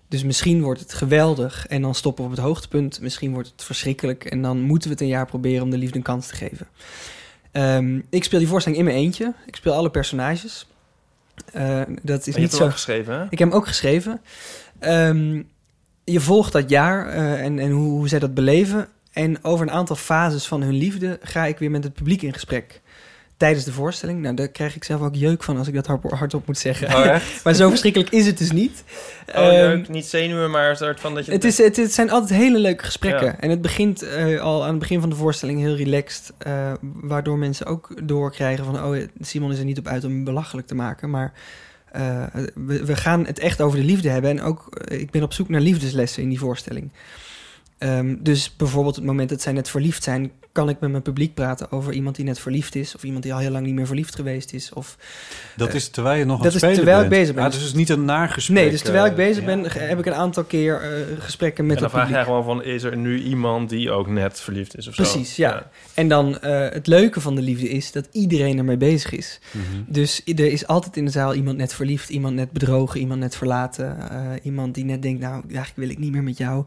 Speaker 7: Dus misschien wordt het geweldig en dan stoppen we op het hoogtepunt. Misschien wordt het verschrikkelijk en dan moeten we het een jaar proberen om de liefde een kans te geven. Ehm, ik speel die voorstelling in mijn eentje. Ik speel alle personages. Eh, dat is
Speaker 6: Maar je
Speaker 7: niet
Speaker 6: hebt hem
Speaker 7: zo.
Speaker 6: ook geschreven, hè?
Speaker 7: Ik heb hem ook geschreven. Ehm, je volgt dat jaar eh, en, en hoe, hoe zij dat beleven. En over een aantal fases van hun liefde ga ik weer met het publiek in gesprek. Tijdens de voorstelling. Nou, daar krijg ik zelf ook jeuk van als ik dat hard- hardop moet zeggen.
Speaker 6: Oh,
Speaker 7: [laughs]
Speaker 6: echt?
Speaker 7: maar zo verschrikkelijk is het dus niet.
Speaker 6: Oh,
Speaker 7: Ehm,
Speaker 6: leuk. Niet zenuwen, maar een soort van dat je...
Speaker 7: het, is, het, het zijn altijd hele leuke gesprekken.
Speaker 6: Ja.
Speaker 7: En het begint eh, al aan het begin van de voorstelling heel relaxed. eh, waardoor mensen ook doorkrijgen van... oh, Simon is er niet op uit om me belachelijk te maken. Maar eh, we, we gaan het echt over de liefde hebben. En ook, eh, ik ben op zoek naar liefdeslessen in die voorstelling. Ehm, dus bijvoorbeeld het moment dat zij net verliefd zijn... kan ik met mijn publiek praten over iemand die net verliefd is... of iemand die al heel lang niet meer verliefd geweest is. Of,
Speaker 5: Dat
Speaker 7: eh,
Speaker 5: is terwijl je nog aan
Speaker 7: dat
Speaker 5: het
Speaker 7: is
Speaker 5: spelen
Speaker 7: terwijl ik
Speaker 5: bent.
Speaker 7: bezig ben.
Speaker 5: Ah, dus het is niet een naar gesprek,
Speaker 7: Nee, dus terwijl ik
Speaker 5: eh,
Speaker 7: bezig ben... ge- heb ik een aantal keer eh, gesprekken met
Speaker 6: en dan
Speaker 7: het
Speaker 6: vraag
Speaker 7: publiek.
Speaker 6: je gewoon van, is er nu iemand die ook net verliefd is of zo?
Speaker 7: Precies, ja. En dan eh, het leuke van de liefde is dat iedereen ermee bezig is.
Speaker 6: Mhm.
Speaker 7: Dus i- er is altijd in de zaal iemand net verliefd, iemand net bedrogen, iemand net verlaten. eh, iemand die net denkt, nou, eigenlijk wil ik niet meer met jou.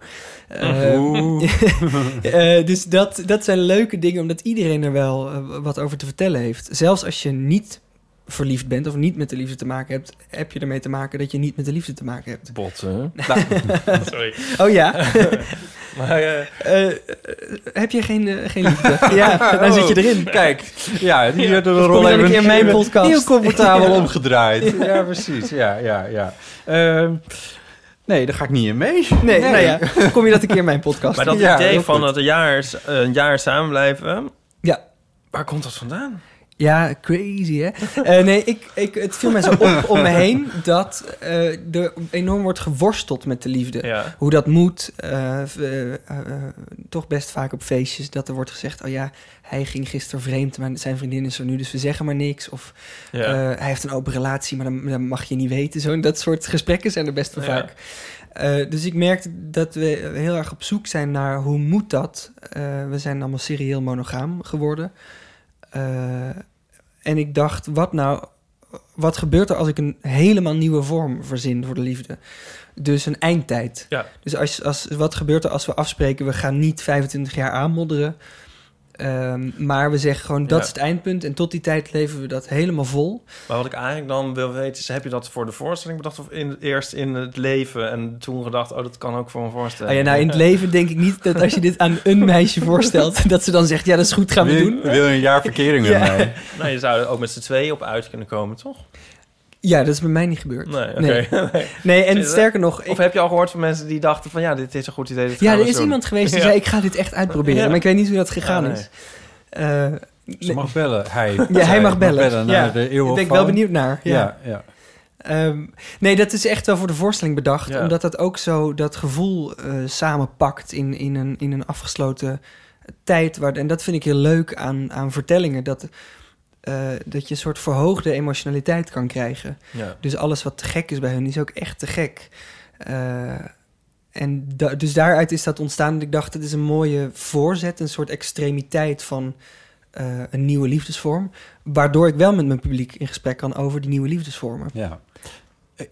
Speaker 7: Eh,
Speaker 5: Oeh.
Speaker 7: eh, [laughs] dus dat, dat zijn leuke dingen, omdat iedereen er wel eh, wat over te vertellen heeft. Zelfs als je niet verliefd bent of niet met de liefde te maken hebt, heb je ermee te maken dat je niet met de liefde te maken hebt.
Speaker 6: Botten.
Speaker 7: [laughs]
Speaker 6: Nou,
Speaker 5: [laughs]
Speaker 6: Sorry.
Speaker 7: Oh ja.
Speaker 6: Maar,
Speaker 7: Eh, eh, heb je geen, eh, geen
Speaker 5: [laughs]
Speaker 7: liefde? ja, daar zit je erin.
Speaker 5: Oh. Kijk, ja, die
Speaker 7: Ja.
Speaker 5: hebben
Speaker 7: Of
Speaker 5: de
Speaker 7: kom
Speaker 5: rol
Speaker 7: je dan een
Speaker 5: even
Speaker 7: keer in
Speaker 5: [laughs]
Speaker 7: mijn podcast?
Speaker 5: heel comfortabel
Speaker 7: [laughs] Ja.
Speaker 5: omgedraaid.
Speaker 7: Ja.
Speaker 5: Ja. precies. Ja, ja, ja. Ehm, nee, daar ga ik niet in mee.
Speaker 7: Nee, nou ja, kom je dat een keer in mijn
Speaker 5: [laughs]
Speaker 7: podcast?
Speaker 6: maar dat
Speaker 7: Ja,
Speaker 6: idee
Speaker 7: heel
Speaker 6: van
Speaker 7: goed.
Speaker 6: dat een jaar, een jaar samen blijven...
Speaker 7: Ja.
Speaker 6: Waar komt dat vandaan?
Speaker 7: Ja, crazy hè? [laughs] Eh, nee, ik, ik, het viel mij zo op om me heen dat eh, er enorm wordt geworsteld met de liefde.
Speaker 6: Ja.
Speaker 7: Hoe dat moet. eh, v- eh, eh, toch best vaak op feestjes dat er wordt gezegd: oh ja, hij ging gisteren vreemd, maar zijn vriendin is er nu, dus we zeggen maar niks. Of
Speaker 6: Ja.
Speaker 7: eh, hij heeft een open relatie, maar dat, dat mag je niet weten. Zo, en dat soort gesprekken zijn er best wel
Speaker 6: Ja.
Speaker 7: vaak. Eh, dus ik merkte dat we heel erg op zoek zijn naar hoe moet dat. Eh, we zijn allemaal serieel monogaam geworden. Eh, en ik dacht, wat nou, wat gebeurt er als ik een helemaal nieuwe vorm verzin voor de liefde? Dus een eindtijd.
Speaker 6: Ja.
Speaker 7: Dus als, als, wat gebeurt er als we afspreken, we gaan niet 25 jaar aanmodderen. Ehm, maar we zeggen gewoon, dat
Speaker 6: Ja.
Speaker 7: is het eindpunt. En tot die tijd leven we dat helemaal vol.
Speaker 6: Maar wat ik eigenlijk dan wil weten is... heb je dat voor de voorstelling bedacht of in, eerst in het leven... en toen gedacht, oh, dat kan ook voor een voorstelling?
Speaker 7: Ah ja, nou, in het leven denk ik niet dat als je dit aan een meisje voorstelt... [laughs] dat ze dan zegt, ja, dat is goed, gaan we
Speaker 6: Wil-
Speaker 7: doen.
Speaker 6: wil je een jaar
Speaker 7: [laughs]
Speaker 5: verkering
Speaker 7: Ja.
Speaker 6: Nou, je zou er ook met z'n tweeën op uit kunnen komen, toch?
Speaker 7: Ja, dat is bij mij niet gebeurd.
Speaker 6: [laughs] Nee, oké.
Speaker 7: nee. Nee, en sterker nog...
Speaker 6: Of heb je al gehoord van mensen die dachten van... ja, dit is een goed idee, dit
Speaker 7: Ja,
Speaker 6: gaan
Speaker 7: er
Speaker 6: we
Speaker 7: is
Speaker 6: doen.
Speaker 7: iemand geweest die
Speaker 6: Ja.
Speaker 7: zei: Ik ga dit echt uitproberen.
Speaker 6: Ja.
Speaker 7: Maar ik weet niet hoe dat gegaan
Speaker 6: Ja, nee.
Speaker 7: is. Eh,
Speaker 5: Ze mag bellen. Hij,
Speaker 7: ja, hij
Speaker 5: zij
Speaker 7: mag bellen.
Speaker 5: naar
Speaker 7: ja.
Speaker 5: de
Speaker 7: ik
Speaker 5: eeuwofoon.
Speaker 7: ben ik wel benieuwd naar. Ja.
Speaker 5: Ja, ja.
Speaker 7: Ehm, nee, dat is echt wel voor de voorstelling bedacht.
Speaker 5: Ja.
Speaker 7: Omdat dat ook zo dat gevoel eh, samenpakt in, in, een, in een afgesloten tijd. Waar, en dat vind ik heel leuk aan, aan vertellingen. Dat, eh, dat je een soort verhoogde emotionaliteit kan krijgen.
Speaker 6: Ja.
Speaker 7: Dus alles wat te gek is bij hun is ook echt te gek. Eh, en da- dus daaruit is dat ontstaan. En Ik dacht, het is een mooie voorzet, een soort extremiteit van eh, een nieuwe liefdesvorm. Waardoor ik wel met mijn publiek in gesprek kan over die nieuwe liefdesvormen.
Speaker 5: Ja.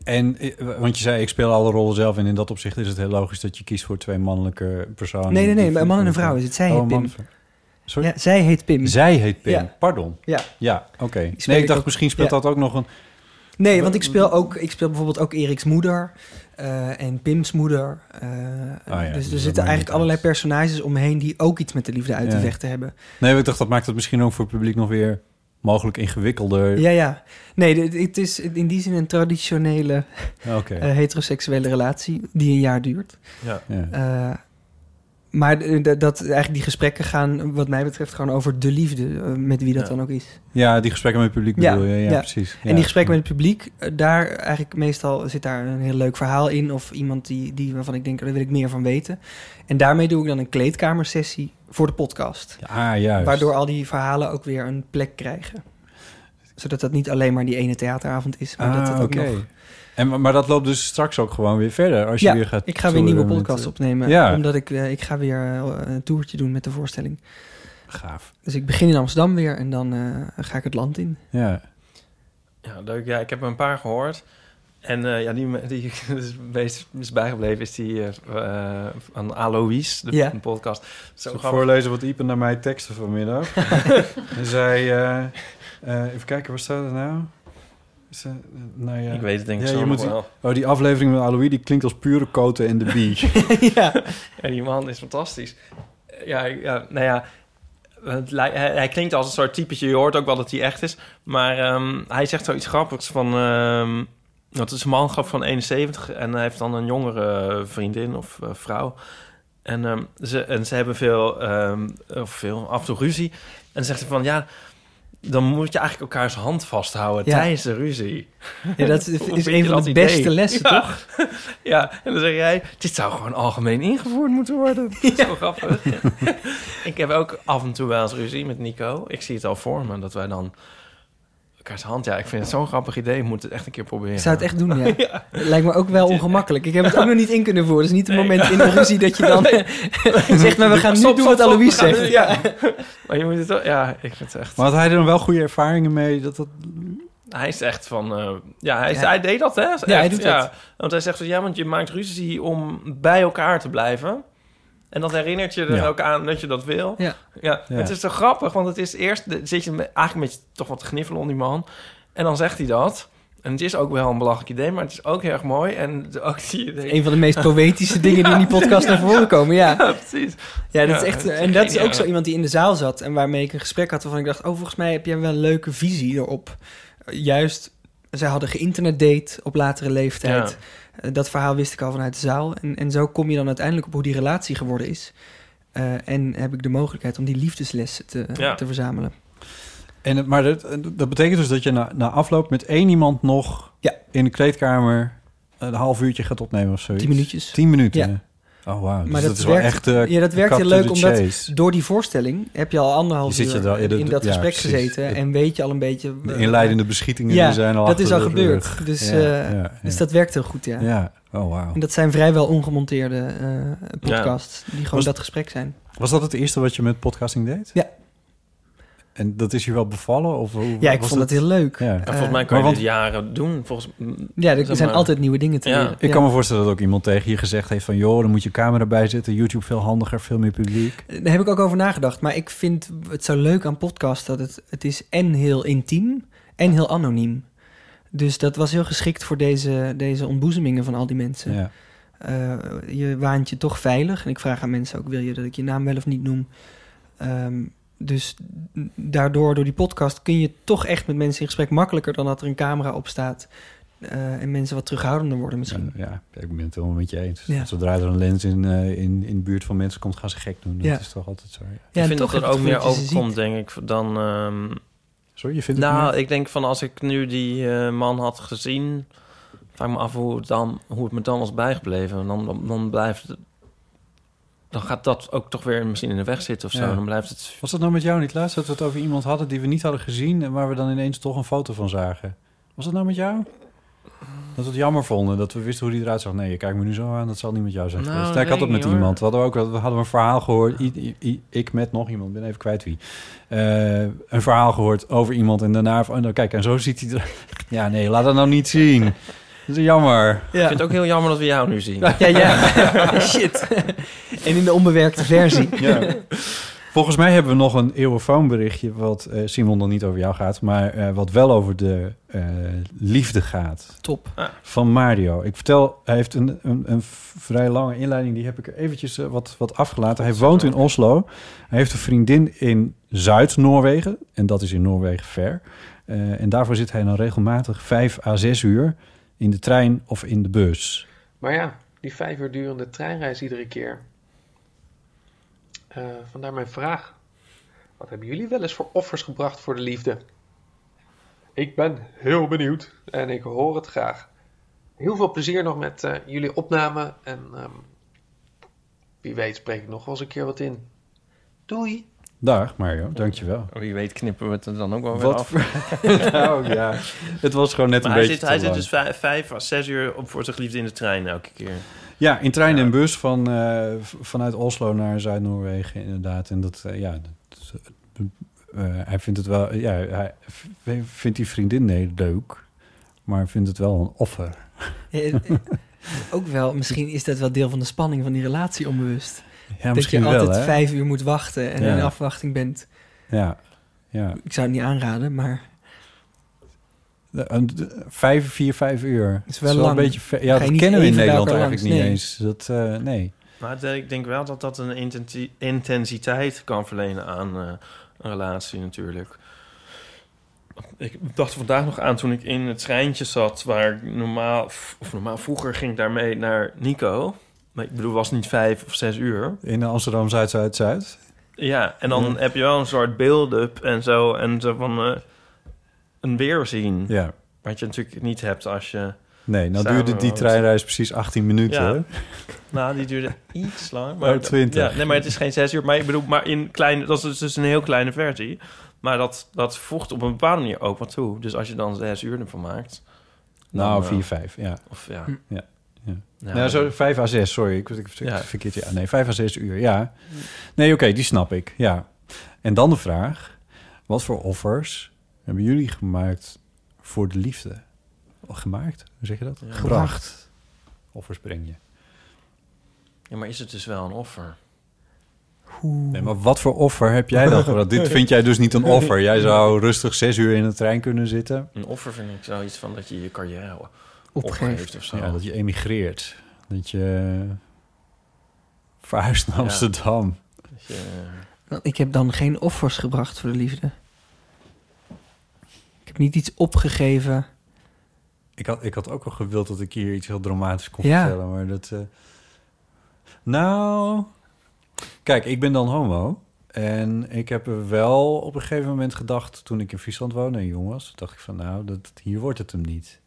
Speaker 5: En, eh, want je zei, ik speel alle rollen zelf. En in dat opzicht is het heel logisch dat je kiest voor twee mannelijke personen.
Speaker 7: Nee, nee, nee,
Speaker 5: Die-
Speaker 7: maar een man en een vrouw is het. Zij
Speaker 5: Oh,
Speaker 7: heet
Speaker 5: een man
Speaker 7: Pim.
Speaker 5: en een vrouw. Sorry?
Speaker 7: Ja, zij heet Pim.
Speaker 5: Zij heet Pim,
Speaker 7: Ja.
Speaker 5: pardon.
Speaker 7: Ja.
Speaker 5: Ja, oké.
Speaker 7: speel
Speaker 5: Nee, ik
Speaker 7: ik
Speaker 5: dacht,
Speaker 7: ook-
Speaker 5: misschien speelt
Speaker 7: ja.
Speaker 5: dat ook nog een...
Speaker 7: Nee, want ik speel ook, ik speel bijvoorbeeld ook Eriks moeder eh, en Pim's moeder. eh,
Speaker 5: ja, dus dat
Speaker 7: dus er
Speaker 5: maakt
Speaker 7: zitten
Speaker 5: niet
Speaker 7: eigenlijk allerlei personages omheen die ook iets met de liefde uit
Speaker 5: Ja.
Speaker 7: te vechten hebben.
Speaker 5: Nee, maar ik dacht, dat maakt het misschien ook voor het publiek nog weer mogelijk ingewikkelder.
Speaker 7: Ja, ja. Nee, dit- het is in die zin een traditionele
Speaker 5: Ah, Oké.
Speaker 7: eh, heteroseksuele relatie die een jaar duurt.
Speaker 5: Ja. Ja.
Speaker 7: Eh, maar d- d- dat eigenlijk die gesprekken gaan, wat mij betreft, gewoon over de liefde, eh, met wie dat dan ook is.
Speaker 5: Ja, die gesprekken met het publiek bedoel je. Ja, precies.
Speaker 7: En
Speaker 5: Ja.
Speaker 7: die gesprekken met het publiek, eh, daar eigenlijk meestal zit daar een heel leuk verhaal in. Of iemand die, die waarvan ik denk, daar wil ik meer van weten. En daarmee doe ik dan een kleedkamersessie voor de podcast.
Speaker 5: Ah, juist.
Speaker 7: Waardoor al die verhalen ook weer een plek krijgen. Zodat dat niet alleen maar die ene theateravond is, maar
Speaker 5: Ah,
Speaker 7: dat het ook
Speaker 5: oké.
Speaker 7: nog...
Speaker 5: En, maar- maar dat loopt dus straks ook gewoon weer verder als je
Speaker 7: ja,
Speaker 5: weer gaat.
Speaker 7: ik ga weer een
Speaker 5: toeren
Speaker 7: nieuwe
Speaker 5: met- eh,
Speaker 7: podcast opnemen.
Speaker 5: Ja.
Speaker 7: Omdat ik, eh, ik ga weer eh, een toertje doen met de voorstelling.
Speaker 5: Gaaf.
Speaker 7: Dus ik begin in Amsterdam weer en dan eh, ga ik het land in.
Speaker 5: Ja.
Speaker 6: Ja, leuk. Ja, ik heb er een paar gehoord. En eh, ja, die, me- die [laughs] is het meest is bijgebleven is die eh, eh, van Alois, de
Speaker 5: Ja.
Speaker 6: een podcast. Zo
Speaker 5: Zal ik
Speaker 6: grappig.
Speaker 5: voorlezen wat Iepen naar mij teksten
Speaker 6: [laughs]
Speaker 5: vanmiddag. Hij zei, eh, eh, even kijken, waar staat het nou? Is, eh, nou ja.
Speaker 6: Ik weet het denk ik
Speaker 5: Ja,
Speaker 6: zo
Speaker 5: je
Speaker 6: nog
Speaker 5: moet die-
Speaker 6: wel.
Speaker 5: [laughs] Oh, die aflevering met Aloïs, die klinkt als pure koten en de bie.
Speaker 7: [laughs]
Speaker 6: En die man is fantastisch. Ja, ja nou ja. Het lijkt- hij, hij klinkt als een soort typetje. Je hoort ook wel dat hij echt is. Maar ehm, hij zegt zoiets grappigs van... ehm het is een man grap van 71 en hij heeft dan een jongere vriendin of eh, vrouw. En, ehm, ze, en ze hebben veel, ehm, of veel, af en toe ruzie. En dan zegt ze van, ja, dan moet je eigenlijk elkaars hand vasthouden
Speaker 7: Ja.
Speaker 6: tijdens de ruzie.
Speaker 7: Ja,
Speaker 6: [laughs]
Speaker 7: dat is-
Speaker 6: Hoe
Speaker 7: is
Speaker 6: vind
Speaker 7: een
Speaker 6: je
Speaker 7: van
Speaker 6: dat
Speaker 7: de
Speaker 6: idee?
Speaker 7: beste lessen,
Speaker 6: [laughs] Ja.
Speaker 7: toch?
Speaker 6: Ja, en dan zeg jij, dit zou gewoon algemeen ingevoerd moeten worden. Dat is zo grappig. [laughs] ik heb ook af en toe wel eens ruzie met Nico. Ik zie het al voor me, dat wij dan elkaars hand... Ja, ik vind het zo'n grappig idee. Ik moet het echt een keer proberen.
Speaker 7: Ik zou het echt doen,
Speaker 6: [laughs]
Speaker 7: ja. Lijkt me ook wel ongemakkelijk. Ik heb het ook nog niet in kunnen voeren. Het is niet het moment in
Speaker 6: [laughs]
Speaker 7: de ruzie dat je dan [laughs] zegt... maar we gaan nu
Speaker 6: Stop,
Speaker 7: doen
Speaker 6: stop,
Speaker 7: wat
Speaker 6: stop,
Speaker 7: Alois
Speaker 6: we gaan
Speaker 7: zegt.
Speaker 6: nu- Ja. [laughs] maar je moet het wel... Ja, ik vind het echt...
Speaker 5: Maar had hij er dan wel goede ervaringen mee? Dat dat...
Speaker 6: Hij is echt van... eh, ja, hij, is-
Speaker 5: Ja.
Speaker 6: hij deed dat, hè?
Speaker 5: Ja,
Speaker 6: Echt,
Speaker 5: hij doet
Speaker 6: ja.
Speaker 5: dat.
Speaker 6: Want hij zegt van, ja, want je maakt ruzie om bij elkaar te blijven. En dat herinnert je er
Speaker 5: Ja.
Speaker 6: ook aan dat je dat wil.
Speaker 7: Ja.
Speaker 6: Ja,
Speaker 5: Ja.
Speaker 6: het is zo grappig, want het is eerst... de- zit je me- eigenlijk met je toch wat te gniffelen om die man. En dan zegt hij dat. En het is ook wel een belachelijk idee, maar het is ook heel erg mooi. En de- ook die,
Speaker 7: Een van de meest
Speaker 6: [laughs]
Speaker 7: poëtische dingen die in die podcast naar voren komen, ja.
Speaker 6: Ja, precies.
Speaker 7: Ja, dat
Speaker 6: Ja,
Speaker 7: is echt,
Speaker 6: dat is
Speaker 7: en dat is ook
Speaker 6: geniaal.
Speaker 7: zo iemand die in de zaal zat... en waarmee ik een gesprek had waarvan ik dacht... oh, volgens mij heb jij wel een leuke visie erop. Juist, zij hadden geïnternetdate op latere leeftijd.
Speaker 6: Ja.
Speaker 7: Eh, Dat verhaal wist ik al vanuit de zaal. En, en zo kom je dan uiteindelijk op hoe die relatie geworden is. Eh, en heb ik de mogelijkheid om die liefdeslessen te,
Speaker 5: Ja.
Speaker 7: te verzamelen.
Speaker 5: En, het- maar dat, dat betekent dus dat je na, na afloop met één iemand nog in de kleedkamer een half uurtje gaat opnemen of zoiets.
Speaker 7: Tien minuutjes.
Speaker 5: Tien minuten. Oh, wauw. Dus
Speaker 7: maar
Speaker 5: dat,
Speaker 7: dat,
Speaker 5: is
Speaker 7: werkt,
Speaker 5: wel echt... eh,
Speaker 7: ja, dat werkt
Speaker 5: cut
Speaker 7: heel
Speaker 5: to
Speaker 7: leuk,
Speaker 5: the
Speaker 7: omdat
Speaker 5: chase.
Speaker 7: door die voorstelling heb je al anderhalf
Speaker 5: Je zit
Speaker 7: uur
Speaker 5: er wel- ja, dat-
Speaker 7: in dat
Speaker 5: ja,
Speaker 7: gesprek
Speaker 5: precies.
Speaker 7: gezeten en weet je al een beetje...
Speaker 5: De inleidende beschietingen
Speaker 7: ja,
Speaker 5: die zijn al
Speaker 7: dat is
Speaker 5: achter
Speaker 7: al
Speaker 5: de
Speaker 7: gebeurd.
Speaker 5: rug.
Speaker 7: Dus,
Speaker 5: Ja,
Speaker 7: eh,
Speaker 5: ja,
Speaker 7: dus
Speaker 5: ja.
Speaker 7: dat werkt heel goed, ja.
Speaker 5: Ja. Oh, wauw.
Speaker 7: En dat zijn vrijwel ongemonteerde eh, podcasts die gewoon
Speaker 5: Was-
Speaker 7: dat gesprek zijn.
Speaker 5: Was dat het eerste wat je met podcasting deed?
Speaker 7: Ja.
Speaker 5: En dat is je wel bevallen? Of hoe,
Speaker 7: Ja, ik
Speaker 5: was
Speaker 7: vond dat heel leuk. Eh,
Speaker 5: Ja.
Speaker 6: En volgens mij kan je dit jaren doen. Volgens,
Speaker 7: Ja, er
Speaker 6: zeg
Speaker 7: zijn
Speaker 6: maar.
Speaker 7: altijd nieuwe dingen te leren.
Speaker 5: Ik
Speaker 7: Ja.
Speaker 5: kan me voorstellen dat ook iemand tegen je gezegd heeft van... joh, dan moet je camera bijzetten, YouTube veel handiger, veel meer publiek.
Speaker 7: Daar heb ik ook over nagedacht. Maar ik vind het zo leuk aan podcast dat het, het is en heel intiem en heel anoniem. Dus dat was heel geschikt voor deze, deze ontboezemingen van al die mensen.
Speaker 5: Ja.
Speaker 7: Eh, je waant je toch veilig. En ik vraag aan mensen ook, wil je dat ik je naam wel of niet noem? Ehm, dus daardoor, door die podcast, kun je toch echt met mensen in gesprek makkelijker dan dat er een camera op staat. eh, en mensen wat terughoudender worden misschien.
Speaker 5: Ja, ja, ik ben het helemaal met je eens.
Speaker 7: Ja.
Speaker 5: Zodra er een lens in, eh, in, in de buurt van mensen komt, gaan ze gek doen. Dat
Speaker 7: Ja.
Speaker 5: is toch altijd zo. Ja.
Speaker 6: ik
Speaker 7: heb
Speaker 6: vind dat
Speaker 7: ik
Speaker 6: er ook
Speaker 7: het gevoel
Speaker 6: meer
Speaker 7: dat je ze
Speaker 6: overkomt, denk ik, dan... ehm,
Speaker 5: Sorry, je vindt het
Speaker 6: nou,
Speaker 5: meer?
Speaker 6: ik denk van als ik nu die eh, man had gezien... vraag ik me af hoe het, dan, hoe het me dan was bijgebleven. Dan, dan, dan blijft het... Dan gaat dat ook toch weer misschien in de weg zitten of zo.
Speaker 5: Ja.
Speaker 6: Dan blijft het...
Speaker 5: Was dat nou met jou niet laatst dat we het over iemand hadden die we niet hadden gezien... en waar we dan ineens toch een foto van zagen? Was dat nou met jou? Dat we het jammer vonden, dat we wisten hoe die eruit zag. Nee, je kijkt me nu zo aan, dat zal niet met jou zijn
Speaker 6: Nou,
Speaker 5: geweest.
Speaker 6: dat
Speaker 5: ik had dat
Speaker 6: weet ik
Speaker 5: met
Speaker 6: niet, hoor.
Speaker 5: iemand. We hadden, ook, we hadden een verhaal gehoord, i- i- i- ik met nog iemand, ben even kwijt wie. Eh, een verhaal gehoord over iemand en daarna... van, oh, nou, kijk, en zo ziet hij er... [laughs] Ja, nee, laat dat nou niet zien. Dat is jammer.
Speaker 6: Ik vind het ook heel jammer dat we jou nu zien.
Speaker 5: Ja,
Speaker 7: [laughs]
Speaker 5: ja.
Speaker 7: Shit. [laughs] en in de onbewerkte versie.
Speaker 5: [laughs] Ja. Volgens mij hebben we nog een eeuwenfoonberichtje... wat eh, Simon dan niet over jou gaat... maar eh, wat wel over de eh, liefde gaat.
Speaker 7: Top.
Speaker 5: Van Mario. Ik vertel, hij heeft een, een, een vrij lange inleiding... die heb ik er eventjes eh, wat, wat afgelaten. Hij woont in Oslo. Hij heeft een vriendin in Zuid-Noorwegen. En dat is in Noorwegen ver. Eh, en daarvoor zit hij dan regelmatig vijf à zes uur... in de trein of in de bus.
Speaker 9: Maar ja, die vijf uur durende treinreis iedere keer. Eh, vandaar mijn vraag. Wat hebben jullie wel eens voor offers gebracht voor de liefde? Ik ben heel benieuwd en ik hoor het graag. Heel veel plezier nog met eh, jullie opname en ehm, wie weet spreek ik nog wel eens een keer wat in. Doei!
Speaker 5: Dag Mario, dankjewel.
Speaker 6: Wie Oh, weet knippen we het er dan ook wel
Speaker 5: Wat
Speaker 6: weer
Speaker 5: voor- [laughs]
Speaker 6: af. [laughs] Oh,
Speaker 5: Nou, ja. Het was gewoon net
Speaker 6: Maar
Speaker 5: een
Speaker 6: hij
Speaker 5: beetje
Speaker 6: Zit, hij
Speaker 5: te
Speaker 6: zit
Speaker 5: lang.
Speaker 6: dus vijf, vijf à zes uur op voor zijn liefde in de trein elke keer.
Speaker 5: Ja, in trein en bus van, eh, v- vanuit Oslo naar Zuid-Noorwegen, inderdaad. En dat, eh, ja, dat, eh, eh, hij vindt het wel, ja, hij v- vindt die vriendin nee, leuk, maar vindt het wel een offer. [laughs]
Speaker 7: Eh, [laughs] eh, ook wel, misschien is dat wel deel van de spanning van die relatie onbewust. dat je
Speaker 5: misschien wel,
Speaker 7: altijd
Speaker 5: hè?
Speaker 7: vijf uur moet wachten en
Speaker 5: Ja.
Speaker 7: in afwachting bent.
Speaker 5: Ja, ja.
Speaker 7: Ik zou het niet aanraden, maar
Speaker 5: De- een- de- Vijf, vier, vijf uur.
Speaker 7: is
Speaker 5: Het
Speaker 7: wel lang.
Speaker 5: Een beetje ver-
Speaker 7: Ga
Speaker 5: ja,
Speaker 7: je
Speaker 5: dat
Speaker 7: niet
Speaker 5: kennen we in
Speaker 7: even bij
Speaker 5: Nederland
Speaker 7: elkaar
Speaker 5: eigenlijk niet eens.
Speaker 7: langs,
Speaker 5: Dat, eh, nee.
Speaker 6: Maar het- ik denk wel dat dat een intensi- intensiteit kan verlenen aan eh, een relatie natuurlijk. Ik dacht er vandaag nog aan toen ik in het treintje zat... waar ik normaal, of normaal vroeger ging ik daarmee naar Nico. Maar ik bedoel, het was niet vijf of zes uur.
Speaker 5: In Amsterdam, Zuid, Zuid, Zuid.
Speaker 6: Ja, en dan
Speaker 5: Ja. Mm.
Speaker 6: heb je wel een soort build-up en zo. En zo van eh, een weerzien.
Speaker 5: Ja.
Speaker 6: Wat je natuurlijk niet hebt als je...
Speaker 5: Nee, nou
Speaker 6: samen
Speaker 5: duurde die
Speaker 6: woont.
Speaker 5: treinreis precies 18 minuten.
Speaker 6: Ja.
Speaker 5: hoor.
Speaker 6: [laughs] Nou, die duurde iets lang.
Speaker 5: Oh, 20.
Speaker 6: Ja, nee, maar het is geen zes uur. Maar ik bedoel, maar in kleine, dat is dus een heel kleine versie. Maar dat, dat voegt op een bepaalde manier ook wat toe. Dus als je dan zes uur ervan maakt... dan,
Speaker 5: Nou,
Speaker 6: eh,
Speaker 5: 4, 5, ja.
Speaker 6: Of ja.
Speaker 5: ja. ja.
Speaker 6: Ja.
Speaker 5: nou, zo 5 à 6, sorry. Ik, ik, ik
Speaker 6: Ja.
Speaker 5: verkeerd. Ja, nee, 5 à 6 uur, ja. Nee, oké, die snap ik, ja. En dan de vraag, wat voor offers hebben jullie gemaakt voor de liefde? Gemaakt, hoe zeg je dat? Gebracht. Offers breng je.
Speaker 6: Ja, maar is het dus wel een offer?
Speaker 5: Nee, maar wat voor offer heb jij
Speaker 6: [laughs]
Speaker 5: dan gebracht? Dit vind jij dus niet een offer. Jij zou rustig 6 uur in de trein kunnen zitten.
Speaker 6: Een offer vind ik zoiets van dat je je carrière opgeeft,
Speaker 5: Opgeeft.
Speaker 6: of zo.
Speaker 5: Ja, dat je emigreert. Dat je verhuist naar
Speaker 6: Ja.
Speaker 5: Amsterdam.
Speaker 6: Dat je- eh,
Speaker 7: nou, ik heb dan geen offers gebracht voor de liefde. Ik heb niet iets opgegeven.
Speaker 5: Ik had, ik had ook wel gewild dat ik hier iets heel dramatisch kon
Speaker 7: Ja.
Speaker 5: vertellen, maar dat... eh, Nou, kijk, ik ben dan homo. En ik heb er wel op een gegeven moment gedacht, toen ik in Friesland woonde en jong was, dacht ik van nou, dat, hier wordt het hem niet.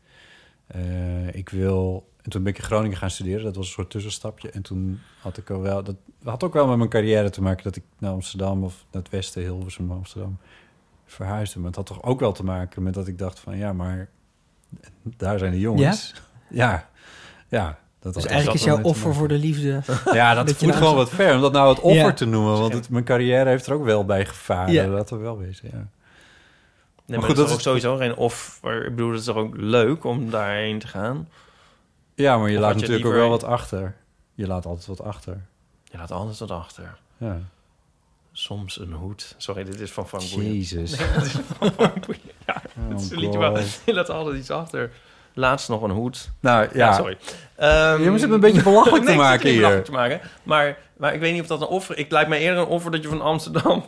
Speaker 5: Eh, ik wil... En toen ben ik in Groningen gaan studeren, dat was een soort tussenstapje. En toen had ik al wel... Dat had ook wel met mijn carrière te maken dat ik naar Amsterdam of naar het westen, Hilversum, Amsterdam, verhuisde. Maar het had toch ook wel te maken met dat ik dacht van ja, maar daar zijn de jongens. Ja? Ja. dat
Speaker 7: Dus
Speaker 5: had-
Speaker 7: eigenlijk is
Speaker 5: dat had
Speaker 7: jouw
Speaker 5: wel mee te
Speaker 7: offer voor de liefde. [laughs]
Speaker 5: ja, dat
Speaker 7: je
Speaker 5: voelt
Speaker 7: naar-
Speaker 5: gewoon wat ver om dat nou het offer
Speaker 7: Ja.
Speaker 5: te noemen. Want het- mijn carrière heeft er ook wel bij gevaren.
Speaker 7: Ja.
Speaker 5: Laten we wel wezen, ja.
Speaker 6: Nee, maar,
Speaker 5: goed,
Speaker 6: dat is
Speaker 5: dat
Speaker 6: toch ook sowieso geen offer. Ik bedoel, dat is toch ook leuk om daarheen te gaan?
Speaker 5: Ja, maar je
Speaker 6: Of had
Speaker 5: laat
Speaker 6: je
Speaker 5: natuurlijk ook
Speaker 6: liever-
Speaker 5: wel wat achter. Je laat altijd wat achter.
Speaker 6: Je laat alles wat achter.
Speaker 5: Ja. Nou,
Speaker 6: Soms een hoed. Sorry, dit is van Frank Boeien.
Speaker 5: Jezus.
Speaker 6: Nee, dit is van Frank Boeien. Ja,
Speaker 5: [laughs] Oh
Speaker 6: dit is een liedje waar- [laughs]
Speaker 5: God.
Speaker 6: je laat altijd iets achter. Laatst nog een hoed.
Speaker 5: Nou, ja.
Speaker 6: sorry. Ehm,
Speaker 5: Je moet het een
Speaker 6: [laughs]
Speaker 5: beetje belachelijk te
Speaker 6: nee, ik zit
Speaker 5: maken
Speaker 6: niet
Speaker 5: hier.
Speaker 6: belachelijk te maken. Maar, maar ik weet niet of dat een offer... Ik lijkt mij eerder een offer dat je van Amsterdam
Speaker 5: [laughs]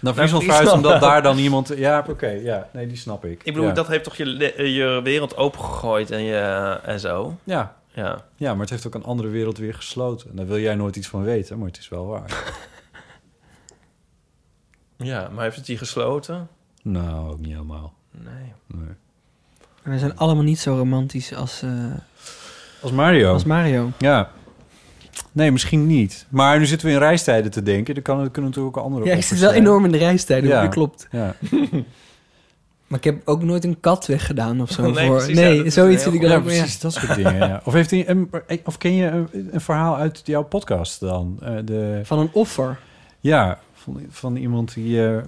Speaker 5: Naar Friesland
Speaker 6: [laughs]
Speaker 5: omdat daar dan iemand... Ja, oké, ja. Nee, die snap ik.
Speaker 6: Ik bedoel,
Speaker 5: ja.
Speaker 6: dat heeft toch je, le- eh, je wereld opengegooid en, je, en zo?
Speaker 5: Ja.
Speaker 6: ja.
Speaker 5: Ja, maar het heeft ook een andere wereld weer gesloten. En daar wil jij nooit iets van weten, maar het is wel waar.
Speaker 6: Ja, maar heeft het die gesloten?
Speaker 5: nou, ook niet helemaal.
Speaker 6: Nee.
Speaker 7: En we zijn allemaal niet zo romantisch als, eh,
Speaker 5: Als Mario.
Speaker 7: als Mario.
Speaker 5: Ja. Nee, misschien niet. Maar nu zitten we in reistijden te denken. Dan kan, kunnen natuurlijk ook andere
Speaker 7: Ja, ik
Speaker 5: offers
Speaker 7: zit wel
Speaker 5: zijn.
Speaker 7: enorm in de reistijden,
Speaker 5: Ja.
Speaker 7: dat klopt.
Speaker 5: Ja.
Speaker 7: maar ik heb ook nooit een kat weggedaan of zo.
Speaker 6: [laughs] Nee,
Speaker 7: voor.
Speaker 6: precies, ja,
Speaker 7: nee
Speaker 6: dat is
Speaker 7: zoiets
Speaker 6: een
Speaker 7: zit ik
Speaker 6: heel
Speaker 7: dan
Speaker 6: goed-
Speaker 7: ook
Speaker 6: ja,
Speaker 7: mee.
Speaker 6: precies,
Speaker 5: Dat soort dingen, ja. Of, heeft hij een, eh, of ken je een, een verhaal uit jouw podcast dan? Eh, de,
Speaker 7: Van een offer?
Speaker 5: Ja, van, van iemand die... eh,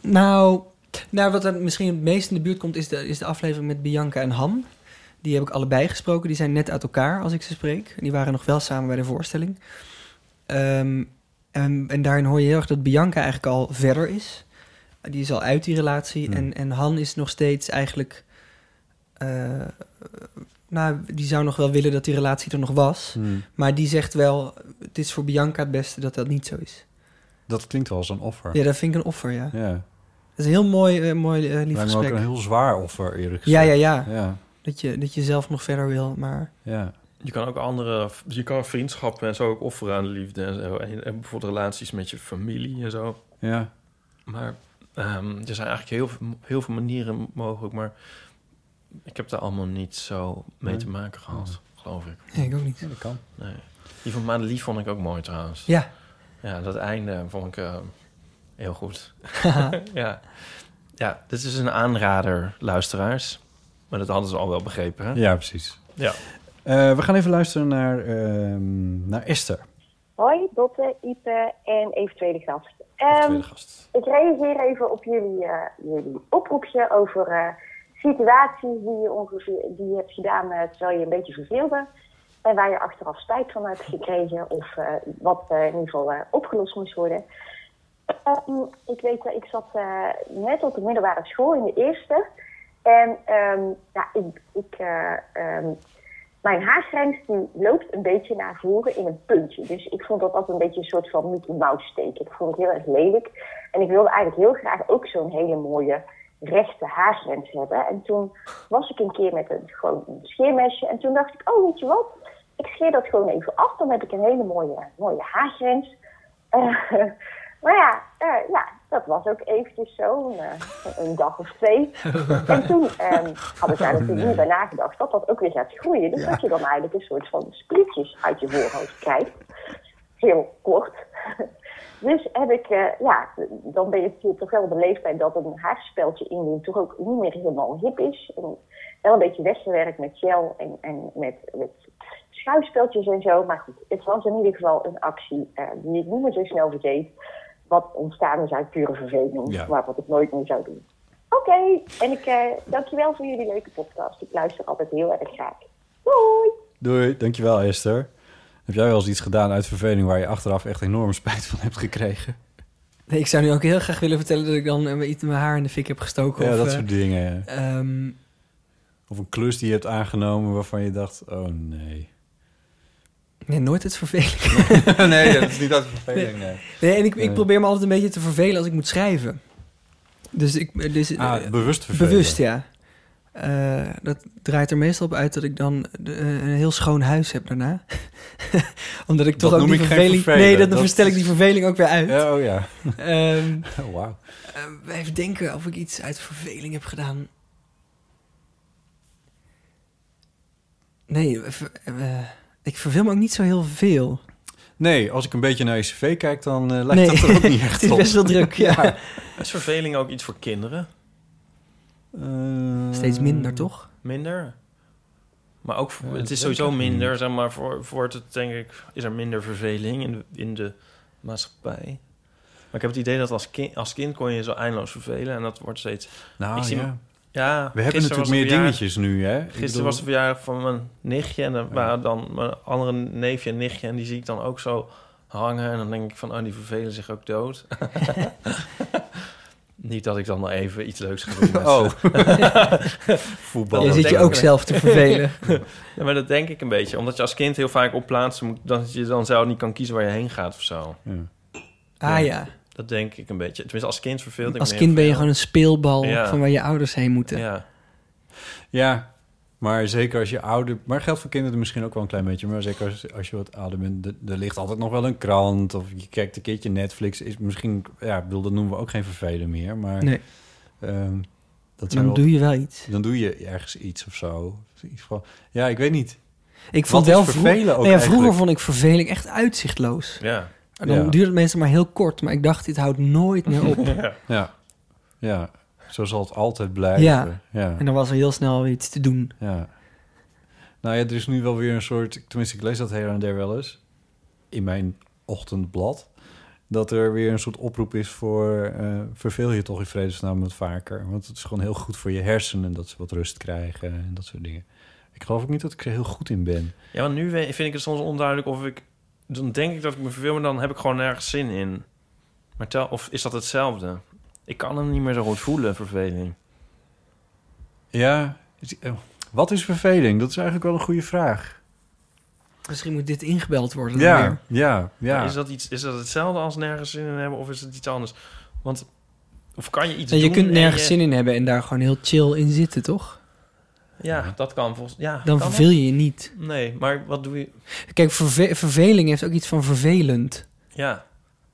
Speaker 7: Nou, nou, wat er misschien het meest in de buurt komt, is de, is de aflevering met Bianca en Ham. Die heb ik allebei gesproken. Die zijn net uit elkaar als ik ze spreek. Die waren nog wel samen bij de voorstelling. Ehm, en, en daarin hoor je heel erg dat Bianca eigenlijk al verder is. Die is al uit die relatie. En, en Han is nog steeds eigenlijk. eh, nou, die zou nog wel willen dat die relatie er nog was.
Speaker 5: Hmm.
Speaker 7: Maar die zegt wel: het is voor Bianca het beste dat dat niet zo is.
Speaker 5: dat klinkt wel als een offer.
Speaker 7: Ja, dat vind ik een offer, ja.
Speaker 5: Ja.
Speaker 7: Dat is een heel mooi, eh, mooi eh, lief
Speaker 5: Lijkt me
Speaker 7: gesprek.
Speaker 5: ook een heel zwaar offer, eerlijk
Speaker 7: Ja,
Speaker 5: gezegd.
Speaker 7: ja, ja.
Speaker 5: Ja,
Speaker 7: Dat, je, dat je zelf nog verder wil, maar...
Speaker 5: ja.
Speaker 6: Je kan ook andere... Je kan vriendschappen en zo ook offeren aan de liefde en zo. En, en bijvoorbeeld relaties met je familie en zo.
Speaker 5: ja.
Speaker 6: Maar ehm, er zijn eigenlijk heel veel, heel veel manieren mogelijk. Maar ik heb daar allemaal niet zo mee
Speaker 7: Nee.
Speaker 6: te maken gehad, geloof ik.
Speaker 7: Nee, ik ook niet.
Speaker 5: dat kan.
Speaker 6: Nee. Die van Madelief vond ik ook mooi trouwens.
Speaker 7: Ja.
Speaker 6: Ja, dat einde vond ik ehm, heel
Speaker 7: [laughs]
Speaker 6: goed. [laughs]
Speaker 7: Haha.
Speaker 6: ja. ja, dit is een aanrader, luisteraars. Maar dat hadden ze al wel begrepen, hè?
Speaker 5: Ja, precies.
Speaker 6: Ja.
Speaker 5: Eh, we gaan even luisteren naar, ehm, naar Esther.
Speaker 15: Hoi, Botte, Ipe en eventuele gast. Ehm, Ik reageer even op jullie, eh, jullie oproepje over eh, situaties die je, ongeveer, die je hebt gedaan eh, terwijl je een beetje verveelde. En waar je achteraf spijt van hebt gekregen of eh, wat eh, in ieder geval eh, opgelost moest worden. Ehm, ik weet, dat ik zat eh, net op de middelbare school in de eerste. En ehm, ja, ik, ik, eh, ehm, mijn haargrens die loopt een beetje naar voren in een puntje. Dus ik vond dat altijd een beetje een soort van Mickey Mouse teken. Ik vond het heel erg lelijk. En ik wilde eigenlijk heel graag ook zo'n hele mooie rechte haargrens hebben. En toen was ik een keer met een, gewoon een scheermesje. En toen dacht ik, oh weet je wat, ik scheer dat gewoon even af. Dan heb ik een hele mooie, mooie haargrens. Eh, [laughs] maar ja, eh, ja, dat was ook eventjes zo, een, eh, een dag of
Speaker 16: [laughs]
Speaker 15: twee. En toen ehm, had ik daar
Speaker 16: Oh,
Speaker 15: natuurlijk
Speaker 16: nee.
Speaker 15: niet bij nagedacht dat dat ook weer gaat groeien. Dus
Speaker 16: Ja.
Speaker 15: dat je dan eigenlijk een soort van sprietjes uit je voorhoofd krijgt. Heel kort. Dus heb ik, eh, ja, dan ben je toch wel op de leeftijd dat een haarspeltje indoen toch ook niet meer helemaal hip is. En wel een beetje weggewerkt met gel en, en met, met schuifspeltjes en zo. Maar goed, het was in ieder geval een actie eh, die ik niet meer zo snel vergeet. Wat ontstaan is uit pure verveling,
Speaker 16: Ja.
Speaker 15: maar wat ik nooit meer zou doen. Oké, en ik eh dankjewel voor jullie leuke podcast. Ik luister altijd heel erg graag.
Speaker 5: Doei, dankjewel Esther. Heb jij wel eens iets gedaan uit verveling waar je achteraf echt enorm spijt van hebt gekregen?
Speaker 7: Nee, ik zou nu ook heel graag willen vertellen dat ik dan eh, iets in mijn haar in de fik heb gestoken.
Speaker 5: Ja,
Speaker 7: of,
Speaker 5: dat
Speaker 7: eh,
Speaker 5: soort dingen. ja.
Speaker 7: ehm,
Speaker 5: Of een klus die je hebt aangenomen waarvan je dacht, oh nee.
Speaker 7: nee, nooit het verveling.
Speaker 5: [laughs] Nee, dat is niet uit verveling, nee.
Speaker 7: nee en ik,
Speaker 5: Nee.
Speaker 7: ik probeer me altijd een beetje te vervelen als ik moet schrijven. Dus ik... eh, Dus,
Speaker 5: Ah,
Speaker 7: eh,
Speaker 5: bewust vervelen.
Speaker 7: Bewust, ja. Eh, dat draait er meestal op uit dat ik dan de- eh, een heel schoon huis heb daarna. [laughs] Omdat ik
Speaker 5: Dat
Speaker 7: toch ook
Speaker 5: noem
Speaker 7: die
Speaker 5: ik geen
Speaker 7: verveling...
Speaker 5: vervelen.
Speaker 7: Nee, dat, dan
Speaker 5: Dat
Speaker 7: verstel ik die verveling ook weer uit.
Speaker 5: Ja, oh ja. [laughs] Oh,
Speaker 7: Ehm,
Speaker 5: Wauw.
Speaker 7: eh, even denken of ik iets uit verveling heb gedaan. Nee, eh, ver- eh, ik verveel me ook niet zo heel veel.
Speaker 5: Nee, als ik een beetje naar je cv kijk, dan eh, lijkt
Speaker 7: Nee.
Speaker 5: dat er ook
Speaker 7: [laughs]
Speaker 5: niet echt op.
Speaker 7: Het is best wel
Speaker 5: [laughs]
Speaker 7: druk, ja.
Speaker 6: Is verveling ook iets voor kinderen?
Speaker 5: Eh,
Speaker 7: Steeds minder, toch?
Speaker 6: Minder? Maar ook, voor-
Speaker 7: Ja,
Speaker 6: het
Speaker 7: dat
Speaker 6: is
Speaker 7: weet ik
Speaker 6: sowieso
Speaker 7: eigenlijk
Speaker 6: minder, zeg maar, voor, voor het, denk ik, is er minder verveling in de, in de maatschappij. Maar ik heb het idee dat als kind, als kind kon je zo eindeloos vervelen en dat wordt steeds...
Speaker 5: Nou,
Speaker 6: ik zie
Speaker 5: ja.
Speaker 6: me-
Speaker 5: We
Speaker 6: ja.
Speaker 5: hebben
Speaker 6: gisteren
Speaker 5: natuurlijk
Speaker 6: was de
Speaker 5: meer
Speaker 6: verjaardag-
Speaker 5: dingetjes nu, hè? Ik
Speaker 6: Gisteren
Speaker 5: bedoel-
Speaker 6: was de verjaardag van mijn nichtje en dan waren dan mijn andere neefje en nichtje en die zie ik dan ook zo hangen en dan denk ik van, oh, die vervelen zich
Speaker 5: [laughs]
Speaker 6: ook dood. [laughs] Niet dat ik dan nog even iets leuks ga doen. met
Speaker 5: Oh.
Speaker 6: [laughs] ze.
Speaker 5: Voetbal.
Speaker 6: Dat
Speaker 7: Jij zit je
Speaker 6: denk
Speaker 7: ook
Speaker 6: ik.
Speaker 7: zelf te vervelen.
Speaker 6: [laughs] ja, maar dat denk ik een beetje. Omdat je als kind heel vaak op plaatsen moet... dat je dan zelf niet kan kiezen waar je heen gaat of zo.
Speaker 7: Ah ja.
Speaker 6: Dat denk ik een beetje. Tenminste, als kind verveelde ik
Speaker 7: Als
Speaker 6: me
Speaker 7: kind
Speaker 6: heel
Speaker 7: ben je
Speaker 6: veel.
Speaker 7: gewoon een speelbal
Speaker 6: Ja.
Speaker 7: van waar je ouders heen moeten.
Speaker 6: Ja.
Speaker 5: Ja, maar zeker als je ouder... Maar geldt voor kinderen misschien ook wel een klein beetje. Maar zeker als, als je wat ouder bent, de- er ligt altijd nog wel een krant. Of je kijkt een keertje Netflix. Is misschien, ja, ik bedoel, dat noemen we ook geen vervelen meer. Maar
Speaker 7: Nee.
Speaker 5: ehm, dat
Speaker 7: Dan doe je wel iets.
Speaker 5: Dan doe je ergens iets of zo. Iets van- Ja, ik weet niet.
Speaker 7: Ik vond
Speaker 5: Wat is
Speaker 7: wel vroeg-
Speaker 5: vervelen ook
Speaker 7: nou ja, vroeger
Speaker 5: eigenlijk?
Speaker 7: vond ik verveling echt uitzichtloos.
Speaker 5: Ja.
Speaker 7: En dan
Speaker 5: Ja.
Speaker 7: duurde het meestal maar heel kort, maar ik dacht, dit houdt nooit meer
Speaker 5: [laughs]
Speaker 7: op.
Speaker 5: Ja. ja, zo zal het altijd blijven.
Speaker 7: ja.
Speaker 5: Ja.
Speaker 7: en dan was er heel snel weer iets te doen.
Speaker 5: Ja. Nou ja, er is nu wel weer een soort... Tenminste, ik lees dat her en der wel eens. In mijn ochtendblad. Dat er weer een soort oproep is voor... eh, verveel je toch in vredesnaam wat vaker. Want het is gewoon heel goed voor je hersenen... dat ze wat rust krijgen en dat soort dingen. Ik geloof ook niet dat ik er heel goed in ben.
Speaker 6: Ja, want nu we- vind ik het soms onduidelijk of ik... Dan denk ik dat ik me verveel, maar dan heb ik gewoon nergens zin in. Maar tel, of is dat hetzelfde? Ik kan hem niet meer zo goed voelen, verveling.
Speaker 5: Ja, is- eh, wat is verveling? Dat is eigenlijk wel een goede vraag.
Speaker 7: Misschien moet dit ingebeld worden. dan
Speaker 5: Ja,
Speaker 7: weer.
Speaker 5: ja, ja.
Speaker 6: Maar Is, dat iets, is dat hetzelfde als nergens zin in hebben of is het iets anders? Want, of kan je iets
Speaker 7: En je
Speaker 6: doen
Speaker 7: kunt nergens
Speaker 6: je-
Speaker 7: zin in hebben en daar gewoon heel chill in zitten, toch?
Speaker 6: Ja, dat kan volgens... Ja,
Speaker 7: Dan
Speaker 6: kan
Speaker 7: verveel
Speaker 6: dat?
Speaker 7: je je niet.
Speaker 6: Nee, maar wat doe je...
Speaker 7: Kijk, verve- verveling heeft ook iets van vervelend.
Speaker 6: Ja,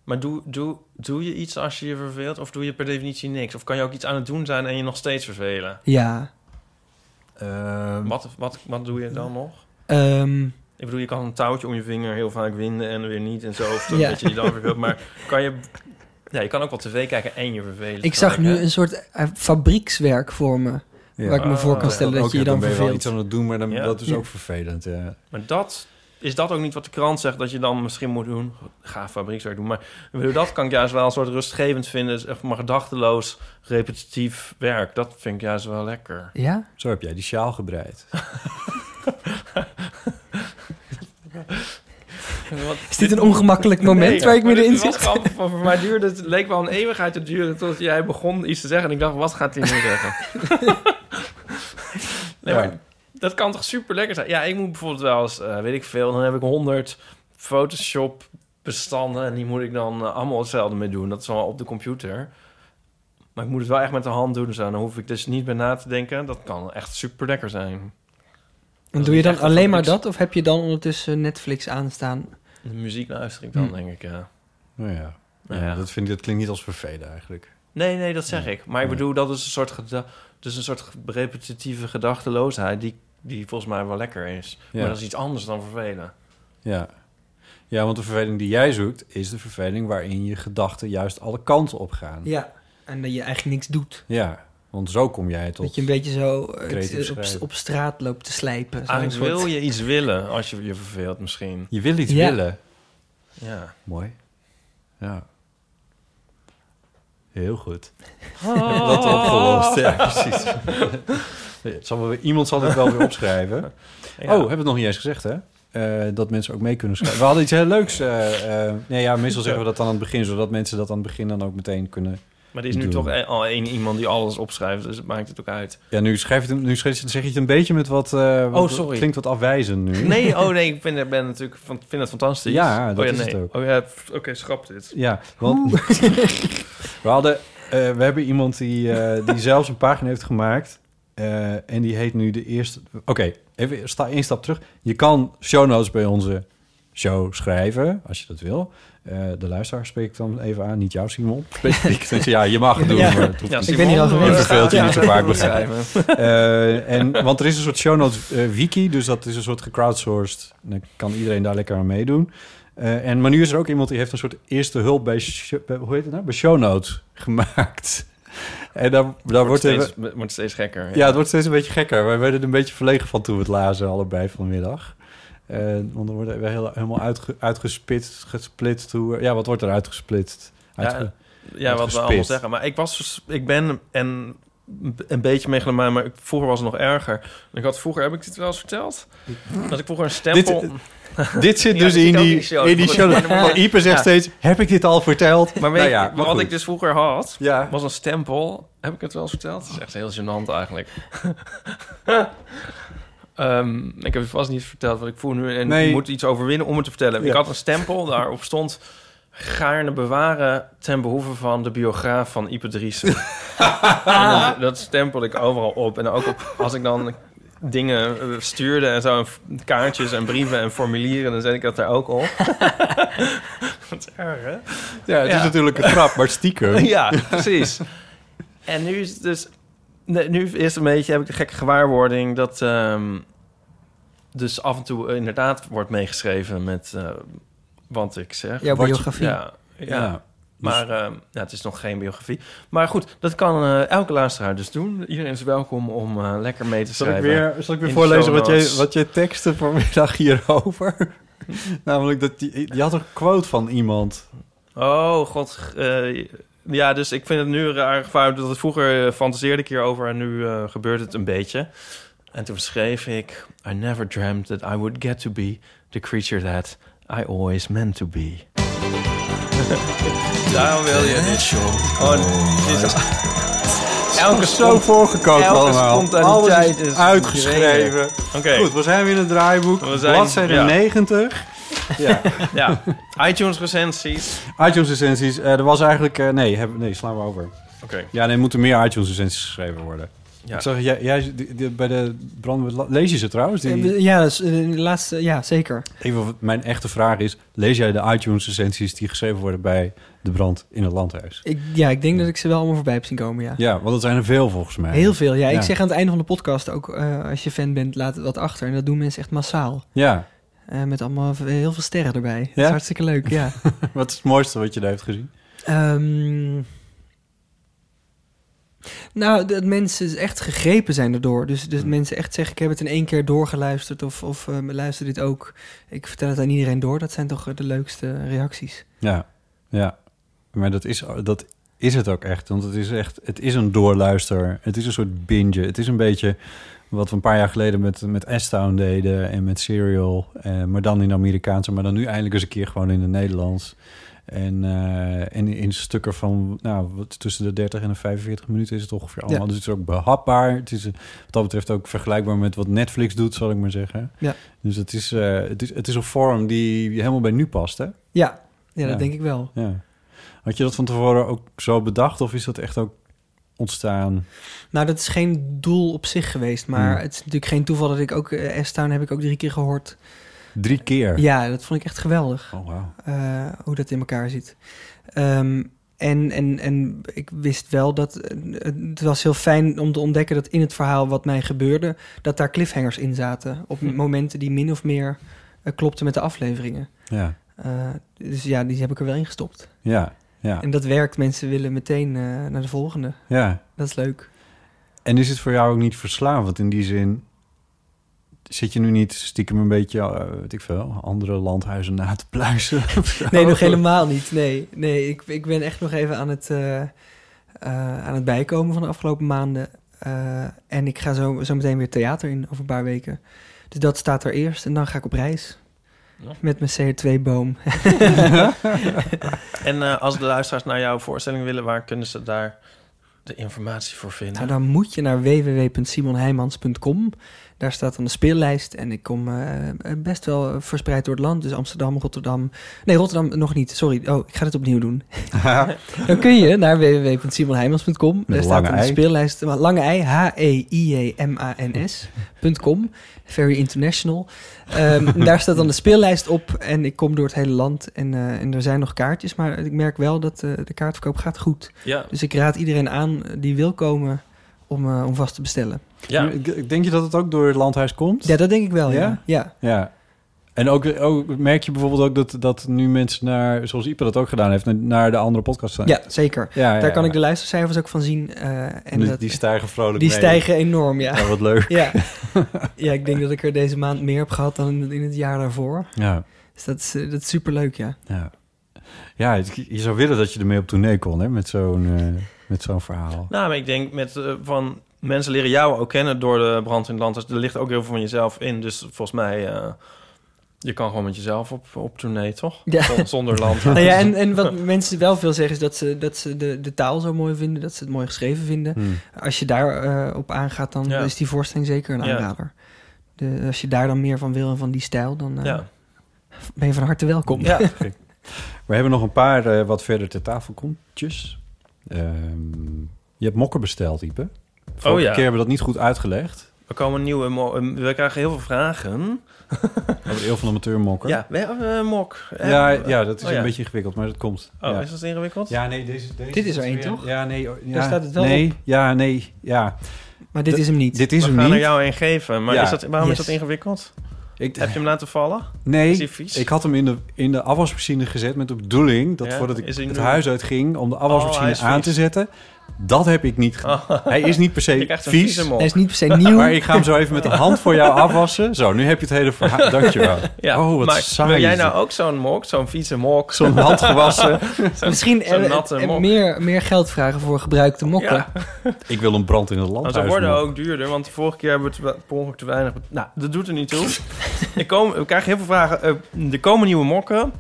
Speaker 6: maar doe, doe, doe je iets als je je verveelt of doe je per definitie niks? Of kan je ook iets aan het doen zijn en je nog steeds vervelen?
Speaker 7: Ja.
Speaker 6: Wat, wat, wat doe je dan nog?
Speaker 7: Ehm,
Speaker 6: Ik bedoel, je kan een touwtje om je vinger heel vaak winden en weer niet
Speaker 7: [laughs]
Speaker 6: en zo. Of
Speaker 7: Ja.
Speaker 6: dat je die dan verveelt. Maar kan je... Ja, je kan ook wel tv kijken en je vervelen.
Speaker 7: ik zag
Speaker 6: tegelijk,
Speaker 7: nu
Speaker 6: hè?
Speaker 7: een soort eh, fabriekswerk voor me. Waar ik me voor
Speaker 6: Ah,
Speaker 7: kan stellen dat je je dan
Speaker 5: Ah, ben je wel
Speaker 7: verveelt.
Speaker 5: iets aan het doen, maar dan,
Speaker 6: Ja.
Speaker 5: dat is
Speaker 6: Ja.
Speaker 5: ook vervelend. Ja.
Speaker 6: Maar dat, is dat ook niet wat de krant zegt dat je dan misschien moet doen? Ga fabriekswerk doen. Maar ik bedoel, dat kan ik juist wel een soort rustgevend vinden. Dus echt maar gedachteloos, repetitief werk. Dat vind ik juist wel lekker.
Speaker 7: Ja?
Speaker 5: Zo heb jij die sjaal gebreid.
Speaker 6: Want-
Speaker 7: Is dit een ongemakkelijk moment waar ik
Speaker 6: maar
Speaker 7: middenin
Speaker 6: dit was
Speaker 7: zit?
Speaker 6: grappig, want Voor mij duurde het, leek wel een eeuwigheid te duren tot jij begon iets te zeggen. En ik dacht, wat gaat hij nu zeggen? nee,
Speaker 5: Ja.
Speaker 6: maar dat kan toch super lekker zijn? Ja, ik moet bijvoorbeeld wel eens, eh, weet ik veel, dan heb ik 100 Photoshop bestanden. En die moet ik dan eh, allemaal hetzelfde mee doen. Dat is allemaal op de computer. Maar ik moet het wel echt met de hand doen. Dus dan hoef ik dus niet meer na te denken. Dat kan echt super lekker zijn.
Speaker 7: En doe je dan
Speaker 6: echt een
Speaker 7: alleen maar
Speaker 6: fabrieks-
Speaker 7: dat? Of heb je dan ondertussen Netflix aanstaan?
Speaker 6: De muziek luister ik dan,
Speaker 7: Hm.
Speaker 6: denk ik, ja.
Speaker 5: Nou ja. Ja, dat, vind ik, dat klinkt niet als vervelen eigenlijk.
Speaker 6: Nee, nee, dat zeg ik. Maar ik
Speaker 5: Nee.
Speaker 6: bedoel, dat is een soort, geda- dus een soort ge- repetitieve gedachteloosheid... Die, die volgens mij wel lekker is.
Speaker 5: Ja.
Speaker 6: Maar dat is iets anders dan vervelen.
Speaker 5: Ja. ja, want de verveling die jij zoekt... is de verveling waarin je gedachten juist alle kanten op gaan.
Speaker 7: Ja, en dat je eigenlijk niks doet.
Speaker 5: Ja, want zo kom jij tot...
Speaker 7: Dat je een beetje zo eh,
Speaker 5: creatief
Speaker 7: het, eh, op,
Speaker 5: schrijven.
Speaker 7: op straat loopt te slijpen. Zo'n
Speaker 6: Eigenlijk
Speaker 7: soort-
Speaker 6: Ah, wil je iets willen als je je verveelt misschien.
Speaker 5: Je wil iets
Speaker 7: Ja.
Speaker 5: willen.
Speaker 6: Ja.
Speaker 5: Mooi. Ja. Heel goed.
Speaker 6: Oh.
Speaker 5: Dat opgelost, ja, precies. Het zal wel weer- iemand zal dit wel weer opschrijven.
Speaker 6: Ja.
Speaker 5: Oh, hebben we het nog niet eens gezegd, hè? Eh, dat mensen ook mee kunnen schrijven. We hadden iets heel leuks. eh, eh, nee, ja, meestal zeggen we dat dan aan het begin, zodat mensen dat aan het begin dan ook meteen kunnen.
Speaker 6: Maar er is nu
Speaker 5: doen.
Speaker 6: toch e- al één iemand die alles opschrijft. Dus het maakt het ook uit.
Speaker 5: Ja, nu schrijf je het, nu schrijf je, zeg je het een beetje met wat. eh, wat-
Speaker 6: Oh, sorry.
Speaker 5: Klinkt wat afwijzend nu.
Speaker 6: Nee, oh nee, ik ben, ben natuurlijk van, vind het fantastisch.
Speaker 5: Hm? Ja, dat
Speaker 6: oh, ja,
Speaker 5: is
Speaker 6: nee.
Speaker 5: het ook.
Speaker 6: Oh ja, pff, oké, schrap dit.
Speaker 5: [laughs] Ja, want [laughs] we hadden, eh, we hebben iemand die, eh, die zelfs een pagina heeft gemaakt. eh, en die heet nu de eerste. Oké, even sta één stap terug. Je kan show notes bij onze show schrijven, als je dat wil. Eh, de luisteraar spreek ik dan even aan, niet
Speaker 7: [laughs]
Speaker 5: jou, Simon. Specifiek. Dus ja, je mag het doen.
Speaker 7: Ja.
Speaker 5: maar het hoeft
Speaker 7: Ja,
Speaker 5: niet.
Speaker 7: Simon, Ik ben hier al
Speaker 5: Je
Speaker 7: geweest.
Speaker 5: verveelt je
Speaker 7: Ja.
Speaker 5: niet zo vaak,
Speaker 7: Ja.
Speaker 5: begrijp ik. Eh, en, want er is een soort show notes eh, wiki, dus dat is een soort gecrowdsourced. En Dan kan iedereen daar lekker aan meedoen. Eh, en, maar nu is er ook iemand die heeft een soort eerste hulp bij, sho- bij- hoe heet het nou? bij show notes gemaakt. [laughs] En daar, daar wordt,
Speaker 6: wordt
Speaker 5: even-
Speaker 6: steeds- het wordt steeds gekker,
Speaker 5: Ja.
Speaker 6: ja.
Speaker 5: het wordt steeds een beetje gekker. Wij werden er een beetje verlegen van toen we het lazen, allebei vanmiddag. Eh, want dan worden we heel, helemaal uitge, uitgespitst, gesplitst. Hoe, ja, wat wordt er uitgesplitst? Uitge-
Speaker 6: Ja, ja wat we allemaal
Speaker 5: uitgespitst?
Speaker 6: zeggen. Maar ik was, dus- ik ben en een beetje megalomaan, maar ik, vroeger was het nog erger. Ik had vroeger, heb ik dit wel eens verteld? Dat ik vroeger een stempel...
Speaker 5: Dit,
Speaker 6: [laughs]
Speaker 5: dit zit
Speaker 6: Ja,
Speaker 5: dus
Speaker 6: dat
Speaker 5: in,
Speaker 6: ook
Speaker 5: die, in die show. Van Ieper zegt
Speaker 6: Ja.
Speaker 5: steeds, heb ik dit al verteld?
Speaker 6: Maar, weet
Speaker 5: Nou
Speaker 6: je,
Speaker 5: ja, maar
Speaker 6: wat
Speaker 5: goed.
Speaker 6: ik dus vroeger had, was een stempel. Heb ik het wel eens verteld? Het is echt heel gênant
Speaker 5: [laughs]
Speaker 6: eigenlijk. Ehm, ik heb het vast niet verteld wat ik voel nu. En
Speaker 5: Nee.
Speaker 6: ik moet iets overwinnen om het te vertellen.
Speaker 5: Ja.
Speaker 6: Ik had een stempel, daarop stond... gaarne bewaren ten behoeve van de biograaf van
Speaker 5: [laughs]
Speaker 6: Ipe Driessen. En dat, dat stempelde ik overal op. En ook op, als ik dan dingen eh, stuurde en zo, en f- kaartjes en brieven en formulieren, dan zet ik dat daar ook
Speaker 5: [laughs]
Speaker 6: op. [laughs] dat is erg, hè?
Speaker 5: Ja, het is natuurlijk een grap, maar stiekem.
Speaker 6: [laughs] ja, precies. En nu is het dus... nee, Nu is het een beetje, heb ik de gekke gewaarwording dat... ehm, dus af en toe eh, inderdaad wordt meegeschreven met eh, wat ik zeg.
Speaker 7: Jouw
Speaker 6: Wat je-
Speaker 7: biografie.
Speaker 6: ja, ja.
Speaker 7: Ja,
Speaker 6: Maar
Speaker 5: Dus-
Speaker 6: ehm, ja, het is nog geen biografie. Maar goed, dat kan eh, elke luisteraar dus doen. Iedereen is welkom om eh, lekker mee te
Speaker 5: Zal ik
Speaker 6: schrijven.
Speaker 5: weer, zal ik weer
Speaker 6: in de
Speaker 5: voorlezen
Speaker 6: show
Speaker 5: wat jij,
Speaker 6: notes.
Speaker 5: wat jij teksten vanmiddag hierover? [laughs] Namelijk, dat die, je had een quote van iemand.
Speaker 6: Oh, god. eh, ja, dus ik vind het nu raar gevaar. Dat het vroeger eh, fantaseerde ik hierover en nu eh, gebeurt het een beetje. En toen schreef ik... I never dreamt that I would get to be the creature that I always meant to be. Daarom wil je dit, Oh, dit is...
Speaker 5: Elke zo voorgekookt
Speaker 6: elke
Speaker 5: allemaal. Alles
Speaker 6: spontaniteit
Speaker 5: is,
Speaker 6: is
Speaker 5: uitgeschreven.
Speaker 6: verdwenen. Oké.
Speaker 5: Goed, we zijn weer in het draaiboek.
Speaker 6: We zijn-
Speaker 5: Bladzijde
Speaker 6: ja.
Speaker 5: 90. Ja.
Speaker 6: ja, iTunes recensies.
Speaker 5: iTunes recensies. eh, er was eigenlijk... eh, nee, hebben- nee, slaan we over.
Speaker 6: Oké.
Speaker 5: Ja, nee, er moeten meer iTunes recensies geschreven worden.
Speaker 6: Ja.
Speaker 5: Ik zag, jij, jij die- die- bij de brandweer... la- Lees je ze trouwens? Die,
Speaker 7: Eh, Ja, dus, eh, de laatste, ja, zeker.
Speaker 5: Even wat mijn echte vraag is... Lees jij de iTunes recensies die geschreven worden bij de brand in het landhuis?
Speaker 7: Ik, ja, ik denk dat ik ze wel allemaal voorbij heb zien komen, ja.
Speaker 5: Ja, want dat zijn er veel volgens mij.
Speaker 7: Heel veel, ja. Ik zeg aan het einde van de podcast ook, eh, als je fan bent, laat het wat achter. En dat doen mensen echt massaal.
Speaker 5: Ja.
Speaker 7: Eh, met allemaal v- heel veel sterren erbij. Dat
Speaker 5: Ja?
Speaker 7: is hartstikke leuk, ja.
Speaker 5: [laughs] Wat is het mooiste wat je daar heeft gezien?
Speaker 7: Ehm, nou, dat mensen echt gegrepen zijn erdoor. Dus,
Speaker 5: Mm.
Speaker 7: dus mensen echt zeggen, ik heb het in één keer doorgeluisterd. Of, of eh, luister dit ook. Ik vertel het aan iedereen door. Dat zijn toch eh, de leukste reacties.
Speaker 5: Ja, ja. Maar dat is, dat is het ook echt. Want het is echt, het is een doorluister. Het is een soort binge. Het is een beetje wat we een paar jaar geleden met, met S-Town deden en met Serial. Eh, maar dan in de Amerikaanse, maar dan nu eindelijk eens een keer gewoon in het Nederlands. En, eh, en in stukken van nou, wat, tussen de 30 en de 45 minuten is het ongeveer allemaal.
Speaker 7: Ja.
Speaker 5: Dus het is ook behapbaar. Het is eh, wat dat betreft ook vergelijkbaar met wat Netflix doet, zal ik maar zeggen.
Speaker 7: Ja.
Speaker 5: Dus het is, eh, het, is, het is een vorm die helemaal bij nu past, hè?
Speaker 7: Ja, ja, dat denk ik wel.
Speaker 5: Ja. Had je dat van tevoren ook zo bedacht of is dat echt ook ontstaan?
Speaker 7: Nou, dat is geen doel op zich geweest. Maar
Speaker 5: Hmm.
Speaker 7: het is natuurlijk geen toeval dat ik ook... eh, S-Town heb ik ook drie keer gehoord.
Speaker 5: Drie keer?
Speaker 7: Ja, dat vond ik echt geweldig.
Speaker 5: Oh, wauw.
Speaker 7: Eh, hoe dat in elkaar zit. Ehm, en, en, en ik wist wel dat... eh, Het was heel fijn om te ontdekken dat in het verhaal wat mij gebeurde... dat daar cliffhangers in zaten. Op
Speaker 5: Hm.
Speaker 7: momenten die min of meer eh, klopten met de afleveringen.
Speaker 5: Ja.
Speaker 7: Eh, dus ja, die heb ik er wel in gestopt.
Speaker 5: Ja, ja.
Speaker 7: En dat werkt. Mensen willen meteen eh, naar de volgende.
Speaker 5: Ja.
Speaker 7: Dat is leuk.
Speaker 5: En is het voor jou ook niet verslavend in die zin? Zit je nu niet stiekem een beetje, eh, weet ik veel, andere landhuizen na te
Speaker 7: [laughs]
Speaker 5: pluizen? of zo?
Speaker 7: Nee, nog helemaal niet. Nee, nee ik, ik ben echt nog even aan het, eh, eh, aan het bijkomen van de afgelopen maanden. Eh, en ik ga zo, zo meteen weer theater in over een paar weken. Dus dat staat er eerst. En dan ga ik op reis. Met mijn [laughs] CO2-boom.
Speaker 6: En eh, als de luisteraars naar jouw voorstelling willen... waar kunnen ze daar de informatie voor vinden?
Speaker 7: Nou, dan moet je naar www.simonheijmans.com. Daar staat dan de speellijst. En ik kom eh, best wel verspreid door het land. Dus Amsterdam, Rotterdam. Nee, Rotterdam nog niet. Sorry. Oh, ik ga het opnieuw
Speaker 5: [laughs]
Speaker 7: doen. dan kun je naar www.simonheijmans.com.
Speaker 5: Met
Speaker 7: Daar
Speaker 5: een
Speaker 7: staat
Speaker 5: lange
Speaker 7: dan de
Speaker 5: ei.
Speaker 7: speellijst. Maar Lange ei. H-E-I-E-M-A-N-S.com. Very international. Ehm, daar staat dan de speellijst op. En ik kom door het hele land. En, eh, en er zijn nog kaartjes. Maar ik merk wel dat eh, de kaartverkoop gaat goed.
Speaker 6: Ja.
Speaker 7: Dus ik raad iedereen aan eh, die wil komen om, eh, om vast te bestellen.
Speaker 6: Ja.
Speaker 5: Ik- Denk je dat het ook door het landhuis komt?
Speaker 7: Ja, dat denk ik wel. Ja.
Speaker 5: Ja?
Speaker 7: ja.
Speaker 5: Ja. En ook, ook merk je bijvoorbeeld ook dat, dat nu mensen naar, zoals Ipe dat ook gedaan heeft, naar- naar de andere podcast zijn.
Speaker 7: Ja, zeker.
Speaker 5: Ja, ja,
Speaker 7: Daar kan
Speaker 5: ja.
Speaker 7: ik de luistercijfers ook van zien. eh, en
Speaker 5: Die-
Speaker 7: dat-
Speaker 5: die stijgen vrolijk
Speaker 7: Die
Speaker 5: mee.
Speaker 7: stijgen enorm, ja.
Speaker 5: Ja, wat leuk. [laughs]
Speaker 7: ja. ja, ik denk dat ik er deze maand meer heb gehad dan in- in het jaar daarvoor.
Speaker 5: Ja.
Speaker 7: Dus dat is, eh, dat is superleuk, ja.
Speaker 5: Ja. Ja, het- je zou willen dat je ermee op tournee kon, hè, met zo'n eh, met zo'n verhaal.
Speaker 6: Nou, maar ik denk met eh, van mensen leren jou ook kennen door de brand in het land. Dus er ligt ook heel veel van jezelf in. Dus volgens mij, eh, je kan gewoon met jezelf op, op tournee,
Speaker 7: [laughs]
Speaker 6: toch? Z- Zonder land.
Speaker 7: Nou [laughs] ja, en, en
Speaker 6: [laughs]
Speaker 7: wat mensen wel veel zeggen is dat ze, dat ze de, de taal zo mooi vinden, dat ze het mooi geschreven vinden.
Speaker 5: Hmm.
Speaker 7: Als je daar eh, op aangaat, dan
Speaker 6: Ja.
Speaker 7: is die voorstelling zeker een
Speaker 6: Ja.
Speaker 7: aanrader. De, als je daar dan meer van wil en van die stijl, dan eh,
Speaker 6: Ja.
Speaker 7: [laughs] ben je van harte welkom.
Speaker 6: Ja.
Speaker 5: We hebben nog een paar eh, wat verder ter tafel komtjes. Ehm, je hebt mokken besteld, Ipe. Vorige
Speaker 6: Oh ja.
Speaker 5: keer hebben we dat niet goed uitgelegd.
Speaker 6: We komen nieuwe... mo- eh, we krijgen heel veel vragen.
Speaker 5: Over heel veel amateurmokken.
Speaker 6: Ja, we hebben een mok.
Speaker 5: Ja, ja, dat is
Speaker 6: Oh
Speaker 5: een
Speaker 6: ja.
Speaker 5: beetje ingewikkeld, maar dat komt.
Speaker 6: Oh,
Speaker 5: ja.
Speaker 6: is dat ingewikkeld?
Speaker 5: Ja, nee, deze... deze
Speaker 7: Dit is er één, toch?
Speaker 5: Ja, nee. oh,
Speaker 7: Daar
Speaker 5: ja,
Speaker 7: staat het wel
Speaker 5: nee,
Speaker 7: op.
Speaker 5: Ja, nee, ja.
Speaker 7: Maar dit
Speaker 5: Dat-
Speaker 7: is hem niet.
Speaker 5: Dit is
Speaker 6: we
Speaker 5: hem
Speaker 6: gaan
Speaker 5: niet.
Speaker 6: er jou een geven. Maar
Speaker 5: Ja.
Speaker 6: is dat, waarom
Speaker 7: Yes.
Speaker 6: is dat ingewikkeld? Heb je hem laten
Speaker 5: [laughs]
Speaker 6: vallen? Is
Speaker 5: Nee,
Speaker 6: hij vies?
Speaker 5: ik had hem in de, in de afwasmachine gezet met de bedoeling... dat
Speaker 6: Ja,
Speaker 5: voordat ik
Speaker 6: is hij
Speaker 5: het
Speaker 6: nu-
Speaker 5: huis uitging om de
Speaker 6: Oh, hij
Speaker 5: afwasmachine
Speaker 6: is
Speaker 5: aan
Speaker 6: vies. Oh.
Speaker 5: te zetten... Dat heb ik niet gedaan. Hij is niet per
Speaker 6: [laughs] Je
Speaker 5: se
Speaker 6: krijgt een
Speaker 5: vies.
Speaker 6: vieze mok. Hij is niet per se [laughs]
Speaker 7: nieuw.
Speaker 5: Maar ik ga hem zo even met de hand voor jou afwassen. Zo, nu heb je het hele
Speaker 6: [laughs]
Speaker 5: verhaal. Dankjewel.
Speaker 6: Ja,
Speaker 5: oh, wat
Speaker 6: maar
Speaker 5: saai.
Speaker 6: wil jij
Speaker 5: is
Speaker 6: nou ook zo'n mok? Zo'n vieze mok?
Speaker 5: Zo'n handgewassen.
Speaker 6: [laughs] Zo'n-
Speaker 7: Misschien
Speaker 6: zo'n
Speaker 7: eh,
Speaker 6: natte
Speaker 7: eh,
Speaker 6: mok.
Speaker 7: meer, meer geld vragen voor gebruikte mokken.
Speaker 6: Ja.
Speaker 5: dit. Ik wil een brand in het
Speaker 6: Want
Speaker 5: land.
Speaker 6: Oh, ze worden ook duurder, want de vorige keer hebben we te we- per ongeluk te weinig... bet- Nou, dat doet er niet toe. [laughs] ik kom, we krijgen heel veel vragen. Eh, er komen nieuwe mokken.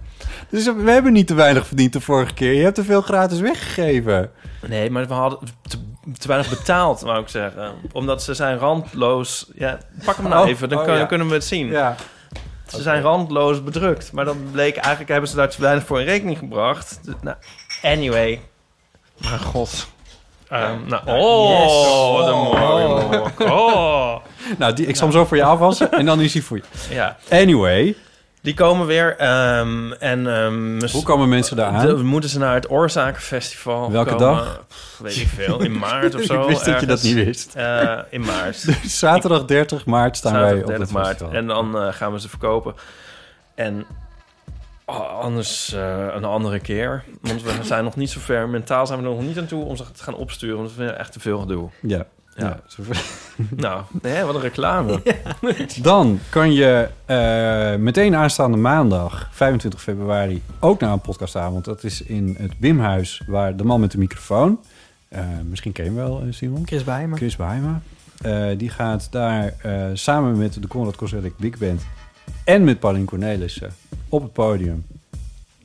Speaker 5: Dus we hebben niet te weinig verdiend de vorige keer. Je hebt te veel gratis weggegeven.
Speaker 6: Nee, maar we hadden te, te weinig betaald, wou ik zeggen. Omdat ze zijn randloos... Ja, pak hem nou
Speaker 5: Oh,
Speaker 6: even, dan
Speaker 5: oh,
Speaker 6: kun-
Speaker 5: ja.
Speaker 6: kunnen we het zien.
Speaker 5: Ja.
Speaker 6: Ze zijn randloos bedrukt. Maar dat bleek eigenlijk... hebben ze daar te weinig voor in rekening gebracht. Dus, nou, anyway. Maar god. Ehm, nou, oh, wat een mooie mok. Oh.
Speaker 5: Nou, die, ik zal hem zo voor je afwassen en dan is hij voor je.
Speaker 6: Ja.
Speaker 5: Anyway.
Speaker 6: Die komen weer. ehm, en, ehm,
Speaker 5: Hoe komen mensen daar aan?
Speaker 6: de- moeten ze naar het Oorzakenfestival
Speaker 5: Welke
Speaker 6: komen?
Speaker 5: dag?
Speaker 6: Pff, weet ik veel. In maart of
Speaker 5: [laughs]
Speaker 6: zo.
Speaker 5: Ik wist dat je dat
Speaker 6: ergens.
Speaker 5: niet wist.
Speaker 6: Eh, in maart.
Speaker 5: Dus [laughs] zaterdag 30 maart staan wij op
Speaker 6: Zaterdag 30
Speaker 5: het
Speaker 6: maart.
Speaker 5: festival.
Speaker 6: En dan eh, gaan we ze verkopen. En oh, anders eh, een andere keer. Want we zijn nog niet zo ver. Mentaal zijn we er nog niet aan toe om ze te gaan opsturen. Want we vinden echt te veel gedoe.
Speaker 5: Ja.
Speaker 6: Ja.
Speaker 5: [laughs]
Speaker 6: nou, nee, wat een reclame.
Speaker 5: Dan kan je eh, meteen aanstaande maandag, 25 februari, ook naar een podcastavond. Dat is in het Bimhuis, waar de man met de microfoon, eh, misschien ken je hem wel, eh, Simon.
Speaker 7: Chris Bijmer.
Speaker 5: Chris Bijma. Eh, die gaat daar eh, samen met de Conrad Kozelik Big Band en met Paulien Cornelissen op het podium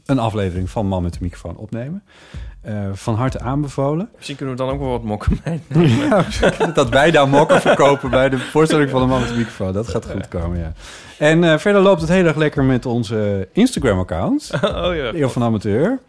Speaker 5: een aflevering van Man met de microfoon opnemen. Eh, van harte aanbevolen.
Speaker 6: Misschien kunnen we dan ook wel wat
Speaker 5: [laughs]
Speaker 6: mokken meenemen.
Speaker 5: Ja, dat wij daar mokken verkopen bij de voorstelling van de man met de microfoon. Dat gaat goed komen, ja. En eh, verder loopt het heel erg lekker met onze Instagram-account.
Speaker 6: [laughs] Oh ja.
Speaker 5: Eeuw van Amateur.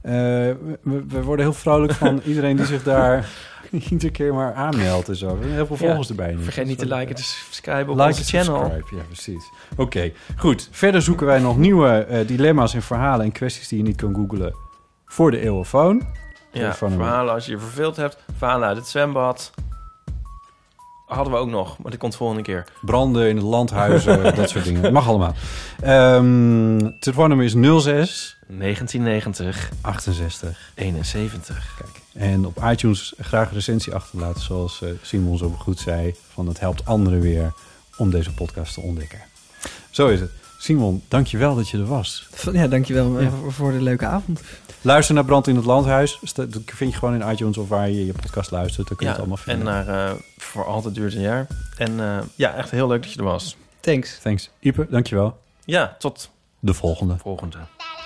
Speaker 5: Eh, we, we worden heel vrolijk
Speaker 6: [laughs]
Speaker 5: van iedereen die zich daar iedere keer maar aanmeldt en zo. We hebben heel veel volgers
Speaker 6: Ja,
Speaker 5: erbij. nu.
Speaker 6: Vergeet niet te liken en te subscriben op
Speaker 5: Like
Speaker 6: onze
Speaker 5: en
Speaker 6: channel.
Speaker 5: subscribe, Ja, precies. Oké, goed. Verder zoeken wij nog nieuwe eh, dilemma's en verhalen en kwesties die je niet kan googlen voor de eeuwofoon.
Speaker 6: Ja,
Speaker 5: Telefoonnummer.
Speaker 6: verhalen als je je verveeld hebt. Verhalen uit het zwembad. Hadden we ook nog, maar dat komt volgende keer.
Speaker 5: Branden in het
Speaker 6: [laughs]
Speaker 5: landhuizen, dat soort dingen. Mag allemaal. Ehm het telefoonnummer is 06
Speaker 6: 1990.
Speaker 5: 68.
Speaker 6: 71.
Speaker 5: Kijk. En op iTunes graag een recensie achterlaten, zoals eh, Simon zo goed zei. Van het helpt anderen weer om deze podcast te ontdekken. Zo is het. Simon, dankjewel dat je er was.
Speaker 7: Ja, dankjewel eh, [laughs]
Speaker 5: Ja.
Speaker 7: voor- voor de leuke avond.
Speaker 5: Luister naar Brand in het Landhuis. Sta- Dat vind je gewoon in iTunes of waar je je podcast luistert. Dan kun je het
Speaker 6: Ja,
Speaker 5: allemaal vinden.
Speaker 6: en naar eh, Voor Altijd Duurt een Jaar. En eh, ja, echt heel leuk dat je er was.
Speaker 7: Thanks.
Speaker 5: Thanks. Ieper, dankjewel.
Speaker 6: Ja, tot
Speaker 5: De volgende.
Speaker 6: volgende.